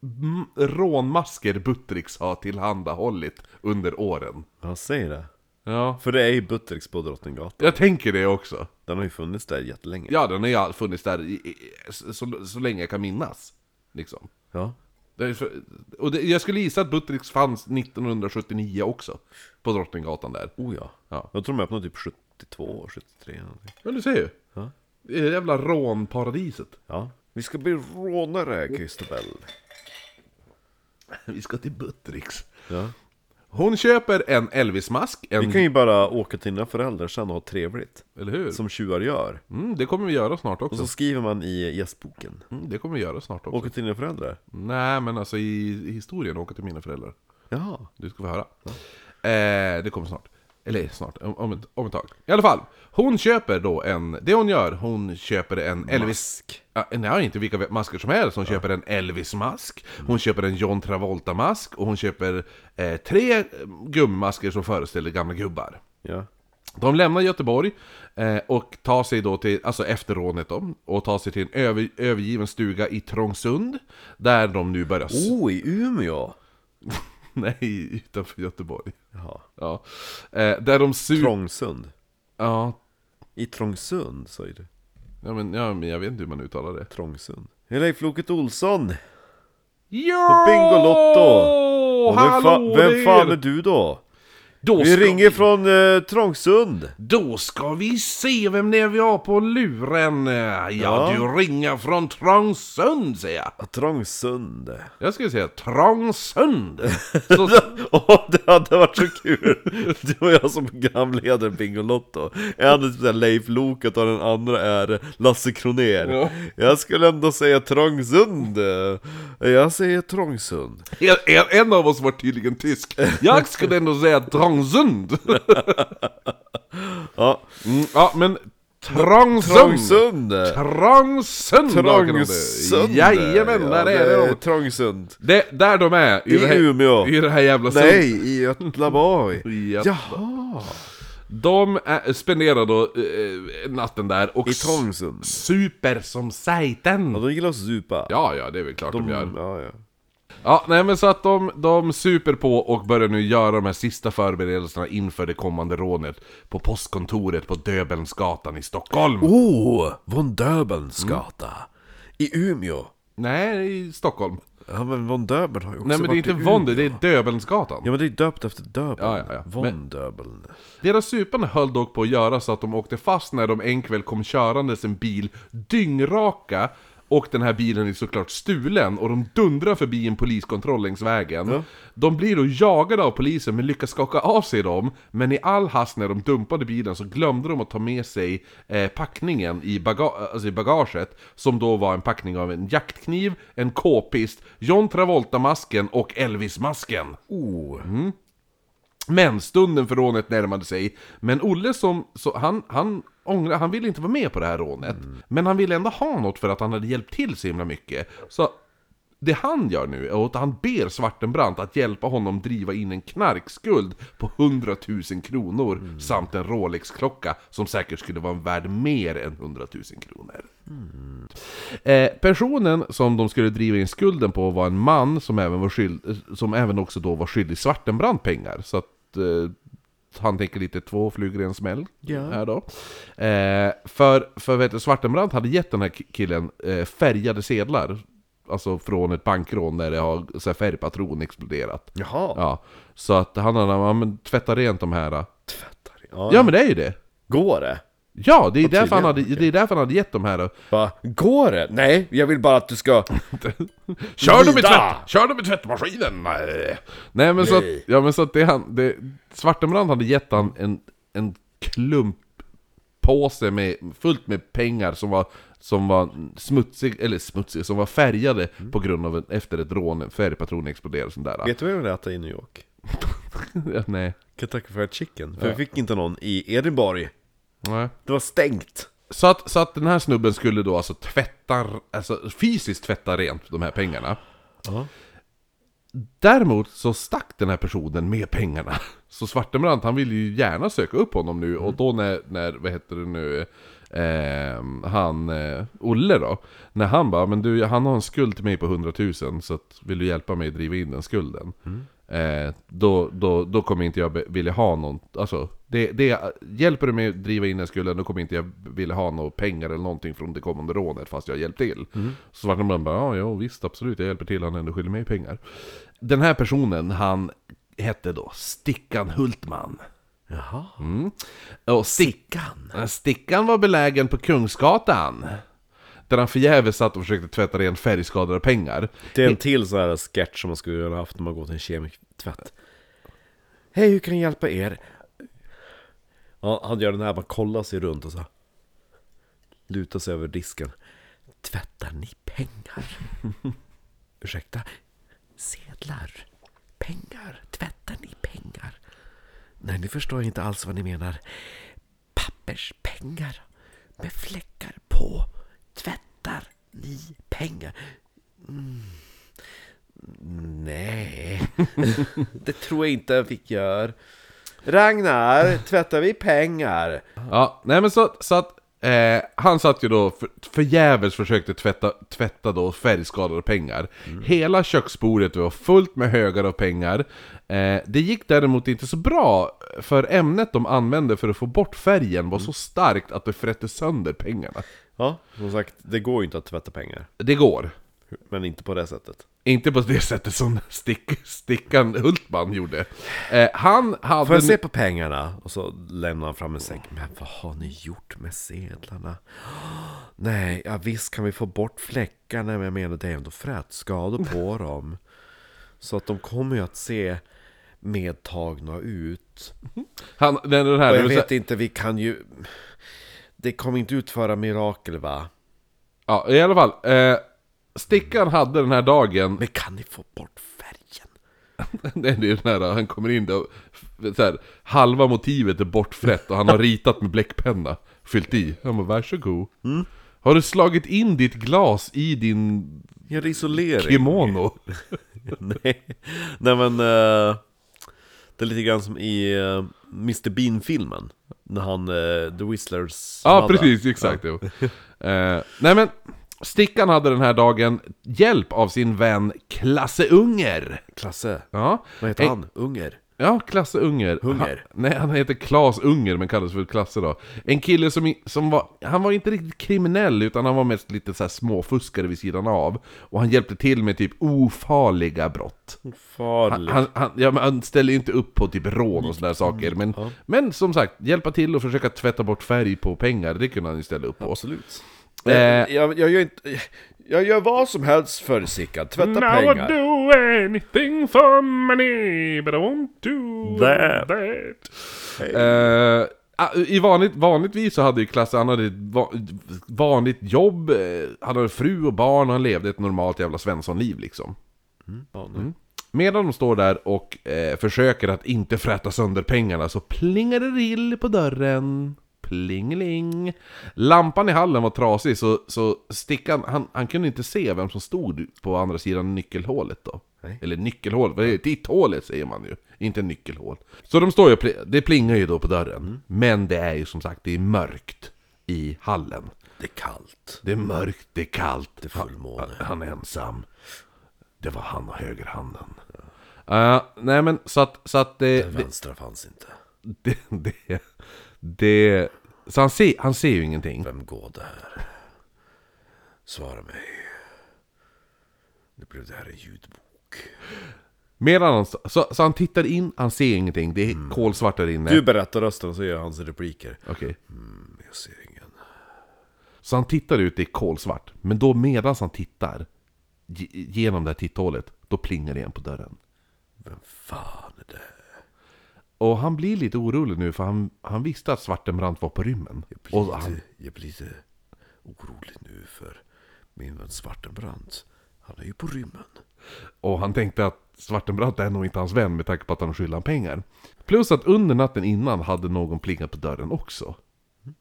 Speaker 2: m- rånmasker Buttericks har tillhandahållit under åren.
Speaker 1: Ja, säg det.
Speaker 2: Ja,
Speaker 1: För det är ju Buttericks på Drottninggatan.
Speaker 2: jag tänker det också.
Speaker 1: Den har ju funnits där jättelänge.
Speaker 2: Ja, den har ju funnits där i, i, så, så- så länge jag kan minnas. Liksom.
Speaker 1: Ja.
Speaker 2: Det är för, och det, jag skulle gissa att Buttericks fanns 1979 också. På Drottninggatan där.
Speaker 1: Oh ja.
Speaker 2: Ja.
Speaker 1: Jag tror de öppnade typ 72, 73 eller någonting.
Speaker 2: Men du ser ju.
Speaker 1: Ja.
Speaker 2: Det är det jävla rånparadiset.
Speaker 1: Ja. Vi ska bli rånare, Christobel.
Speaker 2: Vi ska till Buttericks.
Speaker 1: Ja.
Speaker 2: Hon köper en Elvis-mask, en...
Speaker 1: Vi kan ju bara åka till dina föräldrar sen och ha trevligt.
Speaker 2: Eller hur?
Speaker 1: Som tjuvar gör.
Speaker 2: Mm, det kommer vi göra snart
Speaker 1: Och så
Speaker 2: också.
Speaker 1: skriver man i gästboken.
Speaker 2: Mm, det kommer vi göra snart också.
Speaker 1: Åka till dina föräldrar.
Speaker 2: Nej, men alltså i, i historien, åka till mina föräldrar.
Speaker 1: Jaha.
Speaker 2: Du ska få höra. Eh, det kommer snart. Eller snart, om, om, ett, om ett tag. I alla fall, hon köper då en... Det hon gör, hon köper en Elvis... Ja, nej, inte vilka masker som helst. Hon köper en Elvis-mask, hon köper en John Travolta-mask och hon köper eh, tre eh, gummimasker som föreställer gamla gubbar.
Speaker 1: Ja.
Speaker 2: De lämnar Göteborg eh, och tar sig då till, alltså efter rånet då, och tar sig till en över, övergiven stuga i Trångsund, där de nu börjar... s-
Speaker 1: Oh, i Umeå!
Speaker 2: Nej, utanför Göteborg.
Speaker 1: Jaha.
Speaker 2: Ja. Eh, där de suger...
Speaker 1: Trångsund.
Speaker 2: Ja.
Speaker 1: I Trångsund, sa ju du.
Speaker 2: Ja men, ja, men jag vet inte hur man uttalar det.
Speaker 1: Trångsund. Hej Leif Loket Olsson!
Speaker 2: Ja!
Speaker 1: Bingolotto! Och vem,
Speaker 2: Hallå
Speaker 1: fa- vem fan är
Speaker 2: där!
Speaker 1: du då?
Speaker 2: Då
Speaker 1: Vi
Speaker 2: ska,
Speaker 1: ringer från eh, Trångsund!
Speaker 2: då ska vi se vem det är vi har på luren. Eh, Ja,
Speaker 1: Ja.
Speaker 2: du ringer från Trångsund säger jag.
Speaker 1: Trångsund.
Speaker 2: Jag skulle säga Trångsund. Så,
Speaker 1: Åh, det hade varit så kul! Du och jag som programledare i Bingolotto. En är typ såhär Leif Loket och den andra är Lasse Kronér.
Speaker 2: Ja.
Speaker 1: Jag skulle ändå säga Trångsund. Jag säger Trångsund.
Speaker 2: en, en- en av oss var tydligen tysk. Jag skulle ändå säga Trångsund.
Speaker 1: Ja,
Speaker 2: Mm, ja, men Trångsund.
Speaker 1: Trångsund!
Speaker 2: Trångsund!
Speaker 1: Trångsund!
Speaker 2: Jajamän, där
Speaker 1: Ja,
Speaker 2: är det. de.
Speaker 1: Trångsund.
Speaker 2: Det, där de är, i,
Speaker 1: I
Speaker 2: det här,
Speaker 1: Umeå.
Speaker 2: i det här jävla
Speaker 1: Nej, i Götlaborg.
Speaker 2: I Götla-
Speaker 1: Jaha!
Speaker 2: De är, spenderar då eh, natten där och
Speaker 1: I Trångsund.
Speaker 2: s- super som
Speaker 1: Ja,
Speaker 2: sajten.
Speaker 1: de gillar att supa.
Speaker 2: Ja, ja, det är väl klart de, gör.
Speaker 1: ja, ja.
Speaker 2: Ja, nej men så att de, de super på och börjar nu göra de här sista förberedelserna inför det kommande rånet på postkontoret på Döbelnsgatan i Stockholm.
Speaker 1: Oh, von Döbelns gata. I Umeå.
Speaker 2: Nej, i Stockholm.
Speaker 1: Ja men von Döbeln har ju också
Speaker 2: Nej men det är
Speaker 1: varit
Speaker 2: inte
Speaker 1: i
Speaker 2: Von,
Speaker 1: Umeå.
Speaker 2: det är Döbelnsgatan.
Speaker 1: Ja men det är döpt efter Döbeln.
Speaker 2: Ja, ja, ja.
Speaker 1: Von
Speaker 2: Men-
Speaker 1: Döbeln.
Speaker 2: Deras supande höll dock på att göra så att de åkte fast när de en kväll kom körandes en bil dyngraka Och den här bilen är såklart stulen och de dundrar förbi en poliskontroll längs vägen.
Speaker 1: Ja.
Speaker 2: De blir då jagade av polisen men lyckas skaka av sig dem. Men i all hast när de dumpade bilen så glömde de att ta med sig eh, packningen i, baga- alltså i bagaget. Som då var en packning av en jaktkniv, en k-pist, John Travolta-masken och Elvis-masken.
Speaker 1: Oh.
Speaker 2: Men stunden för rånet närmade sig. Men Olle som, så han, han ångrar, han ville inte vara med på det här rånet. Men han ville ändå ha något för att han hade hjälpt till så himla mycket. Så det han gör nu är att han ber Svartenbrandt att hjälpa honom driva in en knarkskuld på 100 000 kronor samt en Rolex-klocka som säkert skulle vara värd mer än 100 000 kronor. Eh, personen som de skulle driva in skulden på var en man som även, var skyld, eh, som även också då var skyldig Svartenbrandt pengar. Så att eh, han tänker lite två flugor i en smäll.
Speaker 1: Ja.
Speaker 2: Här då. Eh, för för vet du, Svartenbrandt hade gett den här ki- killen eh, färgade sedlar. Alltså från ett bankrån där det har så här, färgpatron exploderat.
Speaker 1: Jaha. Ja.
Speaker 2: Ja, så att han hade ja, men, tvättat rent de här.
Speaker 1: Ja.
Speaker 2: Ja men det är ju det!
Speaker 1: Går det?
Speaker 2: Ja, det är, därför han, hade,
Speaker 1: tydligen.
Speaker 2: det är därför han hade gett de här. eh,
Speaker 1: Va? Går det? Nej, jag vill bara att du ska...
Speaker 2: Kör dem, i
Speaker 1: Vida!
Speaker 2: tvätt, kör dem i tvättmaskinen! Nej, Nej men, Så, att,
Speaker 1: Nej.
Speaker 2: ja, men så att det är han... Det, Svartenbrand hade gett han en, en klump påse med, fullt med pengar som var, som var smutsig, eller smutsig, som var färgade på grund av en, efter ett rån, en färgpatron exploderade och sånt där.
Speaker 1: Mm. Vet du vad jag vill äta i New York?
Speaker 2: Nej.
Speaker 1: Kentucky Fried Chicken. För vi fick inte någon i Edinburgh.
Speaker 2: Nej.
Speaker 1: Det var stängt.
Speaker 2: Så att, så att den här snubben skulle då alltså tvätta, alltså fysiskt tvätta rent de här pengarna.
Speaker 1: Ja.
Speaker 2: Däremot så stack den här personen med pengarna. Så Svartenbrandt han ville ju gärna söka upp honom nu och då när, när vad heter det nu, ehm, han, eh, Olle då. När han bara, men du han har en skuld till mig på 100 000 så att, vill du hjälpa mig att driva in den skulden? Eh, då, då, då kommer inte jag be- vilja ha någon, alltså det, det, hjälper du mig att driva in den skulden då kommer inte jag vilja ha några pengar eller någonting från det kommande rånet fast jag hjälpt till. Så Svartenbrandt bara, ja, ja visst absolut jag hjälper till, han är ändå skyldig mig pengar. Den här personen, han hette då Stickan Hultman. Mm.
Speaker 1: Jaha.
Speaker 2: Och Stickan? Stickan var belägen på Kungsgatan. Där han förgäves satt och försökte tvätta rent färgskadade pengar.
Speaker 1: Det är en till sån här sketch som man skulle ha haft när man går till en kemisk tvätt. Hej, hur kan jag hjälpa er? Ja, han gör den här, man kollar sig runt och så här. Lutar sig över disken. Tvättar ni pengar? Ursäkta? Sedlar? Pengar? Tvättar ni pengar? Nej, nu förstår jag inte alls vad ni menar. Papperspengar med fläckar på. Tvättar ni pengar? Nej, det tror jag inte vi gör. Ragnar, tvättar vi pengar?
Speaker 2: Ja, nej men så, så att eh, han satt ju då för, förgäves försökte tvätta, tvätta då färgskadade pengar.
Speaker 1: Mm.
Speaker 2: Hela köksbordet var fullt med högar av pengar. Eh, det gick däremot inte så bra, för ämnet de använde för att få bort färgen
Speaker 1: Mm.
Speaker 2: var så starkt att det frätte sönder pengarna.
Speaker 1: Ja, som sagt, det går ju inte att tvätta pengar.
Speaker 2: Det går.
Speaker 1: Men inte på det sättet.
Speaker 2: Inte på det sättet som stick, Stickan Hultman gjorde. Eh, han hade...
Speaker 1: Får jag se på pengarna? Och så lämnar han fram en säck. Men vad har ni gjort med sedlarna? Nej, ja, visst kan vi få bort fläckarna, men jag menar det är ändå frätskador på dem. Så att de kommer ju att se medtagna ut.
Speaker 2: han, den, den här,
Speaker 1: Och
Speaker 2: det
Speaker 1: jag
Speaker 2: vill
Speaker 1: vet
Speaker 2: säga-
Speaker 1: inte, vi kan ju... Det kommer inte utföra mirakel va?
Speaker 2: ja, i alla fall. Eh, stickan hade den här dagen
Speaker 1: Men kan ni få bort färgen?
Speaker 2: Nej, det är den här, äh, han kommer in där och, så här, halva motivet är bortfrätt och han har ritat med bläckpenna, fyllt i. Han bara, varsågod.
Speaker 1: Mm.
Speaker 2: Har du slagit in ditt glas i din
Speaker 1: Gör isolering?
Speaker 2: kimono?
Speaker 1: Nej. Nej men... eh, det är lite grann som i eh, Mr Bean-filmen. När han, eh, The Whistlers...
Speaker 2: Ja,
Speaker 1: hade-
Speaker 2: precis, exakt. Jo. Eh, nej men, Stickan hade den här dagen hjälp av sin vän Klasse Unger.
Speaker 1: Klasse.
Speaker 2: Ja,
Speaker 1: Vad heter
Speaker 2: Eh,
Speaker 1: han? Unger.
Speaker 2: Ja, Klasse Unger.
Speaker 1: Hunger.
Speaker 2: Han, nej, han heter Klas Unger men kallas för Klasse då. En kille som, i- som var, han var inte riktigt kriminell utan han var mest lite så här småfuskare vid sidan av. Och han hjälpte till med typ ofarliga brott.
Speaker 1: Farlig.
Speaker 2: Han, han, ja, men han ställer ju inte upp på typ rån och sådana saker. Men, men som sagt, hjälpa till och försöka tvätta bort färg på pengar, det kunde han ju ställa upp på.
Speaker 1: Absolut.
Speaker 2: Eh,
Speaker 1: Jag, jag, gör inte, Jag gör vad som helst för Sickan, tvätta
Speaker 5: I would
Speaker 1: pengar.
Speaker 5: do anything for money, but I won't do
Speaker 1: That.
Speaker 5: that.
Speaker 2: Eh, ah, i vanligt, vanligtvis så hade ju Klasse, han hade ett va, vanligt jobb, eh, han hade fru och barn och han levde ett normalt jävla svenssonliv liksom. Mm. Medan de står där och eh, försöker att inte fräta sönder pengarna så plingar det till på dörren. Plingeling. Lampan i hallen var trasig så, så stickan, han, han kunde inte se vem som stod på andra sidan nyckelhålet då. Eller nyckelhål, vad är det? Titthålet säger man ju, inte nyckelhål. Så de står ju, och pli- det plingar ju då på dörren. Men det är ju som sagt, det är mörkt i hallen.
Speaker 1: Det är kallt.
Speaker 2: Det är mörkt, det är kallt. Det
Speaker 1: är fullmåne.
Speaker 2: Han, han är ensam. Det var han och högerhanden. Eh, nej men så att, så att det,
Speaker 1: Den
Speaker 2: det,
Speaker 1: vänstra fanns inte.
Speaker 2: det, det, det... Så han ser, han ser ju ingenting.
Speaker 1: Vem går det här? Svara mig. Nu blev det här en ljudbok.
Speaker 2: Medan han, så, så han tittar in, han ser ingenting. Det är kolsvart där inne.
Speaker 1: Du berättar rösten så gör jag hans repliker.
Speaker 2: Okej.
Speaker 1: Men Jag ser ingen.
Speaker 2: Så han tittar ut, det är kolsvart. Men då medan han tittar ge- genom det här titthålet, då plingar det igen på dörren.
Speaker 1: Fan är det?
Speaker 2: Och han blir lite orolig nu för han, han visste att Svartenbrandt var på rymmen.
Speaker 1: blir
Speaker 2: Och han,
Speaker 1: lite, jag blir lite orolig nu för min vän Svartenbrandt. Han är ju på rymmen.
Speaker 2: Och han tänkte att Svartenbrandt är nog inte hans vän med tanke på att han skyller honom pengar. Plus att under natten innan hade någon plingat på dörren också.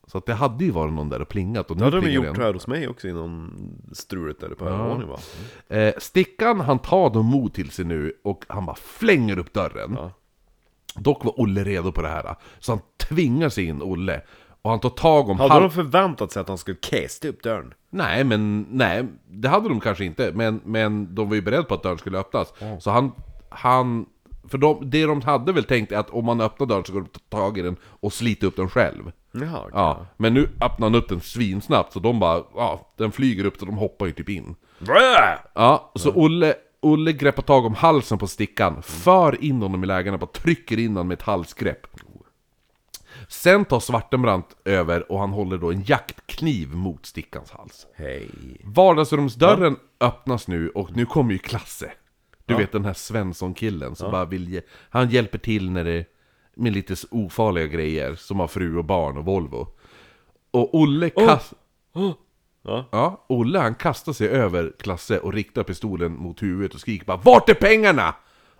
Speaker 2: Så att det hade ju varit någon där och plingat och nu
Speaker 1: Det hade de
Speaker 2: plingar
Speaker 1: gjort
Speaker 2: det en.
Speaker 1: här hos mig också innan strulet där på övervåningen va?
Speaker 2: Eh, stickan han tar då mod till sig nu och han bara flänger upp dörren.
Speaker 1: Ja.
Speaker 2: Dock var Olle redo på det här. Så han tvingar sig in Olle. Och han tar tag om
Speaker 1: Hade
Speaker 2: hal-
Speaker 1: de förväntat sig att han skulle kasta upp dörren?
Speaker 2: Nej, men nej, det hade de kanske inte. Men, men de var ju beredda på att dörren skulle öppnas. Så han... han för de, det de hade väl tänkt är att om man öppnar dörren så går de ta tag i den och slita upp den själv.
Speaker 1: Jaha, ja.
Speaker 2: Ja, men nu öppnar han upp den svinsnabbt så de bara... Ja, den flyger upp så de hoppar ju typ in. Ja, så Olle, Olle greppar tag om halsen på stickan, för in honom i lägena, bara trycker in honom med ett halsgrepp. Sen tar Svartenbrandt över och han håller då en jaktkniv mot stickans hals.
Speaker 1: Hej.
Speaker 2: Vardagsrumsdörren öppnas nu och nu kommer ju Klasse. Du vet den här Svensson-killen som bara vill ge, Han hjälper till när det... Med lite s- ofarliga grejer, som har fru och barn och Volvo. Och Olle kast...
Speaker 1: Ja.
Speaker 2: Ja, Olle han kastar sig över Klasse och riktar pistolen mot huvudet och skriker bara Vart är pengarna?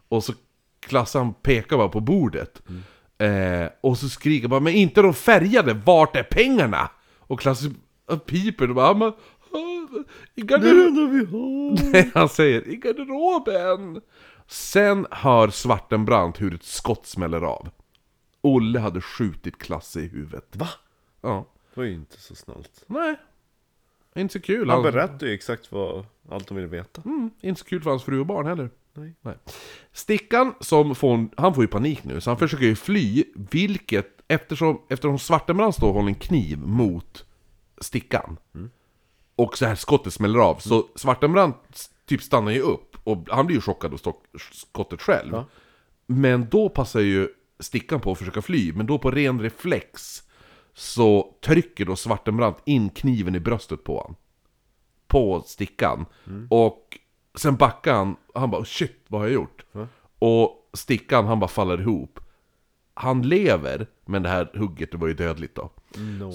Speaker 2: Och så Klasse han pekar bara på bordet. Eh, och så skriker bara Men inte de färgade, vart är pengarna? Och Klasse eh, piper och bara "Men, ah, I garderoben vi har Nej han säger i garderoben Sen hör Svartenbrandt hur ett skott smäller av Olle hade skjutit Klasse i huvudet
Speaker 1: Va?
Speaker 2: Ja,
Speaker 1: Det var ju inte så snällt.
Speaker 2: nej Inte så kul
Speaker 1: Han
Speaker 2: Han-
Speaker 1: berättade ju exakt vad, allt de ville veta.
Speaker 2: Mm, inte så kul för hans fru och barn heller.
Speaker 1: Nej.
Speaker 2: Stickan som får, han får ju panik nu, så han försöker ju fly, vilket, eftersom, eftersom Svartenbrand står och håller en kniv mot Stickan,
Speaker 1: Mm.
Speaker 2: och så här skottet smäller av, så Svartenbrand s- typ stannar ju upp, och han blir ju chockad av stock, skottet själv. Men då passar ju Stickan på att försöka fly, men då på ren reflex så trycker då Svartenbrand in kniven i bröstet på honom på stickan Och sen backar han, han bara shit vad har jag gjort? Och stickan han bara faller ihop Han lever, men det här hugget det var ju dödligt då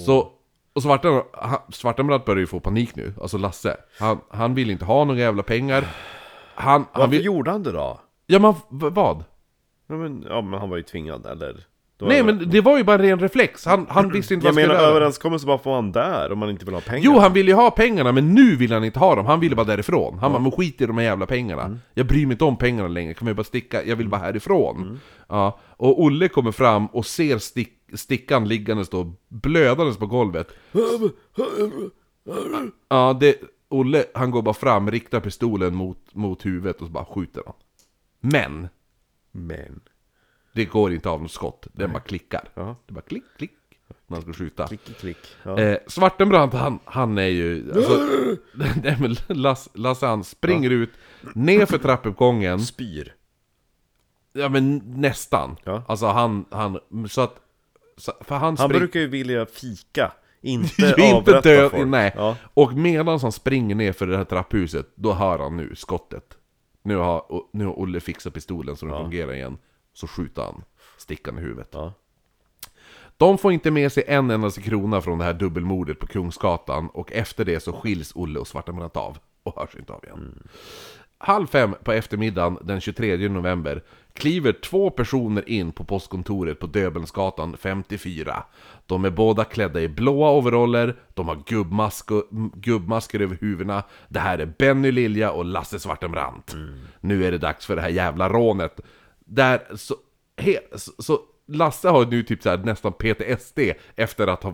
Speaker 2: Så, och Svarten- han- Svartenbrandt börjar ju få panik nu, alltså Lasse Han, han vill inte ha några jävla pengar Han, han
Speaker 1: Varför
Speaker 2: vill...
Speaker 1: gjorde han det då?
Speaker 2: Ja men v- vad?
Speaker 1: Ja men, ja men han var ju tvingad, eller? Det var
Speaker 2: Nej
Speaker 1: över-
Speaker 2: men det var ju bara en ren reflex, han, han visste inte
Speaker 1: Jag
Speaker 2: vad han
Speaker 1: menar
Speaker 2: skulle göra
Speaker 1: överenskommelse, vad får han där om man inte vill ha pengar?
Speaker 2: Jo, han ville ju ha pengarna, men nu vill han inte ha dem. Han ville bara därifrån. Han bara, men skit i de här jävla pengarna. Jag bryr mig inte om pengarna längre, kan vi bara sticka? Jag vill bara härifrån. Ja, och Olle kommer fram och ser stick, stickan liggandes då, blödandes på golvet. Ja, det, Olle, han går bara fram, riktar pistolen mot, mot huvudet och så bara skjuter han. Men,
Speaker 1: Men...
Speaker 2: det går inte av något skott. Det bara klickar.
Speaker 1: Ja.
Speaker 2: Det bara klick, klick, när han ska skjuta.
Speaker 1: Klick, klick. Ja.
Speaker 2: Eh, Svartenbrandt, han, han är ju... Alltså, nej, men Lasse, Lasse han springer ut, ner för trappuppgången.
Speaker 1: Spyr.
Speaker 2: Ja men nästan.
Speaker 1: Ja.
Speaker 2: Alltså han, han, så att... Så, för han,
Speaker 1: Han
Speaker 2: spring-
Speaker 1: brukar ju vilja fika Inte
Speaker 2: Du är inte
Speaker 1: avrätta
Speaker 2: död,
Speaker 1: folk.
Speaker 2: nej.
Speaker 1: Ja.
Speaker 2: Och medan han springer ner för det här trapphuset, då hör han nu skottet. Nu har, och- nu har Olle fixat pistolen så den fungerar igen. Så skjuter han stickan i huvudet.
Speaker 1: Ja.
Speaker 2: De får inte med sig en endaste krona från det här dubbelmordet på Kungsgatan och efter det så skiljs Olle och Svarta Murat av och hörs inte av igen.
Speaker 1: Mm.
Speaker 2: Halv fem på eftermiddagen den 23 november kliver två personer in på postkontoret på Döbelnsgatan 54. De är båda klädda i blåa overaller, de har gubbmask och, m- gubbmasker över huvudena. Det här är Benny Lilja och Lasse Svartenbrandt. Nu är det dags för det här jävla rånet. Där så, he, så, så Lasse har nu typ så här nästan PTSD efter att ha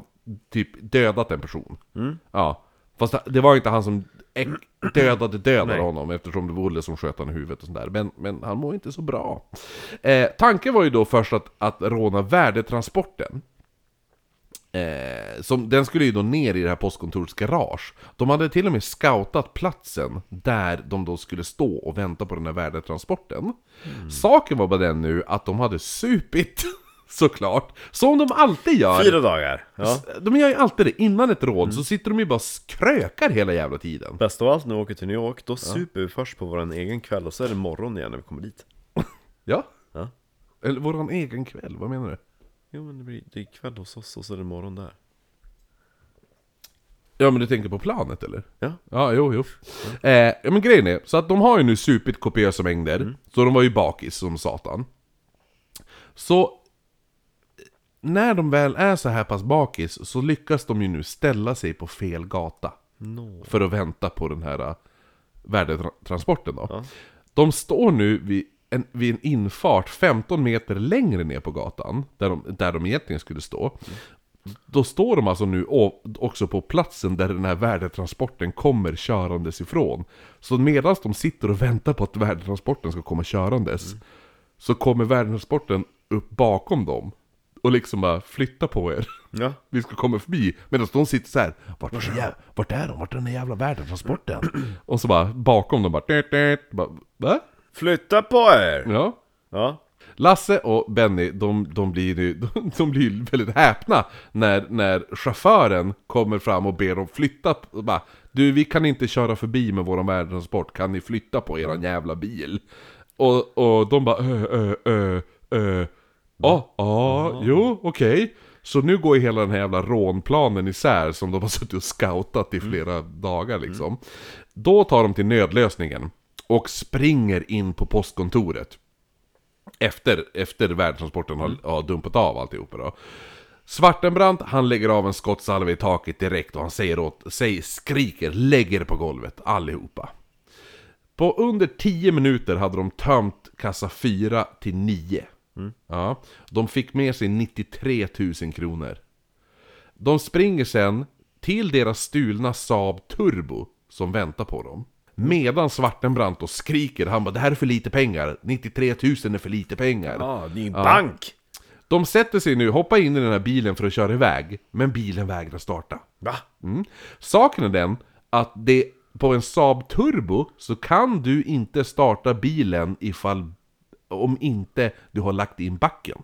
Speaker 2: typ dödat en person. Ja. Fast det var inte han som äck- dödade dödade honom eftersom det var Olle som sköt honom i huvudet och sådär. Men, men han mår inte så bra. Eh, tanken var ju då först att, att råna värdetransporten. Eh, som, den skulle ju då ner i det här postkontorets garage. De hade till och med scoutat platsen där de då skulle stå och vänta på den här värdetransporten. Mm. Saken var bara den nu att de hade supit, såklart. Som de alltid gör.
Speaker 1: Fyra dagar. Ja.
Speaker 2: De gör ju alltid det, innan ett råd så sitter de ju bara och krökar hela jävla tiden.
Speaker 1: Bäst av allt när vi åker till New York, då super vi först på vår egen kväll och så är det morgon igen när vi kommer dit.
Speaker 2: Ja?
Speaker 1: Ja.
Speaker 2: Eller våran egen kväll, vad menar du?
Speaker 1: Jo men det, blir, det är kväll hos oss och så är det morgon där.
Speaker 2: Ja men du tänker på planet eller?
Speaker 1: Ja.
Speaker 2: Ja, jo, jo. Eh, ja, men grejen är, så att de har ju nu supit kopiösa mängder, så de var ju bakis som satan. Så eh, när de väl är så här pass bakis så lyckas de ju nu ställa sig på fel gata. För att vänta på den här eh, värdetransporten då. De står nu vid en, vid en infart 15 meter längre ner på gatan, där de, där de egentligen skulle stå. Då står de alltså nu å- också på platsen där den här värdetransporten kommer körandes ifrån. Så medan de sitter och väntar på att värdetransporten ska komma körandes, så kommer värdetransporten upp bakom dem och liksom bara flytta på er.
Speaker 1: Ja.
Speaker 2: Vi ska komma förbi, medan de sitter så här. Vart, är jä- vart är de? Vart är den där jävla värdetransporten? och så bara bakom dem bara... "Tit, tit." bara Va?
Speaker 1: Flytta på er!
Speaker 2: Ja.
Speaker 1: Ja.
Speaker 2: Lasse och Benny, de, de blir ju de, de blir ju väldigt häpna när, när chauffören kommer fram och ber dem flytta. p- och Bara, du, vi kan inte köra förbi med våran värdetransport, kan ni flytta på eran jävla bil? Och, och de bara, ö, ö, ö, ö. Ja, ja, jo, okej. Så nu går ju hela den här jävla rånplanen isär som de har suttit och scoutat i flera dagar liksom. Då tar de till nödlösningen och springer in på postkontoret efter, efter värdetransporten har, har dumpat av alltihopa då. Svartenbrandt, han lägger av en skottsalve i taket direkt och han säger åt, säger, skriker, lägger på golvet allihopa. På under 10 minuter hade de tömt kassa 4 till 9. Ja, de fick med sig 93 000 kronor. De springer sen till deras stulna Saab Turbo som väntar på dem. Medan Svartenbrandt och skriker, han bara 'Det här är för lite pengar, 93 000 är för lite pengar'
Speaker 1: Ja, det är en bank!
Speaker 2: De sätter sig nu, hoppar in i den här bilen för att köra iväg, men bilen vägrar starta.
Speaker 1: Va?
Speaker 2: Mm. Saken är den att det, på en Saab Turbo så kan du inte starta bilen ifall, om inte du har lagt in backen.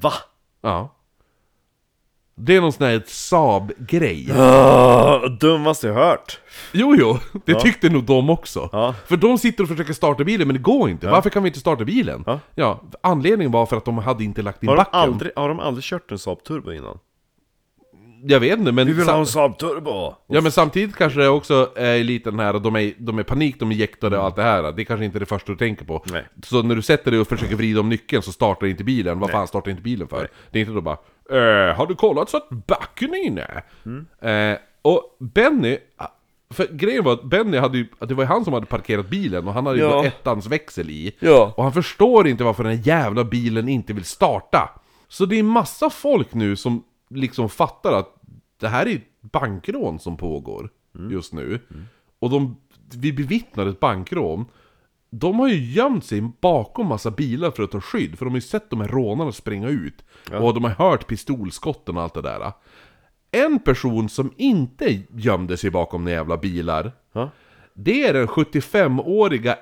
Speaker 1: Va?
Speaker 2: Ja. Det är någon sån här Saab-grej.
Speaker 1: Uh, dummaste jag hört!
Speaker 2: Jo, jo, det tyckte nog de också.
Speaker 1: Ja.
Speaker 2: För de sitter och försöker starta bilen, men det går inte. Varför kan vi inte starta bilen?
Speaker 1: Ja.
Speaker 2: anledningen var för att de hade inte lagt in
Speaker 1: Har de,
Speaker 2: backen.
Speaker 1: aldrig, har de aldrig kört en Saab Turbo innan?
Speaker 2: Jag vet inte, men...
Speaker 1: Vi vill
Speaker 2: sa-
Speaker 1: ha en Saab Turbo!
Speaker 2: Ja men samtidigt kanske det också är lite den här, de är, de är panik, de är jäktade och allt det här. Det kanske inte är det första du tänker på.
Speaker 1: Nej.
Speaker 2: Så när du sätter dig och försöker vrida om nyckeln så startar inte bilen. Vad fan startar inte bilen för? Det är inte då bara eh, har du kollat så att backen är inne?”
Speaker 1: Mm.
Speaker 2: eh, Och Benny, för grejen var att Benny hade ju, att det var ju han som hade parkerat bilen och han hade ju
Speaker 1: Ja.
Speaker 2: bara ettans växel i.
Speaker 1: Ja.
Speaker 2: Och han förstår inte varför den här jävla bilen inte vill starta. Så det är massa folk nu som liksom fattar att det här är ett bankrån som pågår just nu. Och de, vi bevittnar ett bankrån. De har ju gömt sig bakom massa bilar för att ta skydd, för de har ju sett de här rånarna springa ut. Och de har hört pistolskotten och allt det där. En person som inte gömde sig bakom några jävla bilar,
Speaker 1: Ja.
Speaker 2: det är den 75-åriga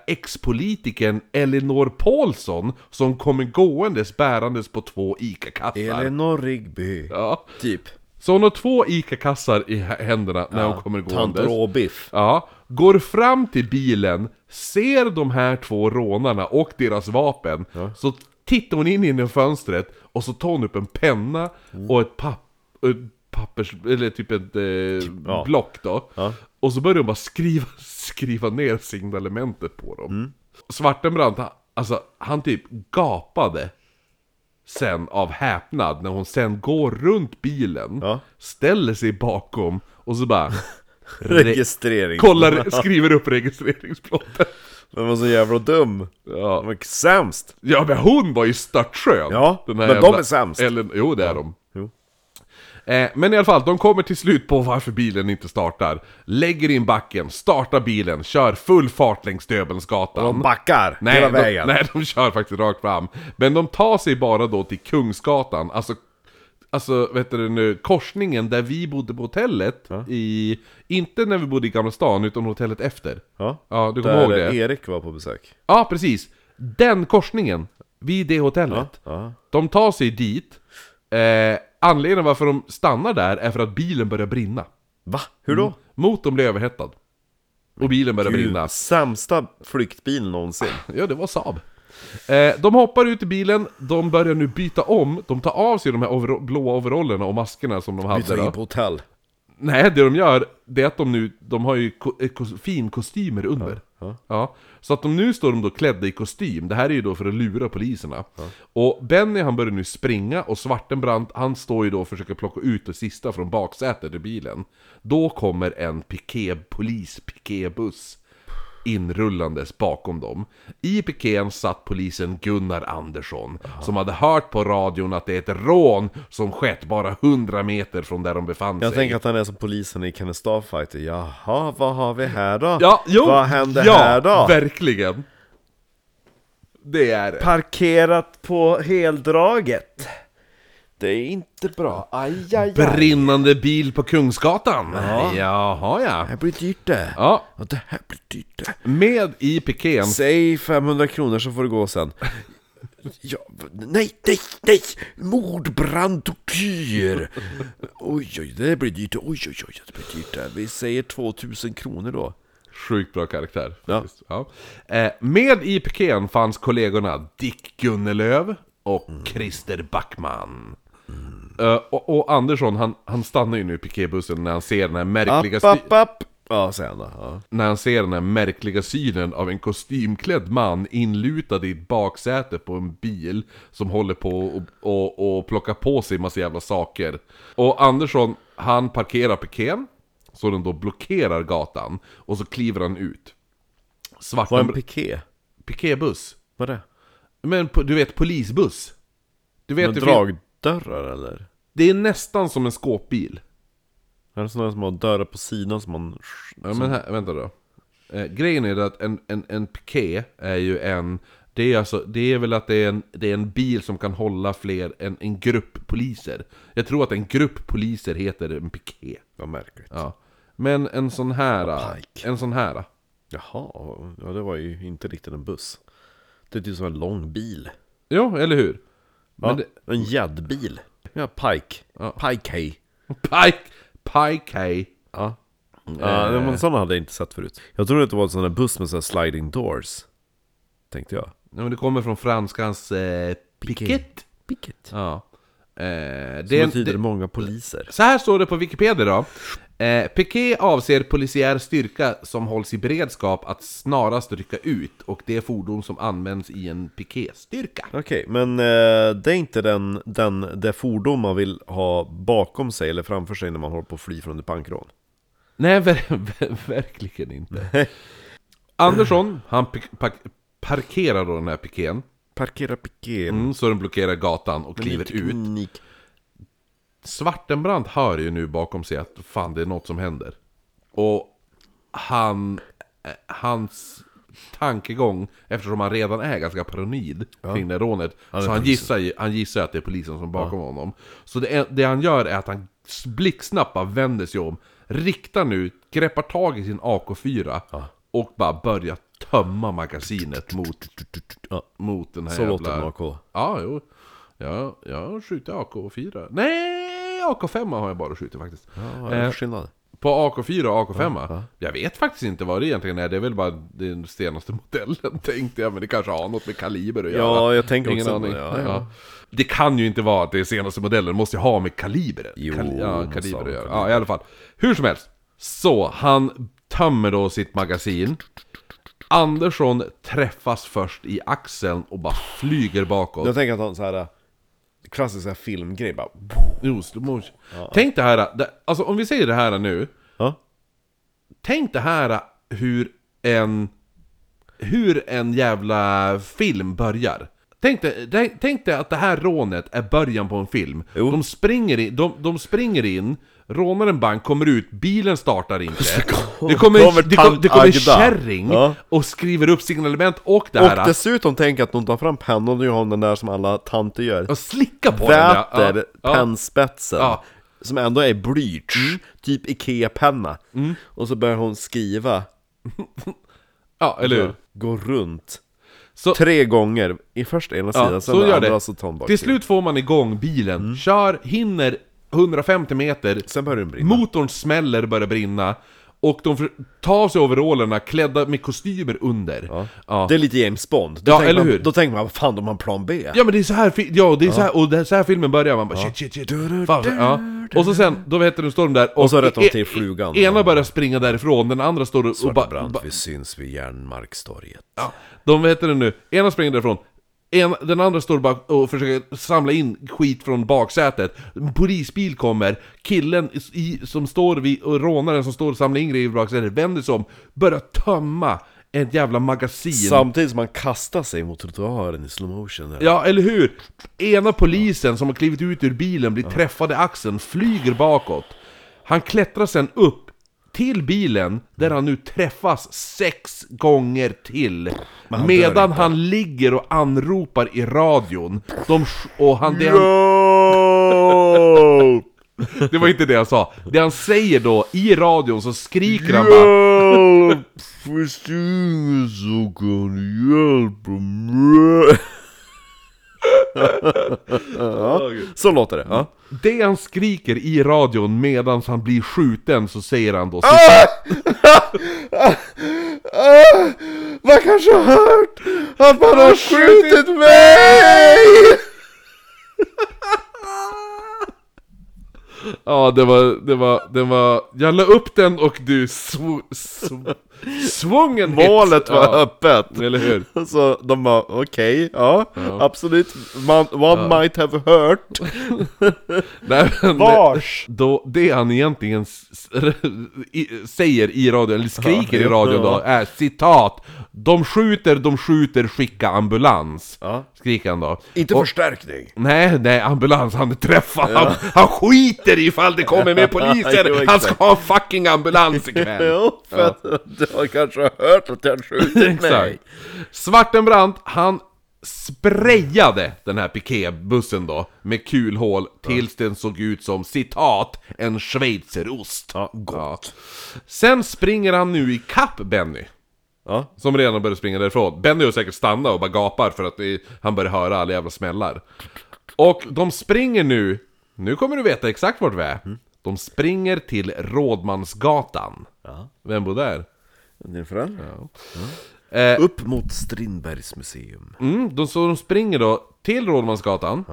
Speaker 2: ex-politikern Elinor Paulsson som kommer gåendes bärandes på två ICA-kassar.
Speaker 1: Elinor Rigby.
Speaker 2: Ja.
Speaker 1: Typ.
Speaker 2: Så hon har två ICA-kassar i hä- händerna när hon kommer
Speaker 1: Tant
Speaker 2: gåendes.
Speaker 1: Råbiff.
Speaker 2: Ja, går fram till bilen, ser de här två rånarna och deras vapen, så tittar hon in genom fönstret och så tar hon upp en penna
Speaker 1: Mm.
Speaker 2: och ett papp... och ett pappers... eller typ ett eh,
Speaker 1: ja.
Speaker 2: block då.
Speaker 1: Ja.
Speaker 2: Och så börjar hon bara skriva, skriva ner signalementet på dem.
Speaker 1: Mm.
Speaker 2: Svartenbrandt, han- alltså han typ gapade sen av häpnad när hon sen går runt bilen,
Speaker 1: Ja.
Speaker 2: ställer sig bakom och så bara
Speaker 1: Registrering.
Speaker 2: Kollar, skriver upp registreringsplåten.
Speaker 1: Den var så jävla dum. Den
Speaker 2: Ja.
Speaker 1: var sämst.
Speaker 2: ja, men hon var ju störtskön.
Speaker 1: Ja,
Speaker 2: Den här
Speaker 1: men de
Speaker 2: jävla-
Speaker 1: är sämst.
Speaker 2: Ellen, jo, det är de.
Speaker 1: Jo.
Speaker 2: Eh, men i alla fall, de kommer till slut på varför bilen inte startar. Lägger in backen, startar bilen, kör full fart längs Döbelnsgatan.
Speaker 1: De backar
Speaker 2: nej,
Speaker 1: hela
Speaker 2: de,
Speaker 1: vägen.
Speaker 2: nej, de kör faktiskt rakt fram. Men de tar sig bara då till Kungsgatan, alltså Alltså, vet du nu, korsningen där vi bodde på hotellet i... Inte när vi bodde i Gamla stan, utan hotellet efter.
Speaker 1: Ja.
Speaker 2: Ja, du kommer
Speaker 1: Där
Speaker 2: ihåg det?
Speaker 1: Erik var på besök.
Speaker 2: Ja, precis. Den korsningen, vid det hotellet.
Speaker 1: Ja.
Speaker 2: De tar sig dit. Eh, anledningen varför de stannar där är för att bilen börjar brinna.
Speaker 1: Va? Hur då?
Speaker 2: Motorn blir överhettad. Och bilen börjar brinna.
Speaker 1: Gud, sämsta flyktbil någonsin.
Speaker 2: Ja, det var Saab. Eh, de hoppar ut i bilen, de börjar nu byta om, de tar av sig de här overall- blåa overallerna och maskerna som de hade
Speaker 1: Byta
Speaker 2: då.
Speaker 1: in på hotell.
Speaker 2: Nej, det de gör, det är att de nu, de har ju ko- eh, kos- finkostymer under. Ja, Så att de nu står de då klädda i kostym, det här är ju då för att lura poliserna. Och Benny han börjar nu springa och Svartenbrandt han står ju då och försöker plocka ut det sista från baksätet i bilen. Då kommer en piké, polis pikébuss inrullandes bakom dem. I pikén satt polisen Gunnar Andersson, som hade hört på radion att det är ett rån som skett bara 100 meter från där de befann
Speaker 1: Jag
Speaker 2: sig.
Speaker 1: tänker att han är som polisen i Kenneth Starfighter. Jaha, vad har vi här då?
Speaker 2: Ja, jo,
Speaker 1: vad händer
Speaker 2: ja,
Speaker 1: här då?
Speaker 2: verkligen. Det är det.
Speaker 1: Parkerat på heldraget. Det är inte bra. Aj, aj, aj.
Speaker 2: Brinnande bil på Kungsgatan. Ja. Jaha ja.
Speaker 1: Det här blir dyrt det.
Speaker 2: Ja,
Speaker 1: Ja, det här blir dyrt det.
Speaker 2: med i pikén.
Speaker 1: Säg 500 kronor så får du gå sen. Ja, v- nej, nej, nej! Mord, brand, tortyr! Oj, oj, det blir dyrt. Oj, oj, oj, det blir dyrt. det. Vi säger 2000 kronor då.
Speaker 2: Sjukt bra karaktär. faktiskt. Ja. Eh, med i pikén fanns kollegorna Dick Gunnelöv och
Speaker 1: Mm.
Speaker 2: Christer Backman. Eh, och, och Andersson, han, han stannar ju nu i pikébussen när han ser den här märkliga...
Speaker 1: App,
Speaker 2: sty-
Speaker 1: app, app! Ja, säger han då. Ja.
Speaker 2: när han ser den här märkliga synen av en kostymklädd man inlutad i ett baksäte på en bil som håller på och, och, och plockar på sig massa jävla saker. Och Andersson, han parkerar pikén, så den då blockerar gatan, och så kliver han ut.
Speaker 1: Var
Speaker 2: Svarta
Speaker 1: en piké?
Speaker 2: pikébuss.
Speaker 1: Vad är det?
Speaker 2: Men på- du vet, polisbuss. Du vet,
Speaker 1: Med
Speaker 2: det, fin-
Speaker 1: dragdörrar eller?
Speaker 2: det är nästan som en skåpbil.
Speaker 1: Är det sådana som har dörrar på sidan som man...
Speaker 2: Ja, men här, vänta då. Eh, grejen är det att en, en, en piké är ju en... Det är, alltså, det är väl att det är, en, det är en bil som kan hålla fler, en, en grupp poliser. Jag tror att en grupp poliser heter en piké.
Speaker 1: Vad märkligt.
Speaker 2: Ja. Men en sån här...
Speaker 1: Pike.
Speaker 2: En sån här.
Speaker 1: Jaha, ja det var ju inte riktigt en buss. Det är typ som en lång bil.
Speaker 2: Jo, eller hur?
Speaker 1: Ja,
Speaker 2: Men det,
Speaker 1: En gäddbil. Ja, Pike. Pike Hay.
Speaker 2: pike! Pike, hej!
Speaker 1: Ja. Eh, Ja, men sådana hade jag inte sett förut. Jag trodde att det var en sån där buss med sån här sliding doors. Tänkte jag.
Speaker 2: Nej, men det kommer från franskans eh, piket.
Speaker 1: Picket.
Speaker 2: Ja. Eh, det
Speaker 1: Det
Speaker 2: är en-
Speaker 1: betyder
Speaker 2: det-
Speaker 1: många poliser.
Speaker 2: Så här står det på Wikipedia då. Eh, Piqué avser polisiär styrka som hålls i beredskap att snarast rycka ut och det är fordon som används i en pikéstyrka.
Speaker 1: Okej, men eh, det är inte den, den, det fordon man vill ha bakom sig eller framför sig när man håller på att fly från ett bankrån.
Speaker 2: Nej, ver ver verkligen inte. Andersson, han pik- pak- parkerar då den här pikén,
Speaker 1: Parkera piken.
Speaker 2: mm, så den blockerar gatan och kliver ut.
Speaker 1: Teknik.
Speaker 2: Svartenbrandt hör ju nu bakom sig att fan det är något som händer. Och han, eh, hans tankegång, eftersom han redan är ganska paranoid kring det rånet, så han gissar, ju, han gissar att det är polisen som är bakom honom. Så det, är- det han gör är att han blixtsnabbt bara vänder sig om, riktar nu, greppar tag i sin AK4 och bara börjar tömma magasinet mot,
Speaker 1: Ja.
Speaker 2: mot den här
Speaker 1: Så
Speaker 2: jävla...
Speaker 1: låter det AK.
Speaker 2: Ja, jo. Ja, jag skjuter AK4. Nej, Nej, AK5 har jag bara skjutit faktiskt.
Speaker 1: Ja, vad är det
Speaker 2: Eh,
Speaker 1: för skillnad?
Speaker 2: På AK4 och AK5? Jag vet faktiskt inte vad det egentligen är, det är väl bara den senaste modellen tänkte jag, men det kanske har något med kaliber att göra.
Speaker 1: Ja, jag tänker
Speaker 2: Ingen
Speaker 1: också
Speaker 2: aning.
Speaker 1: ja, ja.
Speaker 2: Ja. Det kan ju inte vara att det är senaste modellen, det måste ju ha med kaliber
Speaker 1: Jo,
Speaker 2: Kali- ja,
Speaker 1: måste
Speaker 2: kaliber
Speaker 1: ha
Speaker 2: att
Speaker 1: med
Speaker 2: göra.
Speaker 1: kaliber.
Speaker 2: Ja, i alla fall. Hur som helst. Så, han tömmer då sitt magasin. Andersson träffas först i axeln och bara flyger bakåt.
Speaker 1: Jag tänker att han så här äh, klassisk så här filmgrej bara...
Speaker 2: Jo, slow motion. Tänk det här, det, alltså om vi säger det här nu.
Speaker 1: Ja.
Speaker 2: Tänk det här hur en... Hur en jävla film börjar. Tänk dig, tänk- tänk dig att det här rånet är början på en film.
Speaker 1: Jo.
Speaker 2: De springer in, de, de springer in, rånar en bank, kommer ut, bilen startar inte. Det kommer,
Speaker 1: kommer
Speaker 2: det kommer, det kommer en
Speaker 1: tant Agda.
Speaker 2: kärring
Speaker 1: Ja.
Speaker 2: och skriver upp signalement och det här.
Speaker 1: Och dessutom tänker jag att de tar fram pennan och gör om den där som alla tanter gör.
Speaker 2: och slicka på den
Speaker 1: Väter
Speaker 2: där. Ja, ja.
Speaker 1: pennspetsen
Speaker 2: Ja. Mm.
Speaker 1: Som ändå är blyerts, typ Ikea-penna Och så börjar hon skriva,
Speaker 2: ja, eller hur?
Speaker 1: gå runt
Speaker 2: Så-
Speaker 1: Tre gånger, i först ena
Speaker 2: Ja,
Speaker 1: sidan, sen
Speaker 2: så
Speaker 1: den
Speaker 2: gör
Speaker 1: andra,
Speaker 2: det.
Speaker 1: så tar hon Mm. bak
Speaker 2: Till
Speaker 1: till.
Speaker 2: slut får man igång bilen, kör, hinner 150 meter,
Speaker 1: Sen börjar den brinna
Speaker 2: motorn smäller, börjar brinna, och de för- tar av sig overallerna klädda med kostymer under. Ja, ja.
Speaker 1: Det är lite James Bond, då,
Speaker 2: Ja,
Speaker 1: tänker
Speaker 2: eller
Speaker 1: man,
Speaker 2: hur?
Speaker 1: då tänker man vad fan de har en plan B
Speaker 2: men det är så här, fi- ja, det är så här och det är så här filmen börjar, man bara shit shit shit. Fan, ja. Och så sen, då heter den står de där och,
Speaker 1: så rättar de till
Speaker 2: e-
Speaker 1: flugan.
Speaker 2: Ena börjar springa därifrån, den andra står och- och bara...
Speaker 1: Brand,
Speaker 2: ba-
Speaker 1: vi syns vid Järnmarkstorget
Speaker 2: Ja, de vet det nu. Ena springer därifrån. En, den andra står bara och försöker samla in skit från baksätet. En polisbil kommer. Killen i, som står vid, och rånaren som står och samlar in grejer i baksätet vänder sig om. Börjar tömma ett jävla magasin.
Speaker 1: Samtidigt som man kastar sig mot trottoaren i slow motion där.
Speaker 2: Ja, eller hur? Ena polisen som har klivit ut ur bilen blir träffad i axeln, flyger bakåt. Han klättrar sen upp till bilen, där han nu träffas sex gånger till.
Speaker 1: han dör
Speaker 2: medan
Speaker 1: inte.
Speaker 2: han ligger och anropar i radion. De, sk- och han, det, han,
Speaker 1: Yo!
Speaker 2: det var inte det han sa. Det han säger då, i radion så skriker han bara...
Speaker 1: Hjälp! Finns det ingen som kan hjälpa mig? Så låter det. Ja.
Speaker 2: Det han skriker i radion medan han blir skjuten så säger han då...
Speaker 1: Ah, Man kanske har hört att man har skjutit mig!
Speaker 2: Ja, det var, det var, det var... Jag la upp den och du sv, sv, svången
Speaker 1: Målet var
Speaker 2: ja,
Speaker 1: öppet.
Speaker 2: Eller hur?
Speaker 1: Så de bara okej, ja, absolut. Man, one might have heard.
Speaker 2: Nej, men,
Speaker 1: Vars?
Speaker 2: Då, det han egentligen s- s- i, säger i radion, eller skriker i
Speaker 1: Ja,
Speaker 2: radion
Speaker 1: ja.
Speaker 2: då, är citat De skjuter, de skjuter, skicka ambulans
Speaker 1: Ja.
Speaker 2: Skriker han då
Speaker 1: Inte
Speaker 2: Och-
Speaker 1: förstärkning.
Speaker 2: Nej, nej, ambulans, han är träffad. Han, han skiter ifall det kommer med
Speaker 1: Jo,
Speaker 2: poliser.
Speaker 1: exakt.
Speaker 2: Han ska ha en fucking ambulans ikväll.
Speaker 1: Jo, för att du har kanske hört att jag skjutit mig.
Speaker 2: Exakt. Svartenbrandt, han sprayade den här piketbussen då med kulhål tills den såg ut som citat en schweizerost. Ja, gott. Sen springer han nu i kapp Benny.
Speaker 1: Ja.
Speaker 2: Som redan börjar springa därifrån. Benny har säkert stannat och bara gapar för att det, han börjar höra alla jävla smällar. Och de springer nu, nu kommer du veta exakt vart vi är. De springer till Rådmansgatan. Vem bor där?
Speaker 1: Din förälder?
Speaker 2: Eh,
Speaker 1: Upp mot Strindbergs museum.
Speaker 2: Mm, de, så de springer då till Rådmansgatan.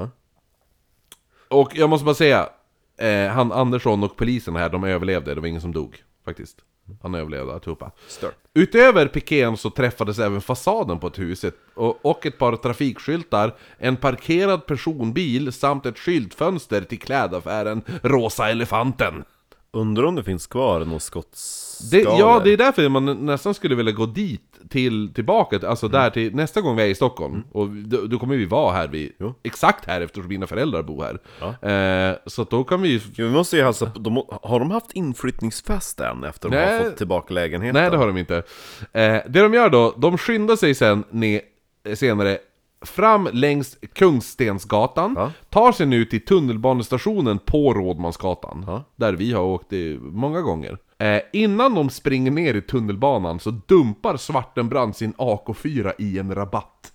Speaker 2: Och jag måste bara säga, eh, han Andersson och polisen här, de överlevde. Det var ingen som dog, faktiskt. Han överlevde alltihopa.
Speaker 1: Stört.
Speaker 2: Utöver pikén så träffades även fasaden på ett hus ett- och, och ett par trafikskyltar, en parkerad personbil samt ett skyltfönster till klädaffären Rosa Elefanten.
Speaker 1: Undrar om det finns kvar något skotts...
Speaker 2: Det, ja, det är därför man nästan skulle vilja gå dit, till, tillbaka, alltså där till nästa gång vi är i Stockholm. Och då, då kommer vi vara här, vi, exakt här eftersom mina föräldrar bor här. Eh, så att då kan vi ju...
Speaker 1: Vi måste ju hälsa på, de, må- har de haft inflyttningsfest än efter de
Speaker 2: Nej.
Speaker 1: har fått tillbaka lägenheten?
Speaker 2: Nej, det har de inte. Eh, det de gör då, de skyndar sig sen ne, senare fram längs Kungstensgatan, tar sig nu till tunnelbanestationen på Rådmansgatan, där vi har åkt i många gånger. Eh, innan de springer ner i tunnelbanan så dumpar Svartenbrand sin AK4 i en rabatt.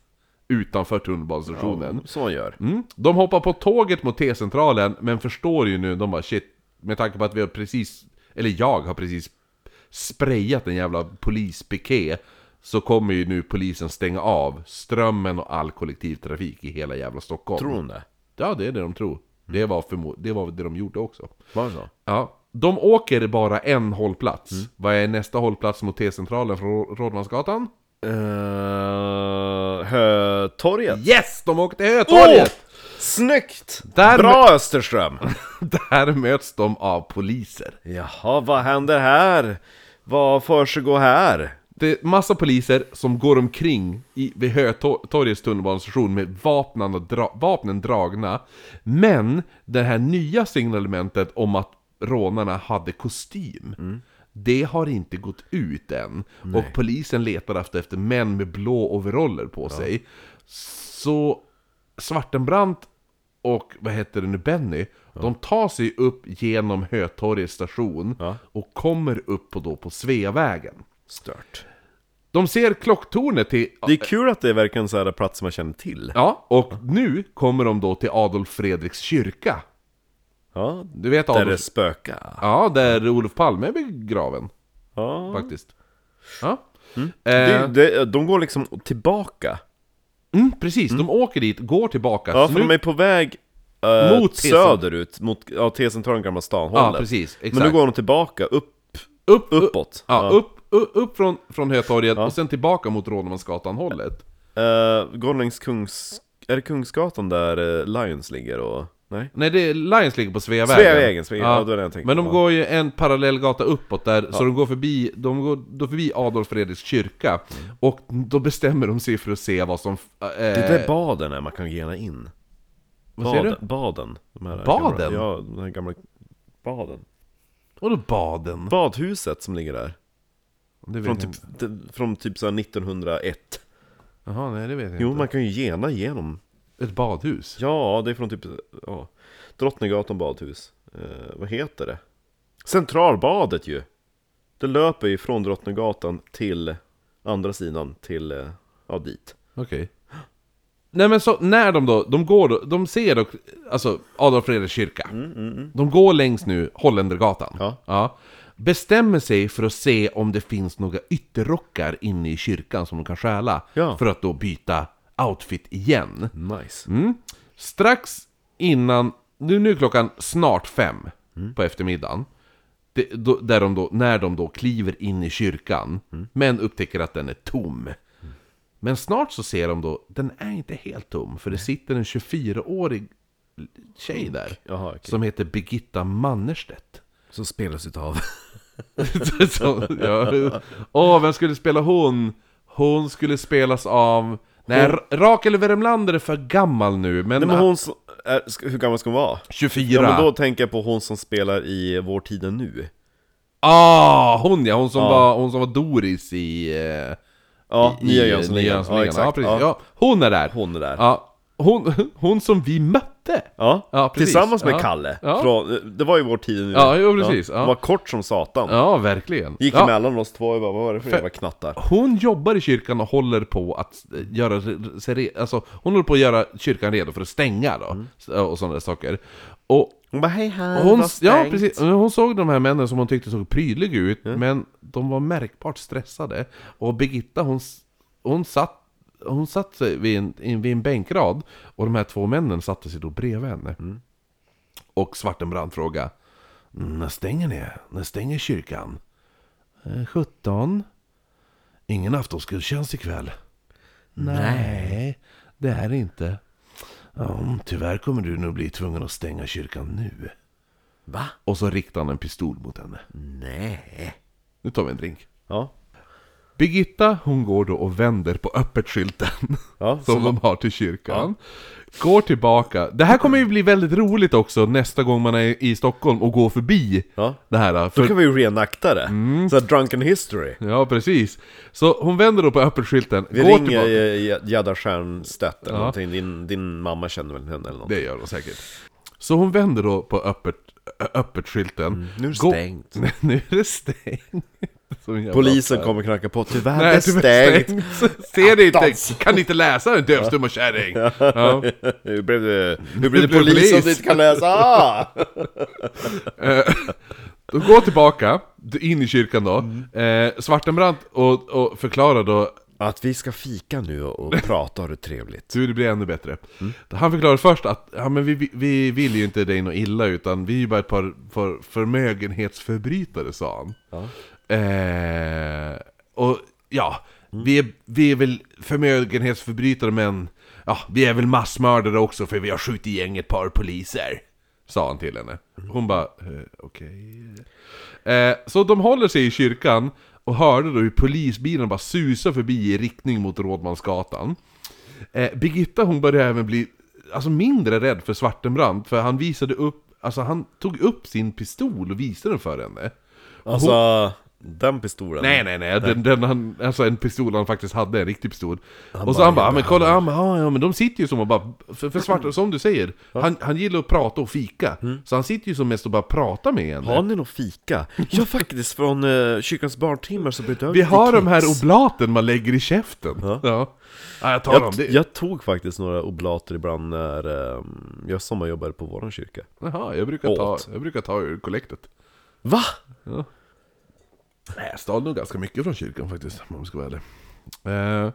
Speaker 2: utanför tunnelbanestationen.
Speaker 1: Som man gör.
Speaker 2: Mm. De hoppar på tåget mot T-centralen, men förstår ju nu, de bara shit, med tanke på att vi har precis, eller jag har precis sprayat en jävla polispiké, så kommer ju nu polisen stänga av strömmen och all kollektivtrafik i hela jävla Stockholm.
Speaker 1: Tror hon Mm. det?
Speaker 2: Ja, det är det de tror. Det var, förmo- det var det de gjorde också.
Speaker 1: Var det så?
Speaker 2: Ja. De åker bara en hållplats.
Speaker 1: Mm.
Speaker 2: Vad är nästa hållplats mot T-centralen från Rå- Rådmansgatan?
Speaker 1: Uh, Hötorget?
Speaker 2: Yes! De åker till Hötorget!
Speaker 1: Snyggt!
Speaker 2: Där-
Speaker 1: Bra Österström!
Speaker 2: Där möts de av poliser.
Speaker 1: Jaha, vad händer här? Vad försiggår här?
Speaker 2: Det är massa poliser som går omkring i, vid Hötorgets tunnelbanestation med vapnen, och dra, vapnen dragna. Men det här nya signalementet om att rånarna hade kostym. Det har inte gått ut än. Och polisen letar efter, efter män med blå overaller på sig. Så Svartenbrandt och vad heter det nu, Benny, de tar sig upp genom Hötorgets station
Speaker 1: Ja.
Speaker 2: och kommer upp på, då på Sveavägen.
Speaker 1: Stört.
Speaker 2: De ser klocktornet till...
Speaker 1: Det är kul att det är verkligen så här platser man känner till.
Speaker 2: Ja, och nu kommer de då till Adolf Fredriks kyrka.
Speaker 1: Ja,
Speaker 2: Du vet
Speaker 1: där
Speaker 2: Adolf...
Speaker 1: det spökar.
Speaker 2: Ja, där Olof Palme är begraven,
Speaker 1: Ja.
Speaker 2: faktiskt. Ja.
Speaker 1: Mm. Det,
Speaker 2: Eh,
Speaker 1: det, de går liksom tillbaka.
Speaker 2: mm, precis, de åker dit, går tillbaka.
Speaker 1: Ja,
Speaker 2: Så
Speaker 1: för
Speaker 2: nu-
Speaker 1: de är på väg eh,
Speaker 2: Mot T-cent-
Speaker 1: söderut, mot ja, T-centralen, Gamla stan hållet.
Speaker 2: Ja, precis, exakt.
Speaker 1: Men nu går de tillbaka upp,
Speaker 2: upp, upp,
Speaker 1: uppåt.
Speaker 2: ja, upp, upp, upp från, från Hötorget och sen tillbaka mot Rådmansgatan-hållet.
Speaker 1: Eh, går de längs Kungs... Är det Kungsgatan där eh, Lions ligger och... Nej?
Speaker 2: Nej, det är Lions ligger på Sveavägen.
Speaker 1: Sveavägen, Svea- ja, det var det jag tänkte
Speaker 2: Men de
Speaker 1: på.
Speaker 2: går ju en parallell gata uppåt där, så de går förbi, de går då förbi Adolf Fredriks kyrka. Och då bestämmer de sig för att se vad som... Äh,
Speaker 1: Mm. Det där baden är man kan gena in.
Speaker 2: vad säger du?
Speaker 1: Baden. De här
Speaker 2: Baden?
Speaker 1: Gamla, ja, den här gamla... Baden.
Speaker 2: Vadå baden?
Speaker 1: Badhuset som ligger där.
Speaker 2: Det vet
Speaker 1: Från
Speaker 2: jag
Speaker 1: typ,
Speaker 2: inte.
Speaker 1: de- från typ så här 1901.
Speaker 2: Jaha, nej det vet jag
Speaker 1: Jo,
Speaker 2: inte.
Speaker 1: man kan ju gena genom.
Speaker 2: Ett badhus?
Speaker 1: Ja, det är från typ... Ja. Drottninggatan badhus. Eh, vad heter det? Centralbadet ju! Det löper ju från Drottninggatan till andra sidan, till... eh, Ja, dit.
Speaker 2: Okej. Nej men så, när de då, de går då, de ser då, alltså Adolf Fredriks kyrka. De går längs nu Holländergatan.
Speaker 1: Mm, Ja.
Speaker 2: Bestämmer sig för att se om det finns några ytterrockar inne i kyrkan som de kan stjäla.
Speaker 1: Ja.
Speaker 2: För att då byta outfit igen.
Speaker 1: Nice.
Speaker 2: Mm. Strax innan, nu, nu är klockan snart fem
Speaker 1: Mm.
Speaker 2: på eftermiddagen. Det, då, där de då, när de då kliver in i kyrkan,
Speaker 1: Mm.
Speaker 2: men upptäcker att den är tom. Men snart så ser de då, den är inte helt tom, för det sitter en 24-årig tjej där.
Speaker 1: Jaha, okej.
Speaker 2: Som heter Birgitta Mannerstedt.
Speaker 1: Som spelas utav...
Speaker 2: Så, ja. Åh, vem skulle spela hon? Hon skulle spelas av... Nej, Ra- Rakel Wermlander är för gammal nu, men...
Speaker 1: Nej men hon som, är, ska- hur gammal ska hon vara?
Speaker 2: 24!
Speaker 1: Ja men då tänker jag på hon som spelar i Vår tid är nu
Speaker 2: Ah, hon ja! Hon som, Var, hon som var Doris i... eh,
Speaker 1: Ja,
Speaker 2: i-
Speaker 1: Nya
Speaker 2: i
Speaker 1: Jönssonligan
Speaker 2: Jönssonligan. Ja, precis. Ja.
Speaker 1: ja.
Speaker 2: hon är där!
Speaker 1: Hon är där.
Speaker 2: Ja, hon, hon som vi mötte!
Speaker 1: Ja.
Speaker 2: Ja, precis.
Speaker 1: tillsammans med
Speaker 2: Ja.
Speaker 1: Kalle
Speaker 2: Ja.
Speaker 1: från, Det var ju Vår tid är nu
Speaker 2: Ja, jo, precis. Ja.
Speaker 1: Hon var kort som satan
Speaker 2: Ja, verkligen.
Speaker 1: Gick
Speaker 2: ja.
Speaker 1: emellan oss två och bara, vad var det för
Speaker 2: För-
Speaker 1: jävla knattar?
Speaker 2: Hon jobbar i kyrkan och håller på att eh, göra sig re- alltså, hon håller på att göra kyrkan redo för att stänga då,
Speaker 1: Mm.
Speaker 2: s- och sådana där saker. Och
Speaker 1: Hon bara, hej här,
Speaker 2: hon,
Speaker 1: vad
Speaker 2: ja,
Speaker 1: stängt."
Speaker 2: precis, hon såg de här männen som hon tyckte såg prydliga ut, men de var märkbart stressade. Och Birgitta, hon, s- hon satt hon satt sig vid en, in- vid en bänkrad och de här två männen satte sig då bredvid henne. Och Svartenbrand frågade När stänger ni? När stänger kyrkan? "Eh, 17. Ingen aftonsgudstjänst ikväll? Nej, det är det inte. Ja, tyvärr kommer du nog bli tvungen att stänga kyrkan nu.
Speaker 1: Va?
Speaker 2: Och så riktar han en pistol mot henne.
Speaker 1: Nej
Speaker 2: Nu tar vi en drink.
Speaker 1: Ja,
Speaker 2: Birgitta, hon går då och vänder på öppet-skylten
Speaker 1: Ja,
Speaker 2: som
Speaker 1: som-
Speaker 2: de har till kyrkan. Går tillbaka. Det här kommer ju bli väldigt roligt också nästa gång man är i Stockholm och går förbi
Speaker 1: Ja.
Speaker 2: det här.
Speaker 1: då
Speaker 2: För,
Speaker 1: kan vi ju reenakta det
Speaker 2: Mm.
Speaker 1: Så här, drunken history
Speaker 2: Ja, precis. Så hon vänder då på öppet-skylten,
Speaker 1: Vi
Speaker 2: går
Speaker 1: ringer
Speaker 2: tillbaka.
Speaker 1: eh, Gerda Stiernstedt eller någonting din, din mamma känner väl henne eller någonting
Speaker 2: Det gör hon säkert. Så hon vänder då på öppet, ö- öppet-skylten.
Speaker 1: Mm, Nu är det
Speaker 2: Gå-
Speaker 1: stängt.
Speaker 2: nu är det stängt. Som en jävla
Speaker 1: Polisen
Speaker 2: affär.
Speaker 1: kommer knacka på. Tyvärr,
Speaker 2: Nej,
Speaker 1: det är
Speaker 2: tyvärr
Speaker 1: stängt.
Speaker 2: stängt. Ser ni inte? Kan ni inte läsa en dövstum och kärring? Ja.
Speaker 1: hur blev det, hur blev
Speaker 2: blev
Speaker 1: det polis, om
Speaker 2: polis.
Speaker 1: du inte kan läsa? Ah!
Speaker 2: Då Gå tillbaka, in i kyrkan då. Eh, Svartenbrandt och, och förklara då
Speaker 1: Att vi ska fika nu och prata har du trevligt.
Speaker 2: Du, det blir ännu bättre. Han förklarar först att ja, men vi, vi- vi vill ju inte dig något illa utan vi är ju bara ett par för, förmögenhetsförbrytare, sa han. Eh, och ja, vi, är, vi är väl förmögenhetsförbrytare men ja, vi är väl massmördare också för vi har skjutit igen ett par poliser. Sa han till henne. Hon bara, eh, okej. Eh, så de håller sig i kyrkan och hörde då hur polisbilen bara susar förbi i riktning mot Rådmansgatan. Eh, Birgitta hon började även bli alltså, mindre rädd för Svartenbrandt för han visade upp, alltså han tog upp sin pistol och visade den för henne.
Speaker 1: Alltså, den pistolen.
Speaker 2: Nej nej nej, den, den han, alltså en pistol han faktiskt hade, en riktig pistol. och så
Speaker 1: bara,
Speaker 2: han bara,
Speaker 1: ja,
Speaker 2: ja, men kolla, ja, men, ja, ja men de sitter ju som och bara, för, för Svarte, som du säger, han, han gillar att prata och fika. Så han sitter ju som mest och bara pratar med henne.
Speaker 1: Har ni någon fika? Ja faktiskt, från eh, kyrkans barntimmar så behöver
Speaker 2: Vi har
Speaker 1: lite
Speaker 2: de här
Speaker 1: kex.
Speaker 2: oblaten man lägger i käften. Ja, ja. jag tar dem.
Speaker 1: jag,
Speaker 2: Det...
Speaker 1: jag tog faktiskt några oblater ibland när eh, jag sommarjobbade på våran kyrka.
Speaker 2: Jaha, jag brukar, ta,
Speaker 1: Åt.
Speaker 2: jag brukar ta ur kollektet.
Speaker 1: Va?
Speaker 2: Nej, jag stal nog ganska mycket från kyrkan faktiskt, om jag ska vara ärlig. Eh,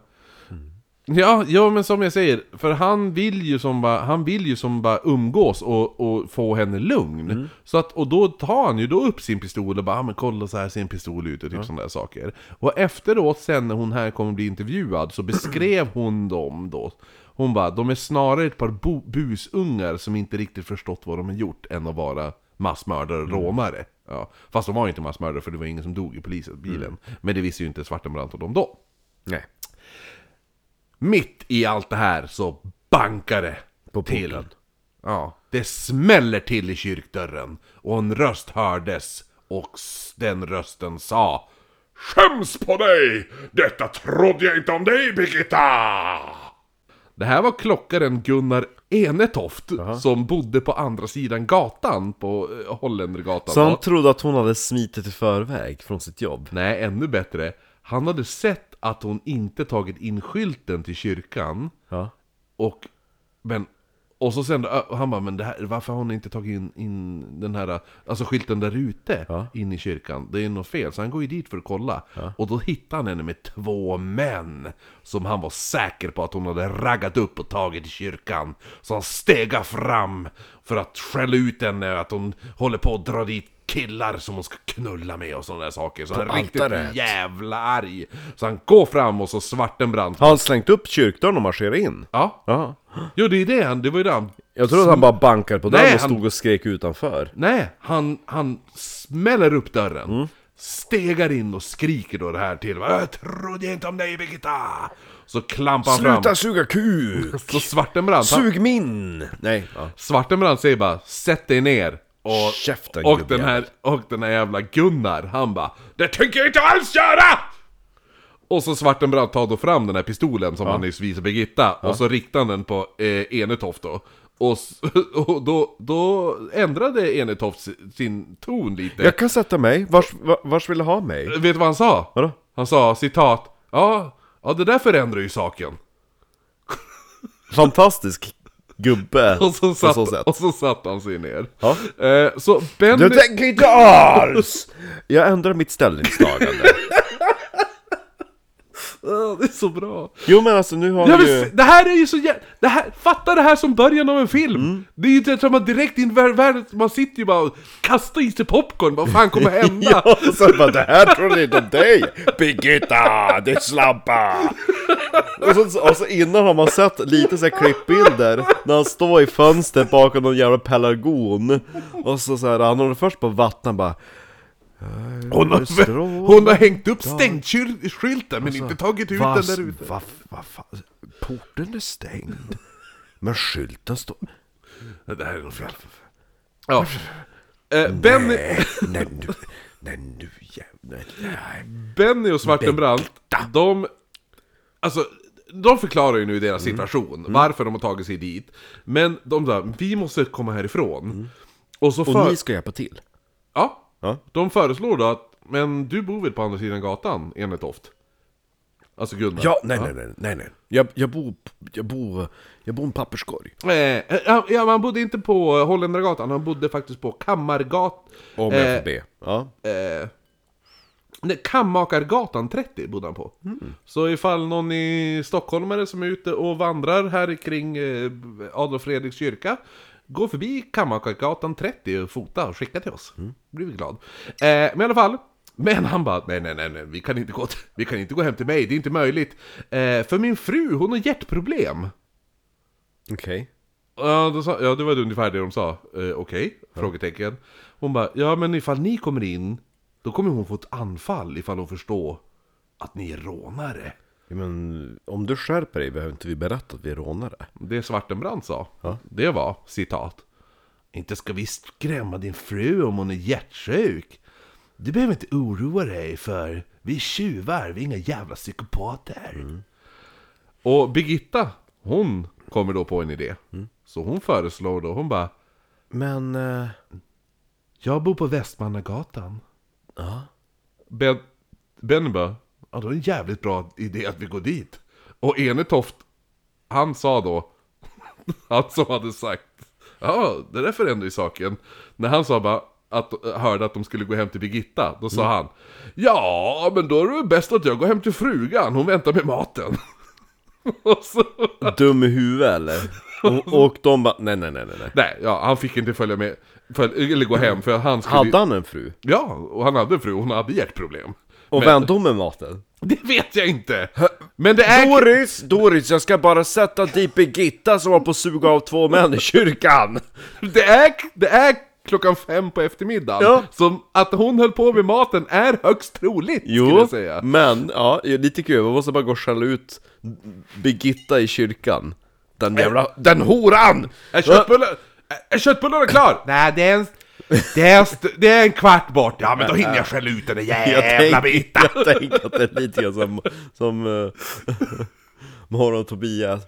Speaker 2: ja, ja, men som jag säger, för han vill ju som bara, han vill ju som bara umgås och, och få henne lugn. Så att, och då tar han ju då upp sin pistol och bara, ah, men kolla så här ser en pistol ut och typ sådana där saker. Och efteråt sen när hon här kommer bli intervjuad så beskrev hon dem då. Hon bara, de är snarare ett par bo- busungar som inte riktigt förstått vad de har gjort än att vara massmördare och rånare. Ja, fast de var ju inte massmördare för det var ingen som dog i polisbilen. Men det visste ju inte Svartenbrandt och dem då.
Speaker 1: Nej.
Speaker 2: Mitt i allt det här så bankar det
Speaker 1: På porten.
Speaker 2: till. Ja, det smäller till i kyrkdörren och en röst hördes och s- den rösten sa Skäms på dig! Detta trodde jag inte om dig Birgitta! Det här var klockaren Gunnar Enetoft som bodde på andra sidan gatan på eh, Holländergatan.
Speaker 1: Så
Speaker 2: va?
Speaker 1: han trodde att hon hade smitit i förväg från sitt jobb?
Speaker 2: Nej, ännu bättre. Han hade sett att hon inte tagit in skylten till kyrkan.
Speaker 1: Ja.
Speaker 2: Och, men, och så sen, ö, han bara, men det här, varför har hon inte tagit in, in den här, alltså skylten där ute, in i kyrkan? Det är något fel, så han går ju dit för att kolla. Och då hittar han henne med två män, som han var säker på att hon hade raggat upp och tagit i kyrkan. Så han stegar fram för att skälla ut henne, att hon håller på att dra dit killar som hon ska knulla med och sådana där saker. Så han är
Speaker 1: altaret.
Speaker 2: riktigt jävla arg. Så han går fram och så Svartenbrandt.
Speaker 1: Har han slängt upp kyrkdörren och marscherat in?
Speaker 2: Ja,
Speaker 1: Ja.
Speaker 2: jo det är det han, det var ju det han
Speaker 1: Jag tror att han bara bankade på
Speaker 2: Nej,
Speaker 1: dörren och
Speaker 2: han-
Speaker 1: stod och skrek utanför.
Speaker 2: Nej, han, han smäller upp dörren. Stegar in och skriker då det här till. Jag trodde inte om dig Birgitta! Så klampar han fram.
Speaker 1: suga kuk!
Speaker 2: Så Svartenbrandt, han,
Speaker 1: Sug min! Nej. Ja.
Speaker 2: Svartenbrandt säger bara Sätt dig ner. Och,
Speaker 1: Käften,
Speaker 2: och,
Speaker 1: gubbjävel.
Speaker 2: den här, och den här jävla Gunnar, han bara Det tänker jag inte alls göra! Och så Svartenbrandt tar då fram den här pistolen som han nyss visade Birgitta och så riktar han den på eh, Enetoft då. Och, s- och då, då ändrade Enetoft si- sin ton lite.
Speaker 1: Jag kan sätta mig. Vars, va- vars vill du ha mig?
Speaker 2: Vet du vad han sa?
Speaker 1: Vadå?
Speaker 2: Han sa citat Ja, ja det där förändrar ju saken.
Speaker 1: Fantastisk gubbe
Speaker 2: Och så satt,
Speaker 1: på så sätt.
Speaker 2: och så satt han sig ner.
Speaker 1: Ja.
Speaker 2: Eh, så Benny...
Speaker 1: Du tänker inte alls! Jag ändrar mitt ställningstagande.
Speaker 2: Ah, det är så bra.
Speaker 1: Jo men alltså nu har
Speaker 2: Ja,
Speaker 1: vi
Speaker 2: men,
Speaker 1: ju...
Speaker 2: se- det här är ju så jä... det här, Fatta det här som början av en film!
Speaker 1: Mm.
Speaker 2: Det är ju inte som man direkt in vär- världen, man sitter ju bara och kastar i sig popcorn, vad fan kommer hända?
Speaker 1: Ja, och så bara Alltså, det här trodde inte om dig! Birgitta, ditt slabba! Och så, och så innan har man sett lite så här klippbilder när han står i fönstret bakom någon jävla pelargon Och så, så här, han håller först på vatten bara
Speaker 2: hon, har,
Speaker 1: Strål-
Speaker 2: hon har hängt upp stängskylten
Speaker 1: Alltså,
Speaker 2: men inte tagit ut den
Speaker 1: Vas-
Speaker 2: där ute.
Speaker 1: Va, va, fan? Porten är stängd Men skylten står...
Speaker 2: Det här är nog fel. Ja. Eh, Benny,
Speaker 1: Nej nu, nej nu jävlar nej.
Speaker 2: Benny och Svartenbrandt, de... Alltså, de förklarar ju nu deras
Speaker 1: Mm.
Speaker 2: situation, varför de har tagit sig dit. Men de sa, vi måste komma härifrån. Och så
Speaker 1: Mm. Och
Speaker 2: för...
Speaker 1: ni ska hjälpa till?
Speaker 2: Ja.
Speaker 1: Ja.
Speaker 2: De föreslår då att, men du bor väl på andra sidan gatan, enligt Toft? Alltså Gunnar.
Speaker 1: Ja, nej nej nej, nej, nej. Jag, jag bor, jag bor, jag bor i en papperskorg
Speaker 2: Eh, eh, ja, han bodde inte på Holländargatan, han bodde faktiskt på Kammargat...
Speaker 1: Om
Speaker 2: Eh,
Speaker 1: jag får be Ja,
Speaker 2: Nej, Kammakargatan 30 bodde han på. Så ifall någon i stockholmare som är ute och vandrar här kring eh, Adolf Fredriks kyrka, gå förbi Kammakargatan 30 och fota och skicka till oss. Blir vi glad. Eh, men i alla fall, men han bara, nej nej nej, nej vi, kan inte gå till, vi kan inte gå hem till mig, det är inte möjligt. Eh, för min fru, hon har hjärtproblem.
Speaker 1: okej
Speaker 2: Ja, då sa, ja, det var ungefär det de sa. Eh, Okej? Frågetecken. Hon bara, ja men ifall ni kommer in, då kommer hon få ett anfall ifall hon förstår att ni är rånare.
Speaker 1: Ja, Men om du skärper dig behöver inte vi berätta att vi är rånare
Speaker 2: Det Svartenbrandt sa, det var citat. Inte ska vi skrämma din fru om hon är hjärtsjuk. Du behöver inte oroa dig för vi är tjuvar, vi är inga jävla psykopater. Och Birgitta, hon kommer då på en idé. Så hon föreslår då, hon bara
Speaker 1: Men... eh,
Speaker 2: Jag bor på Västmannagatan. Ja. Ben, ben bara, ja då är det en jävligt bra idé att vi går dit. Och Enetoft, han sa då, han som hade sagt, ja det där förändrar ju saken. När han sa bara, att, hörde att de skulle gå hem till Birgitta, då sa han Ja, men då är det väl bäst att jag går hem till frugan, hon väntar med maten. Och så
Speaker 1: Dum i huvudet eller? Och, och de bara, nej nej nej nej nej
Speaker 2: Nej, ja, han fick inte följa med, följ, eller gå hem för han skulle
Speaker 1: Hade han en fru?
Speaker 2: Ja, och han hade en fru, hon hade hjärtproblem.
Speaker 1: Och vem de med maten?
Speaker 2: Det vet jag inte! Men det är...
Speaker 1: Doris! Doris, jag ska bara sätta dit Birgitta som var på suga av två män i kyrkan!
Speaker 2: Det är, det är klockan fem på eftermiddagen.
Speaker 1: Ja.
Speaker 2: Så att hon höll på med maten är högst troligt, skulle
Speaker 1: Jo,
Speaker 2: jag säga.
Speaker 1: men ja, lite kul, man måste bara gå och skälla ut Birgitta i kyrkan Den jävla, den horan!
Speaker 2: Är, köttbullar, är köttbullarna klar? Nej, det är en... Det är, en st- det är en kvart bort, ja men då hinner jag skälla ut den där jävla
Speaker 1: Jag
Speaker 2: biten!
Speaker 1: tänker, jag tänker att det är lite grann som, som uh, Morgon Tobias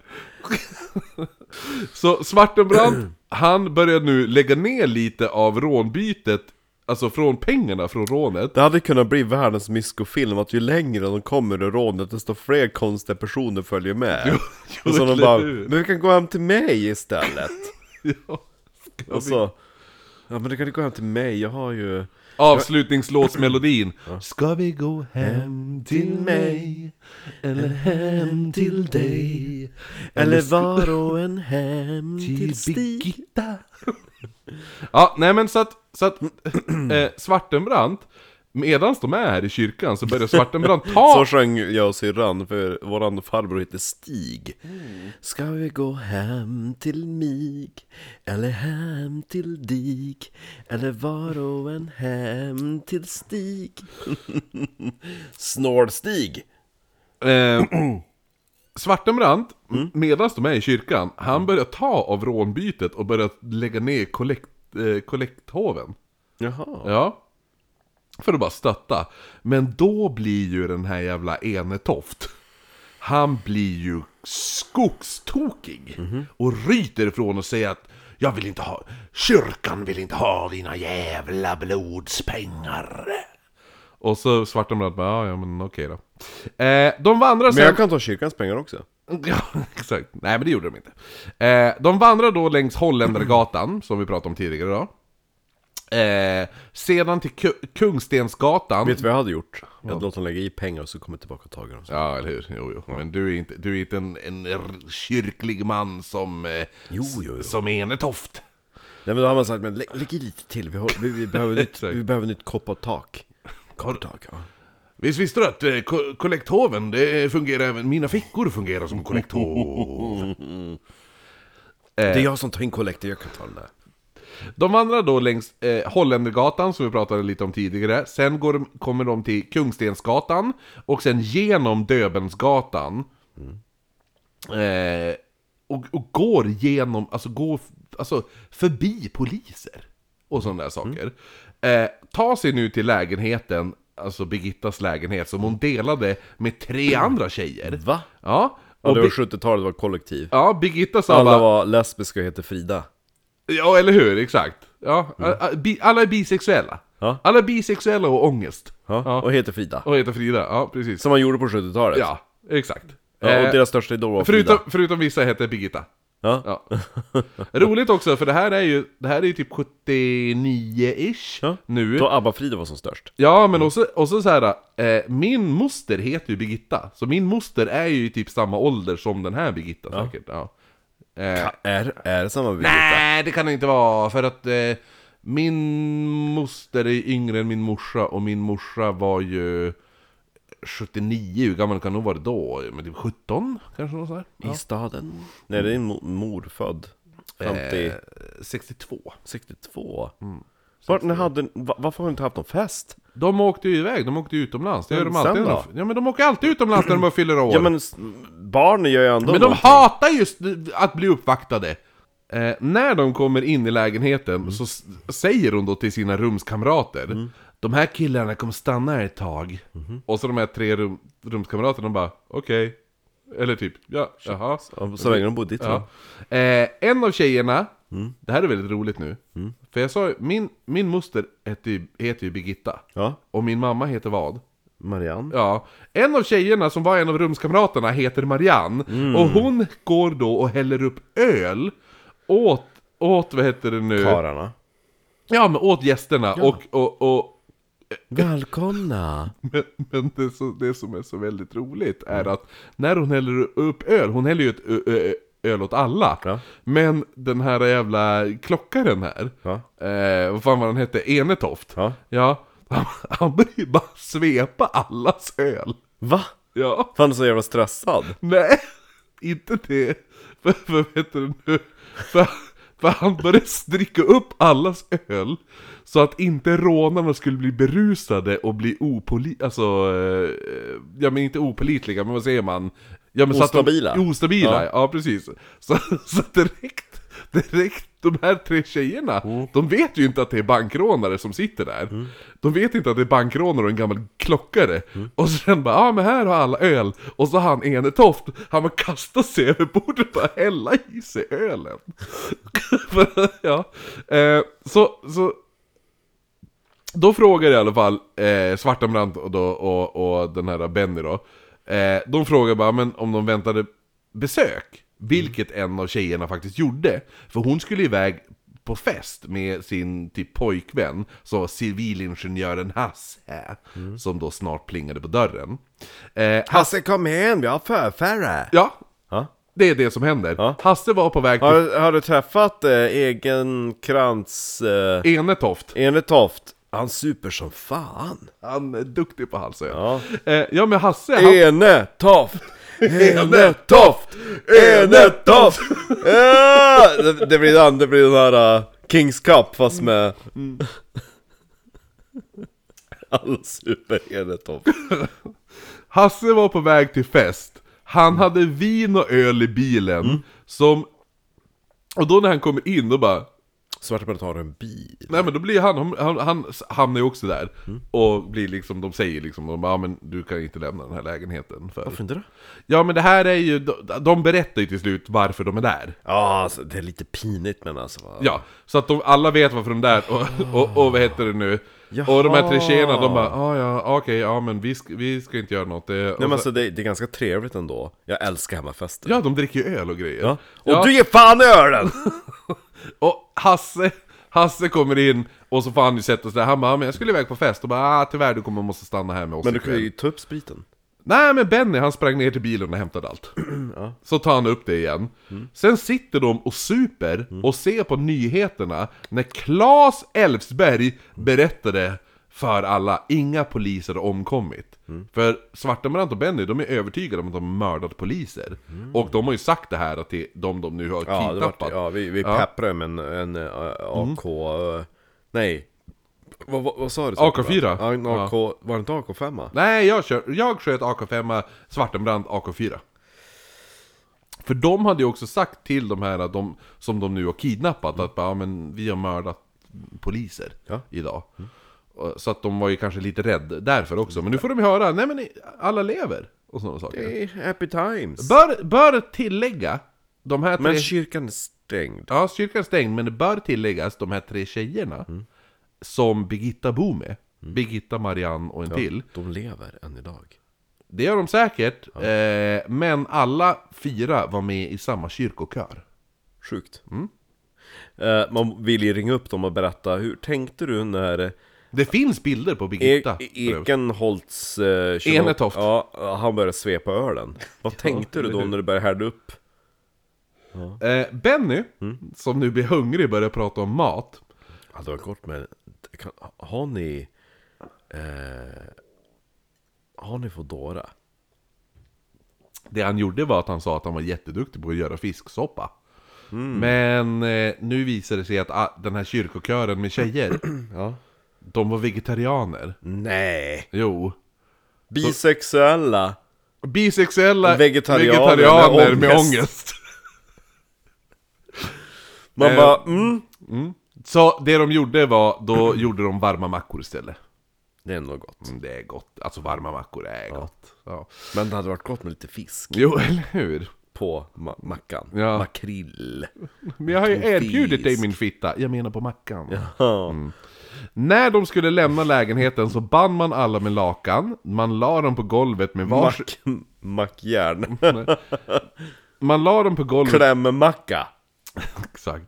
Speaker 2: Så Svartenbrandt, han börjar nu lägga ner lite av rånbytet, alltså från pengarna från rånet.
Speaker 1: Det hade kunnat bli världens myskofilm, att ju längre de kommer i rånet desto fler konstiga personer följer med
Speaker 2: jo,
Speaker 1: Och så de
Speaker 2: eller
Speaker 1: bara,
Speaker 2: hur?
Speaker 1: men vi kan gå hem till mig istället
Speaker 2: Ja.
Speaker 1: Och så, ja men du kan ju gå hem till mig, jag har ju
Speaker 2: Avslutningslåtsmelodin. Ska vi gå hem till mig? Eller hem till dig?
Speaker 1: Eller var och en hem till Stig
Speaker 2: Birgitta? ja, nej men så att, så att eh, Svartenbrandt, medan de är här i kyrkan så börjar Svartenbrandt
Speaker 1: Så
Speaker 2: ta...
Speaker 1: sjöng jag och syrran, för våran farbror heter Stig Ska vi gå hem till mig Eller hem till dig Eller var och en hem till Stig Snål-Stig!
Speaker 2: Eh, Svartenbrandt, medan de är i kyrkan, han börjar ta av rånbytet och börjar lägga ner kollekt, eh, kollekthoven.
Speaker 1: Jaha
Speaker 2: Ja. För att bara stötta. Men då blir ju den här jävla Enetoft. Han blir ju skogstokig.
Speaker 1: Mhm.
Speaker 2: Och ryter ifrån och säger att jag vill inte ha, kyrkan vill inte ha dina jävla blodspengar. Och så Svartenbrandt bara, "Ja, ja men okej då. Eh, de vandrar
Speaker 1: Men
Speaker 2: sen...
Speaker 1: jag kan ta kyrkans pengar också
Speaker 2: Ja, exakt. Nej, men det gjorde de inte. Eh, de vandrar då längs Holländargatan, som vi pratade om tidigare då. Eh, sedan till Ku- Kungstensgatan.
Speaker 1: Vet du vad jag hade gjort? Jag hade låtit dem lägga i pengar och så kommer jag tillbaka och tagit dem
Speaker 2: Ja, eller hur? Jo, jo. Men du är inte, du är inte en, en r- kyrklig man som... Eh,
Speaker 1: Jo, jo, jo.
Speaker 2: Som Enetoft.
Speaker 1: Nej men då har man sagt, men lä lägg i lite till, vi, har, vi, vi behöver nytt,
Speaker 2: Exakt.
Speaker 1: vi behöver nytt koppartak Koppartak, ja
Speaker 2: Visst visste du att eh, ko- kollekthoven, det fungerar även... Mina fickor fungerar som kollekthov.
Speaker 1: Det är jag som tar in kollekter, jag kan ta den där
Speaker 2: De vandrar då längs eh, Holländergatan som vi pratade lite om tidigare. Sen går de, kommer de till Kungstensgatan och sen genom Döbensgatan. Eh, och, och går genom, alltså går f- alltså, förbi poliser och sådana där saker. Eh, ta sig nu till lägenheten, alltså Birgittas lägenhet som hon delade med tre andra tjejer.
Speaker 1: Va?
Speaker 2: Ja,
Speaker 1: Ja,
Speaker 2: och
Speaker 1: det var
Speaker 2: Bi-
Speaker 1: 70-talet, var kollektiv
Speaker 2: ja Birgitta sa
Speaker 1: Alla
Speaker 2: bara,
Speaker 1: var lesbiska och hette Frida
Speaker 2: ja eller hur, exakt. Ja, a- a- bi- alla är bisexuella.
Speaker 1: Mm. Ja.
Speaker 2: Alla är bisexuella och ångest.
Speaker 1: Ja, Och heter Frida.
Speaker 2: Och heter Frida, ja precis.
Speaker 1: Som man gjorde på 70-talet.
Speaker 2: Ja, exakt.
Speaker 1: Ja,
Speaker 2: Eh,
Speaker 1: och deras största idol var Frida.
Speaker 2: förutom, förutom vissa heter Birgitta.
Speaker 1: Ja.
Speaker 2: Ja. Roligt också, för det här är ju, det här är ju typ 79-ish
Speaker 1: Ja.
Speaker 2: nu.
Speaker 1: Då ABBA-Frida var som störst.
Speaker 2: Ja, men också, också så här, eh, min moster heter ju Birgitta, så min moster är ju typ samma ålder som den här Birgitta säkert. Ja. Eh,
Speaker 1: Är, är det samma Birgitta?
Speaker 2: nej, det kan det inte vara, för att eh, min moster är yngre än min morsa och min morsa var ju 79, hur gammal kan hon vara då? Men typ 17 kanske något sånt där.
Speaker 1: I staden? Nej, det är mo- mor född. 50...
Speaker 2: Eh, Mm. 62.
Speaker 1: 62? Var, när hade, va, varför har du inte haft någon fest?
Speaker 2: De åkte ju iväg, de åkte utomlands. Det gör de
Speaker 1: Sen
Speaker 2: alltid.
Speaker 1: då?
Speaker 2: Ja, men de åker alltid utomlands när de bara fyller år.
Speaker 1: Ja men s- barnen gör ju ändå
Speaker 2: Men de
Speaker 1: någonting.
Speaker 2: hatar just att bli uppvaktade! Eh, när de kommer in i lägenheten så s- säger hon då till sina rumskamrater De här killarna kommer stanna här ett tag Och så de här tre rum, rumskamraterna bara Okej Eller typ, ja, jaha
Speaker 1: Ja, Så länge de bodde i ditt rum.
Speaker 2: ja. eh, En av tjejerna Det här är väldigt roligt nu För jag sa ju, min, min moster heter ju, heter ju Birgitta
Speaker 1: Ja,
Speaker 2: Och min mamma heter vad?
Speaker 1: Marianne.
Speaker 2: Ja, en av tjejerna som var en av rumskamraterna heter Marianne
Speaker 1: Mm.
Speaker 2: Och hon går då och häller upp öl Åt, åt vad heter det nu?
Speaker 1: Kararna.
Speaker 2: Ja men åt gästerna och, och, och
Speaker 1: Välkomna!
Speaker 2: men, men det, så, det som är så väldigt roligt är
Speaker 1: Mm.
Speaker 2: att när hon häller upp öl, hon häller ju ett ö, ö, öl åt alla
Speaker 1: Ja.
Speaker 2: Men den här jävla klockaren här
Speaker 1: Ja.
Speaker 2: eh, Vad fan var han hette? Enetoft
Speaker 1: Ja.
Speaker 2: ja han, han började ju bara svepa allas öl
Speaker 1: Va?
Speaker 2: Ja
Speaker 1: Fan du är så jävla stressad?
Speaker 2: Nej, inte det. För, för vet du nu? För, för han började dricka upp allas öl. Så att inte rånarna skulle bli berusade och bli opoli... Alltså, eh, ja men inte opolitliga, men vad säger man? Ja, men Så
Speaker 1: Ostabila.
Speaker 2: att de, ostabila,
Speaker 1: Ja.
Speaker 2: ja, precis. Så, så direkt, direkt, de här tre tjejerna, de vet ju inte att det är bankrånare som sitter där. De vet inte att det är bankrånare och en gammal klockare. Och sen bara, ja ah, men här har alla öl. Och så han Enetoft, han bara kastar sig över bordet och bara hälla i sig ölen. ja. eh, så, så då frågar i alla fall eh, Svartenbrandt och, då, och, och den här Benny då eh, De frågar bara men om de väntade besök Vilket en av tjejerna faktiskt gjorde För hon skulle iväg på fest med sin typ pojkvän Så civilingenjören Hasse
Speaker 1: Mm.
Speaker 2: Som då snart plingade på dörren eh,
Speaker 1: Hasse kom hem, vi har förfärre!
Speaker 2: Ja,
Speaker 1: Ja.
Speaker 2: det är det som händer
Speaker 1: Ja.
Speaker 2: Hasse var på väg till
Speaker 1: Har, har du träffat eh, egen krans... Eh,
Speaker 2: Enetoft
Speaker 1: Enetoft? Han super som fan!
Speaker 2: Han är duktig på halsen
Speaker 1: Ja.
Speaker 2: eh, ja men Hasse han,
Speaker 1: Enetoft! Enetoft! Enetoft! Ah! Det- Det blir den, det blir den här uh, Kings Cup fast med... Alla super Enetoft.
Speaker 2: Hasse var på väg till fest. Han
Speaker 1: Mm.
Speaker 2: hade vin och öl i bilen. Som... Och då när han kommer in, då bara...
Speaker 1: Svartbäret har en bil.
Speaker 2: Nej men då blir han, han, han, han hamnar ju också där.
Speaker 1: Mm.
Speaker 2: Och blir liksom, de säger liksom, de bara, "Ja, men du kan inte lämna den här lägenheten. För...
Speaker 1: Varför inte då?
Speaker 2: Ja men det här är ju, de, de berättar ju till slut varför de är där.
Speaker 1: Ja, alltså, det är lite pinigt men alltså. va?
Speaker 2: Ja, så att de, alla vet varför de är där och, och, och vad heter det nu?
Speaker 1: Ah. Jaha.
Speaker 2: Och de här tre tjejerna, de bara, ah, ja, okej, ja men vi ska, vi ska inte göra något. Det, och
Speaker 1: Nej men
Speaker 2: så-
Speaker 1: alltså det, det är ganska trevligt ändå. Jag älskar hemmafester.
Speaker 2: Ja, de dricker ju öl och grejer.
Speaker 1: Ja. Och
Speaker 2: Ja.
Speaker 1: du ger fan i ölen!
Speaker 2: Och Hasse, Hasse kommer in och så får han ju sätta sig där, han bara "Ja, men jag skulle iväg på fest och bara ah, tyvärr du kommer måste stanna här med oss
Speaker 1: Men du kan
Speaker 2: ikväll."
Speaker 1: ju ta upp spriten.
Speaker 2: Nej men Benny han sprang ner till bilen och hämtade allt Så tar han upp det igen
Speaker 1: Mm.
Speaker 2: Sen sitter de och super och ser på nyheterna När Claes Elfsberg berättade för alla, inga poliser har omkommit
Speaker 1: Mm.
Speaker 2: För Svartenbrandt och Benny de är övertygade om att de har mördat poliser Och de har ju sagt det här till de de nu har
Speaker 1: Mm. Ja, det
Speaker 2: kidnappat
Speaker 1: var, ja vi, vi pepprar med en, en eh,
Speaker 2: Mhm.
Speaker 1: AK... eh, Nej. Vad, vad, vad sa du?
Speaker 2: AK4?
Speaker 1: Ja, en AK... Var det inte AK5?
Speaker 2: Nej, jag, kör, jag sköt AK5, Svartenbrand AK4. För de hade ju också sagt till de här att de, som de nu har kidnappat att bara, ja, men vi har mördat poliser
Speaker 1: Ja.
Speaker 2: idag. Och- Så att de var ju kanske lite rädda därför också. Men nu får de ju höra, nej men ni- alla lever och sådana saker.
Speaker 1: Hey, happy Eh, times!
Speaker 2: Bör, bör tillägga, de här tre...
Speaker 1: Men kyrkan är stängd.
Speaker 2: Ja, kyrkan är stängd, men det bör tilläggas de här tre tjejerna
Speaker 1: Mm.
Speaker 2: som Birgitta bor med. Birgitta, Marianne och en till.
Speaker 1: De lever än idag.
Speaker 2: Det gör de säkert, eh, men alla fyra var med i samma kyrkokör.
Speaker 1: Sjukt. Mm.
Speaker 2: Mm.
Speaker 1: Eh, man vill ju ringa upp dem och berätta, hur tänkte du när
Speaker 2: Det finns bilder på
Speaker 1: e
Speaker 2: Birgitta. för övrigt.
Speaker 1: Ekenholts... Eh, kyrka-
Speaker 2: Enetoft.
Speaker 1: Ja, han började svepa ölen. Vad tänkte du då när du började härda upp?
Speaker 2: eh, Benny,
Speaker 1: Mm.
Speaker 2: som nu blir hungrig, börjar prata om mat.
Speaker 1: Ja, det var kort men... Kan, har ni... Eh, har ni Foodora?
Speaker 2: Det han gjorde var att han sa att han var jätteduktig på att göra fisksoppa.
Speaker 1: Mm.
Speaker 2: Men eh, nu visar det sig att ah, den här kyrkokören med tjejer,
Speaker 1: Ja.
Speaker 2: de var vegetarianer.
Speaker 1: Nej!
Speaker 2: Jo.
Speaker 1: Bisexuella!
Speaker 2: Bisexuella
Speaker 1: Vegetarianer med
Speaker 2: vegetarianer med
Speaker 1: ångest.
Speaker 2: ångest.
Speaker 1: Man
Speaker 2: Eh,
Speaker 1: bara mm.
Speaker 2: Så det de gjorde var, då gjorde de varma mackor istället.
Speaker 1: Det är ändå gott.
Speaker 2: Mm, Det är gott. Alltså varma mackor är gott. Ja.
Speaker 1: Men det hade varit gott med lite fisk
Speaker 2: Jo, eller hur?
Speaker 1: på ma- mackan.
Speaker 2: Ja.
Speaker 1: Makrill.
Speaker 2: Men jag har ju
Speaker 1: Tofis.
Speaker 2: erbjudit dig min fitta. Jag menar på mackan.
Speaker 1: Ja.
Speaker 2: När de skulle lämna lägenheten så band man alla med lakan. Man la dem på golvet med vars...
Speaker 1: Mack, mackjärn.
Speaker 2: Man la dem på golvet...
Speaker 1: Klämmacka.
Speaker 2: Exakt.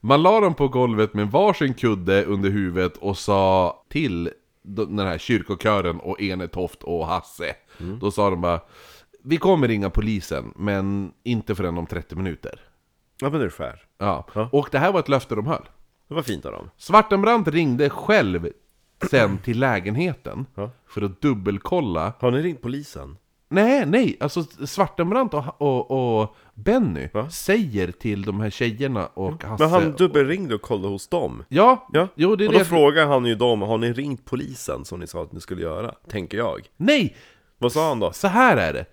Speaker 2: Man la dem på golvet med varsin kudde under huvudet och sa till de- den här kyrkokören och Enetoft och Hasse.
Speaker 1: Mm.
Speaker 2: Då sa de bara Vi kommer ringa polisen, men inte förrän om 30 minuter.
Speaker 1: Ja men ungefär.
Speaker 2: Ja.
Speaker 1: Ja.
Speaker 2: Och det här var ett löfte de höll.
Speaker 1: Det var fint av dem.
Speaker 2: Svartenbrandt ringde själv sen till lägenheten
Speaker 1: Ja.
Speaker 2: för att dubbelkolla.
Speaker 1: Har ni ringt polisen?
Speaker 2: Nej, nej, alltså Svartenbrandt och, och, och Benny säger till de här tjejerna och Hasse.
Speaker 1: Men han dubbelringde och kollade hos dem.
Speaker 2: Ja,
Speaker 1: Ja,
Speaker 2: jo det är
Speaker 1: och då
Speaker 2: det.
Speaker 1: frågar han ju dem, har ni ringt polisen som ni sa att ni skulle göra? Tänker jag.
Speaker 2: Nej!
Speaker 1: Vad sa han då?
Speaker 2: Så här är det.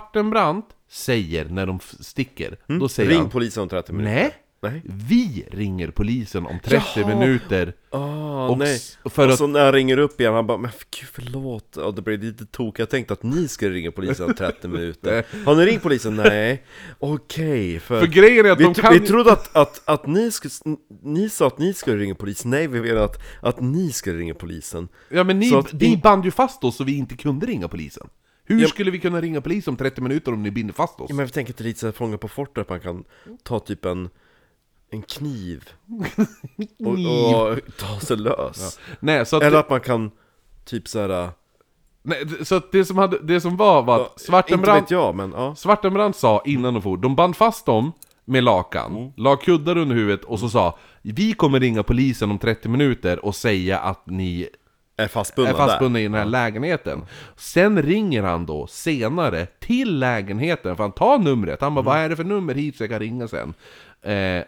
Speaker 2: Svartenbrandt säger när de f- sticker, då säger
Speaker 1: Mm, Ring
Speaker 2: han
Speaker 1: polisen om 30 minuter.
Speaker 2: Nej,
Speaker 1: Nej.
Speaker 2: vi ringer polisen om 30
Speaker 1: Jaha.
Speaker 2: minuter.
Speaker 1: Ah,
Speaker 2: Och
Speaker 1: nej.
Speaker 2: s- för
Speaker 1: och så när jag ringer upp igen, han bara 'Men för gud, förlåt' och det blev lite tokigt, jag tänkte att ni skulle ringa polisen om 30 minuter Har ni ringt polisen? Nej Okej, för,
Speaker 2: För grejen är att
Speaker 1: vi,
Speaker 2: de
Speaker 1: tro-
Speaker 2: kan-
Speaker 1: vi trodde att, att, att ni, skulle, ni sa att ni skulle ringa polisen, nej vi ville att, att ni skulle ringa polisen
Speaker 2: Ja men ni,
Speaker 1: Så att
Speaker 2: ni
Speaker 1: in-
Speaker 2: band ju fast oss så vi inte kunde ringa polisen. Hur skulle vi kunna ringa polisen om 30 minuter om ni binder fast oss?
Speaker 1: ja, men jag tänker att det är lite såhär Fånga på fortet, att man kan
Speaker 2: Mm.
Speaker 1: ta typ en, en kniv och, och ta sig lös
Speaker 2: Nej, så att,
Speaker 1: Eller att man kan typ såhär,
Speaker 2: nej, d- så att det, som hade, det som var var att
Speaker 1: eh, inte
Speaker 2: Svartenbrandt,
Speaker 1: vet jag men ja
Speaker 2: Svartenbrandt sa innan de for, de band fast dem med lakan,
Speaker 1: Mm.
Speaker 2: la kuddar under huvudet och så sa Vi kommer ringa polisen om 30 minuter och säga att ni
Speaker 1: Är fastbundna,
Speaker 2: är
Speaker 1: där
Speaker 2: fastbundna i den här lägenheten. Sen ringer han då senare till lägenheten, för han tar numret. Han bara
Speaker 1: Mm.
Speaker 2: vad är det för nummer hit så jag kan ringa sen? Eh,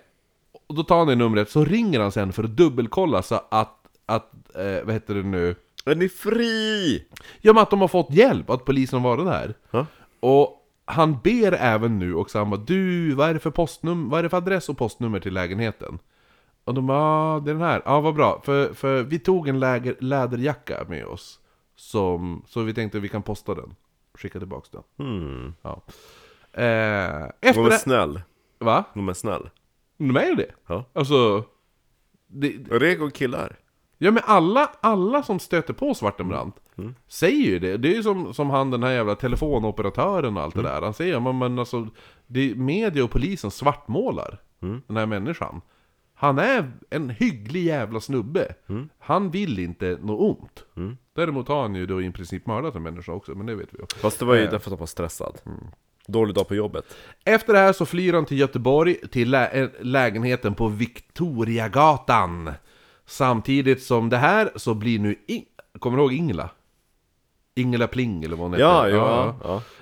Speaker 2: och då tar han det numret, så ringer han sen för att dubbelkolla så att, att eh, vad heter det nu?
Speaker 1: Är ni fri?
Speaker 2: Ja men att de har fått hjälp, att polisen har varit där.
Speaker 1: Ja.
Speaker 2: Och han ber även nu också, han bara du, vad är det för postnummer, vad är det för adress och postnummer till lägenheten? Och de bara, ah, det är den här, ja ah, vad bra, för, för vi tog en läger, läderjacka med oss. Som, så vi tänkte vi kan posta den, skicka tillbaks den.
Speaker 1: Hmm.
Speaker 2: Ja. Eh, efter
Speaker 1: De är
Speaker 2: det,
Speaker 1: snäll.
Speaker 2: va?
Speaker 1: De är snäll.
Speaker 2: De är ju det?
Speaker 1: Ja.
Speaker 2: Alltså, det,
Speaker 1: Rego killar.
Speaker 2: Ja men alla, alla som stöter på Svartenbrandt säger ju det. Det är ju som, som han den här jävla telefonoperatören och allt det där. Han säger men, men alltså, det, media och polisen svartmålar den här människan. Han är en hygglig jävla snubbe. Han vill inte nå ont. Däremot har han ju då i princip mördat en människa också, men det vet vi ju.
Speaker 1: Fast det var ju därför att de var stressad.
Speaker 2: Mm.
Speaker 1: Dålig dag på jobbet.
Speaker 2: Efter det här så flyr han till Göteborg, till lä- eh, lägenheten på Victoriagatan. Samtidigt som det här så blir nu... In- Kommer du ihåg Ingela? Ingela Pling eller vad hon
Speaker 1: Ja,
Speaker 2: heter?
Speaker 1: ja,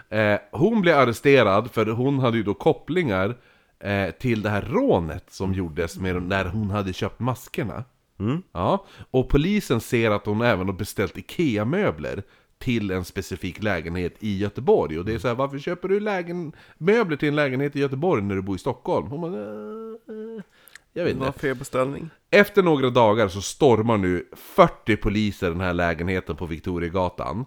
Speaker 1: ja.
Speaker 2: Eh, hon blev arresterad för hon hade ju då kopplingar eh, till det här rånet som gjordes med de, när hon hade köpt maskerna.
Speaker 1: Mm.
Speaker 2: Ja, och polisen ser att hon även har beställt IKEA-möbler till en specifik lägenhet i Göteborg. Och det är så här, varför köper du lägen... möbler till en lägenhet i Göteborg när du bor i Stockholm? Hon bara, "Eh, eh, jag vet
Speaker 1: Det var
Speaker 2: inte.
Speaker 1: fel beställning.
Speaker 2: Efter några dagar så stormar nu 40 poliser den här lägenheten på Victoriagatan.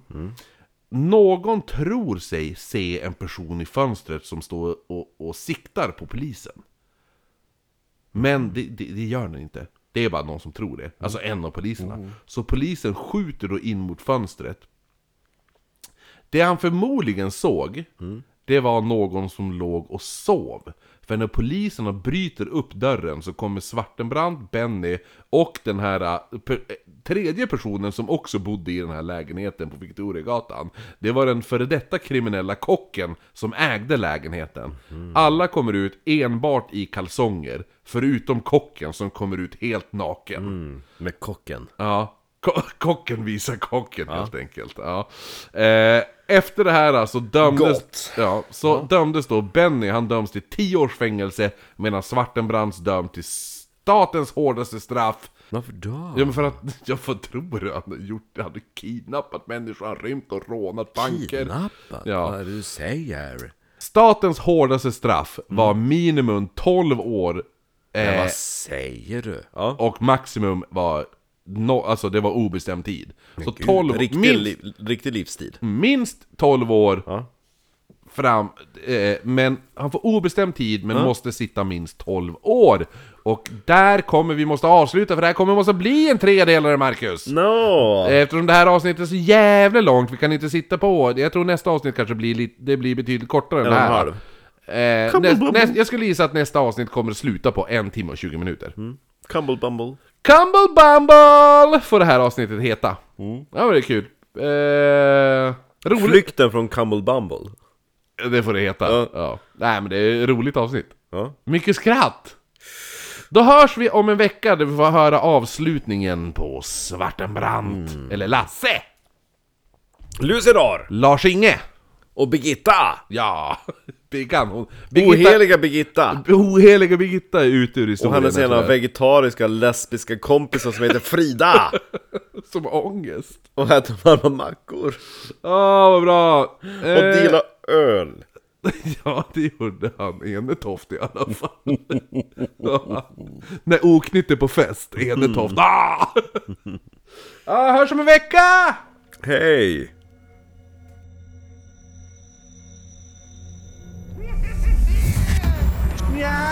Speaker 2: Någon tror sig se en person i fönstret som står och, och siktar på polisen. Men det, det, det gör den inte. Det är bara någon som tror det. Alltså en av poliserna. Så polisen skjuter då in mot fönstret. Det han förmodligen såg, det var någon som låg och sov. För när poliserna bryter upp dörren så kommer Svartenbrand, Benny och den här eh, per, eh, tredje personen som också bodde i den här lägenheten på Victoriagatan. Det var den före detta kriminella kocken som ägde lägenheten. Alla kommer ut enbart i kalsonger, förutom kocken som kommer ut helt naken.
Speaker 1: Mm, med kocken.
Speaker 2: Ja, ko- kocken visar kocken helt enkelt. Ja. Eh, efter det här alltså dömdes,
Speaker 1: Gott.
Speaker 2: ja, så dömdes då Benny, han döms till 10 års fängelse medan Svartenbrands döms till statens hårdaste straff.
Speaker 1: Varför då?
Speaker 2: Ja men för att, jag får tror han har gjort, han har kidnappat människor, han har rymt och rånat banker.
Speaker 1: Kidnappat?
Speaker 2: Ja. Eh.
Speaker 1: Vad är det du säger?
Speaker 2: Statens hårdaste straff var minimum 12 år.
Speaker 1: Men
Speaker 2: Eh,
Speaker 1: vad säger du? Ja.
Speaker 2: och maximum var, no, alltså det var obestämd tid. Så
Speaker 1: Gud,
Speaker 2: 12 år,
Speaker 1: riktig,
Speaker 2: minst
Speaker 1: li, riktig livstid.
Speaker 2: minst 12 år
Speaker 1: Ja.
Speaker 2: fram, eh, men han får obestämd tid men måste sitta minst 12 år. Och där kommer vi måste avsluta för det här kommer måste bli en tredelare Marcus!
Speaker 1: No.
Speaker 2: Eftersom det här avsnittet är så jävla långt, vi kan inte sitta på. Jag tror nästa avsnitt kanske blir lite, det blir betydligt kortare än det
Speaker 1: En och en
Speaker 2: här.
Speaker 1: halv.
Speaker 2: Eh, näst, näst, jag skulle gissa att nästa avsnitt kommer sluta på en timme och 20 minuter.
Speaker 1: Mm. Cumble Bumble.
Speaker 2: Cumble Bumble får det här avsnittet heta.
Speaker 1: Mm.
Speaker 2: Ja men det är kul. Eh, roligt.
Speaker 1: Flykten från Cumble Bumble.
Speaker 2: Det får det heta. Ja.
Speaker 1: Ja.
Speaker 2: Nej men det är ett roligt avsnitt.
Speaker 1: Ja.
Speaker 2: Mycket skratt! Då hörs vi om en vecka där vi får höra avslutningen på Svartenbrandt.
Speaker 1: Mm.
Speaker 2: Eller Lasse!
Speaker 1: Lucidar!
Speaker 2: Lars-Inge!
Speaker 1: Och Birgitta!
Speaker 2: Ja, Biggan. Hon,
Speaker 1: Oheliga Birgitta!
Speaker 2: Oheliga Birgitta är ute ur
Speaker 1: Och
Speaker 2: historien.
Speaker 1: hennes ena
Speaker 2: tyvärr.
Speaker 1: vegetariska lesbiska kompisar som heter Frida!
Speaker 2: Som har ångest.
Speaker 1: Och äter varma mackor!
Speaker 2: Åh, vad bra!
Speaker 1: Och delar öl!
Speaker 2: Ja, det gjorde han. Enetoft i alla fall. Ja. När oknytt är på fest, Enetoft. Ah! ah, hörs om en vecka!
Speaker 1: Hej!
Speaker 6: Yeah!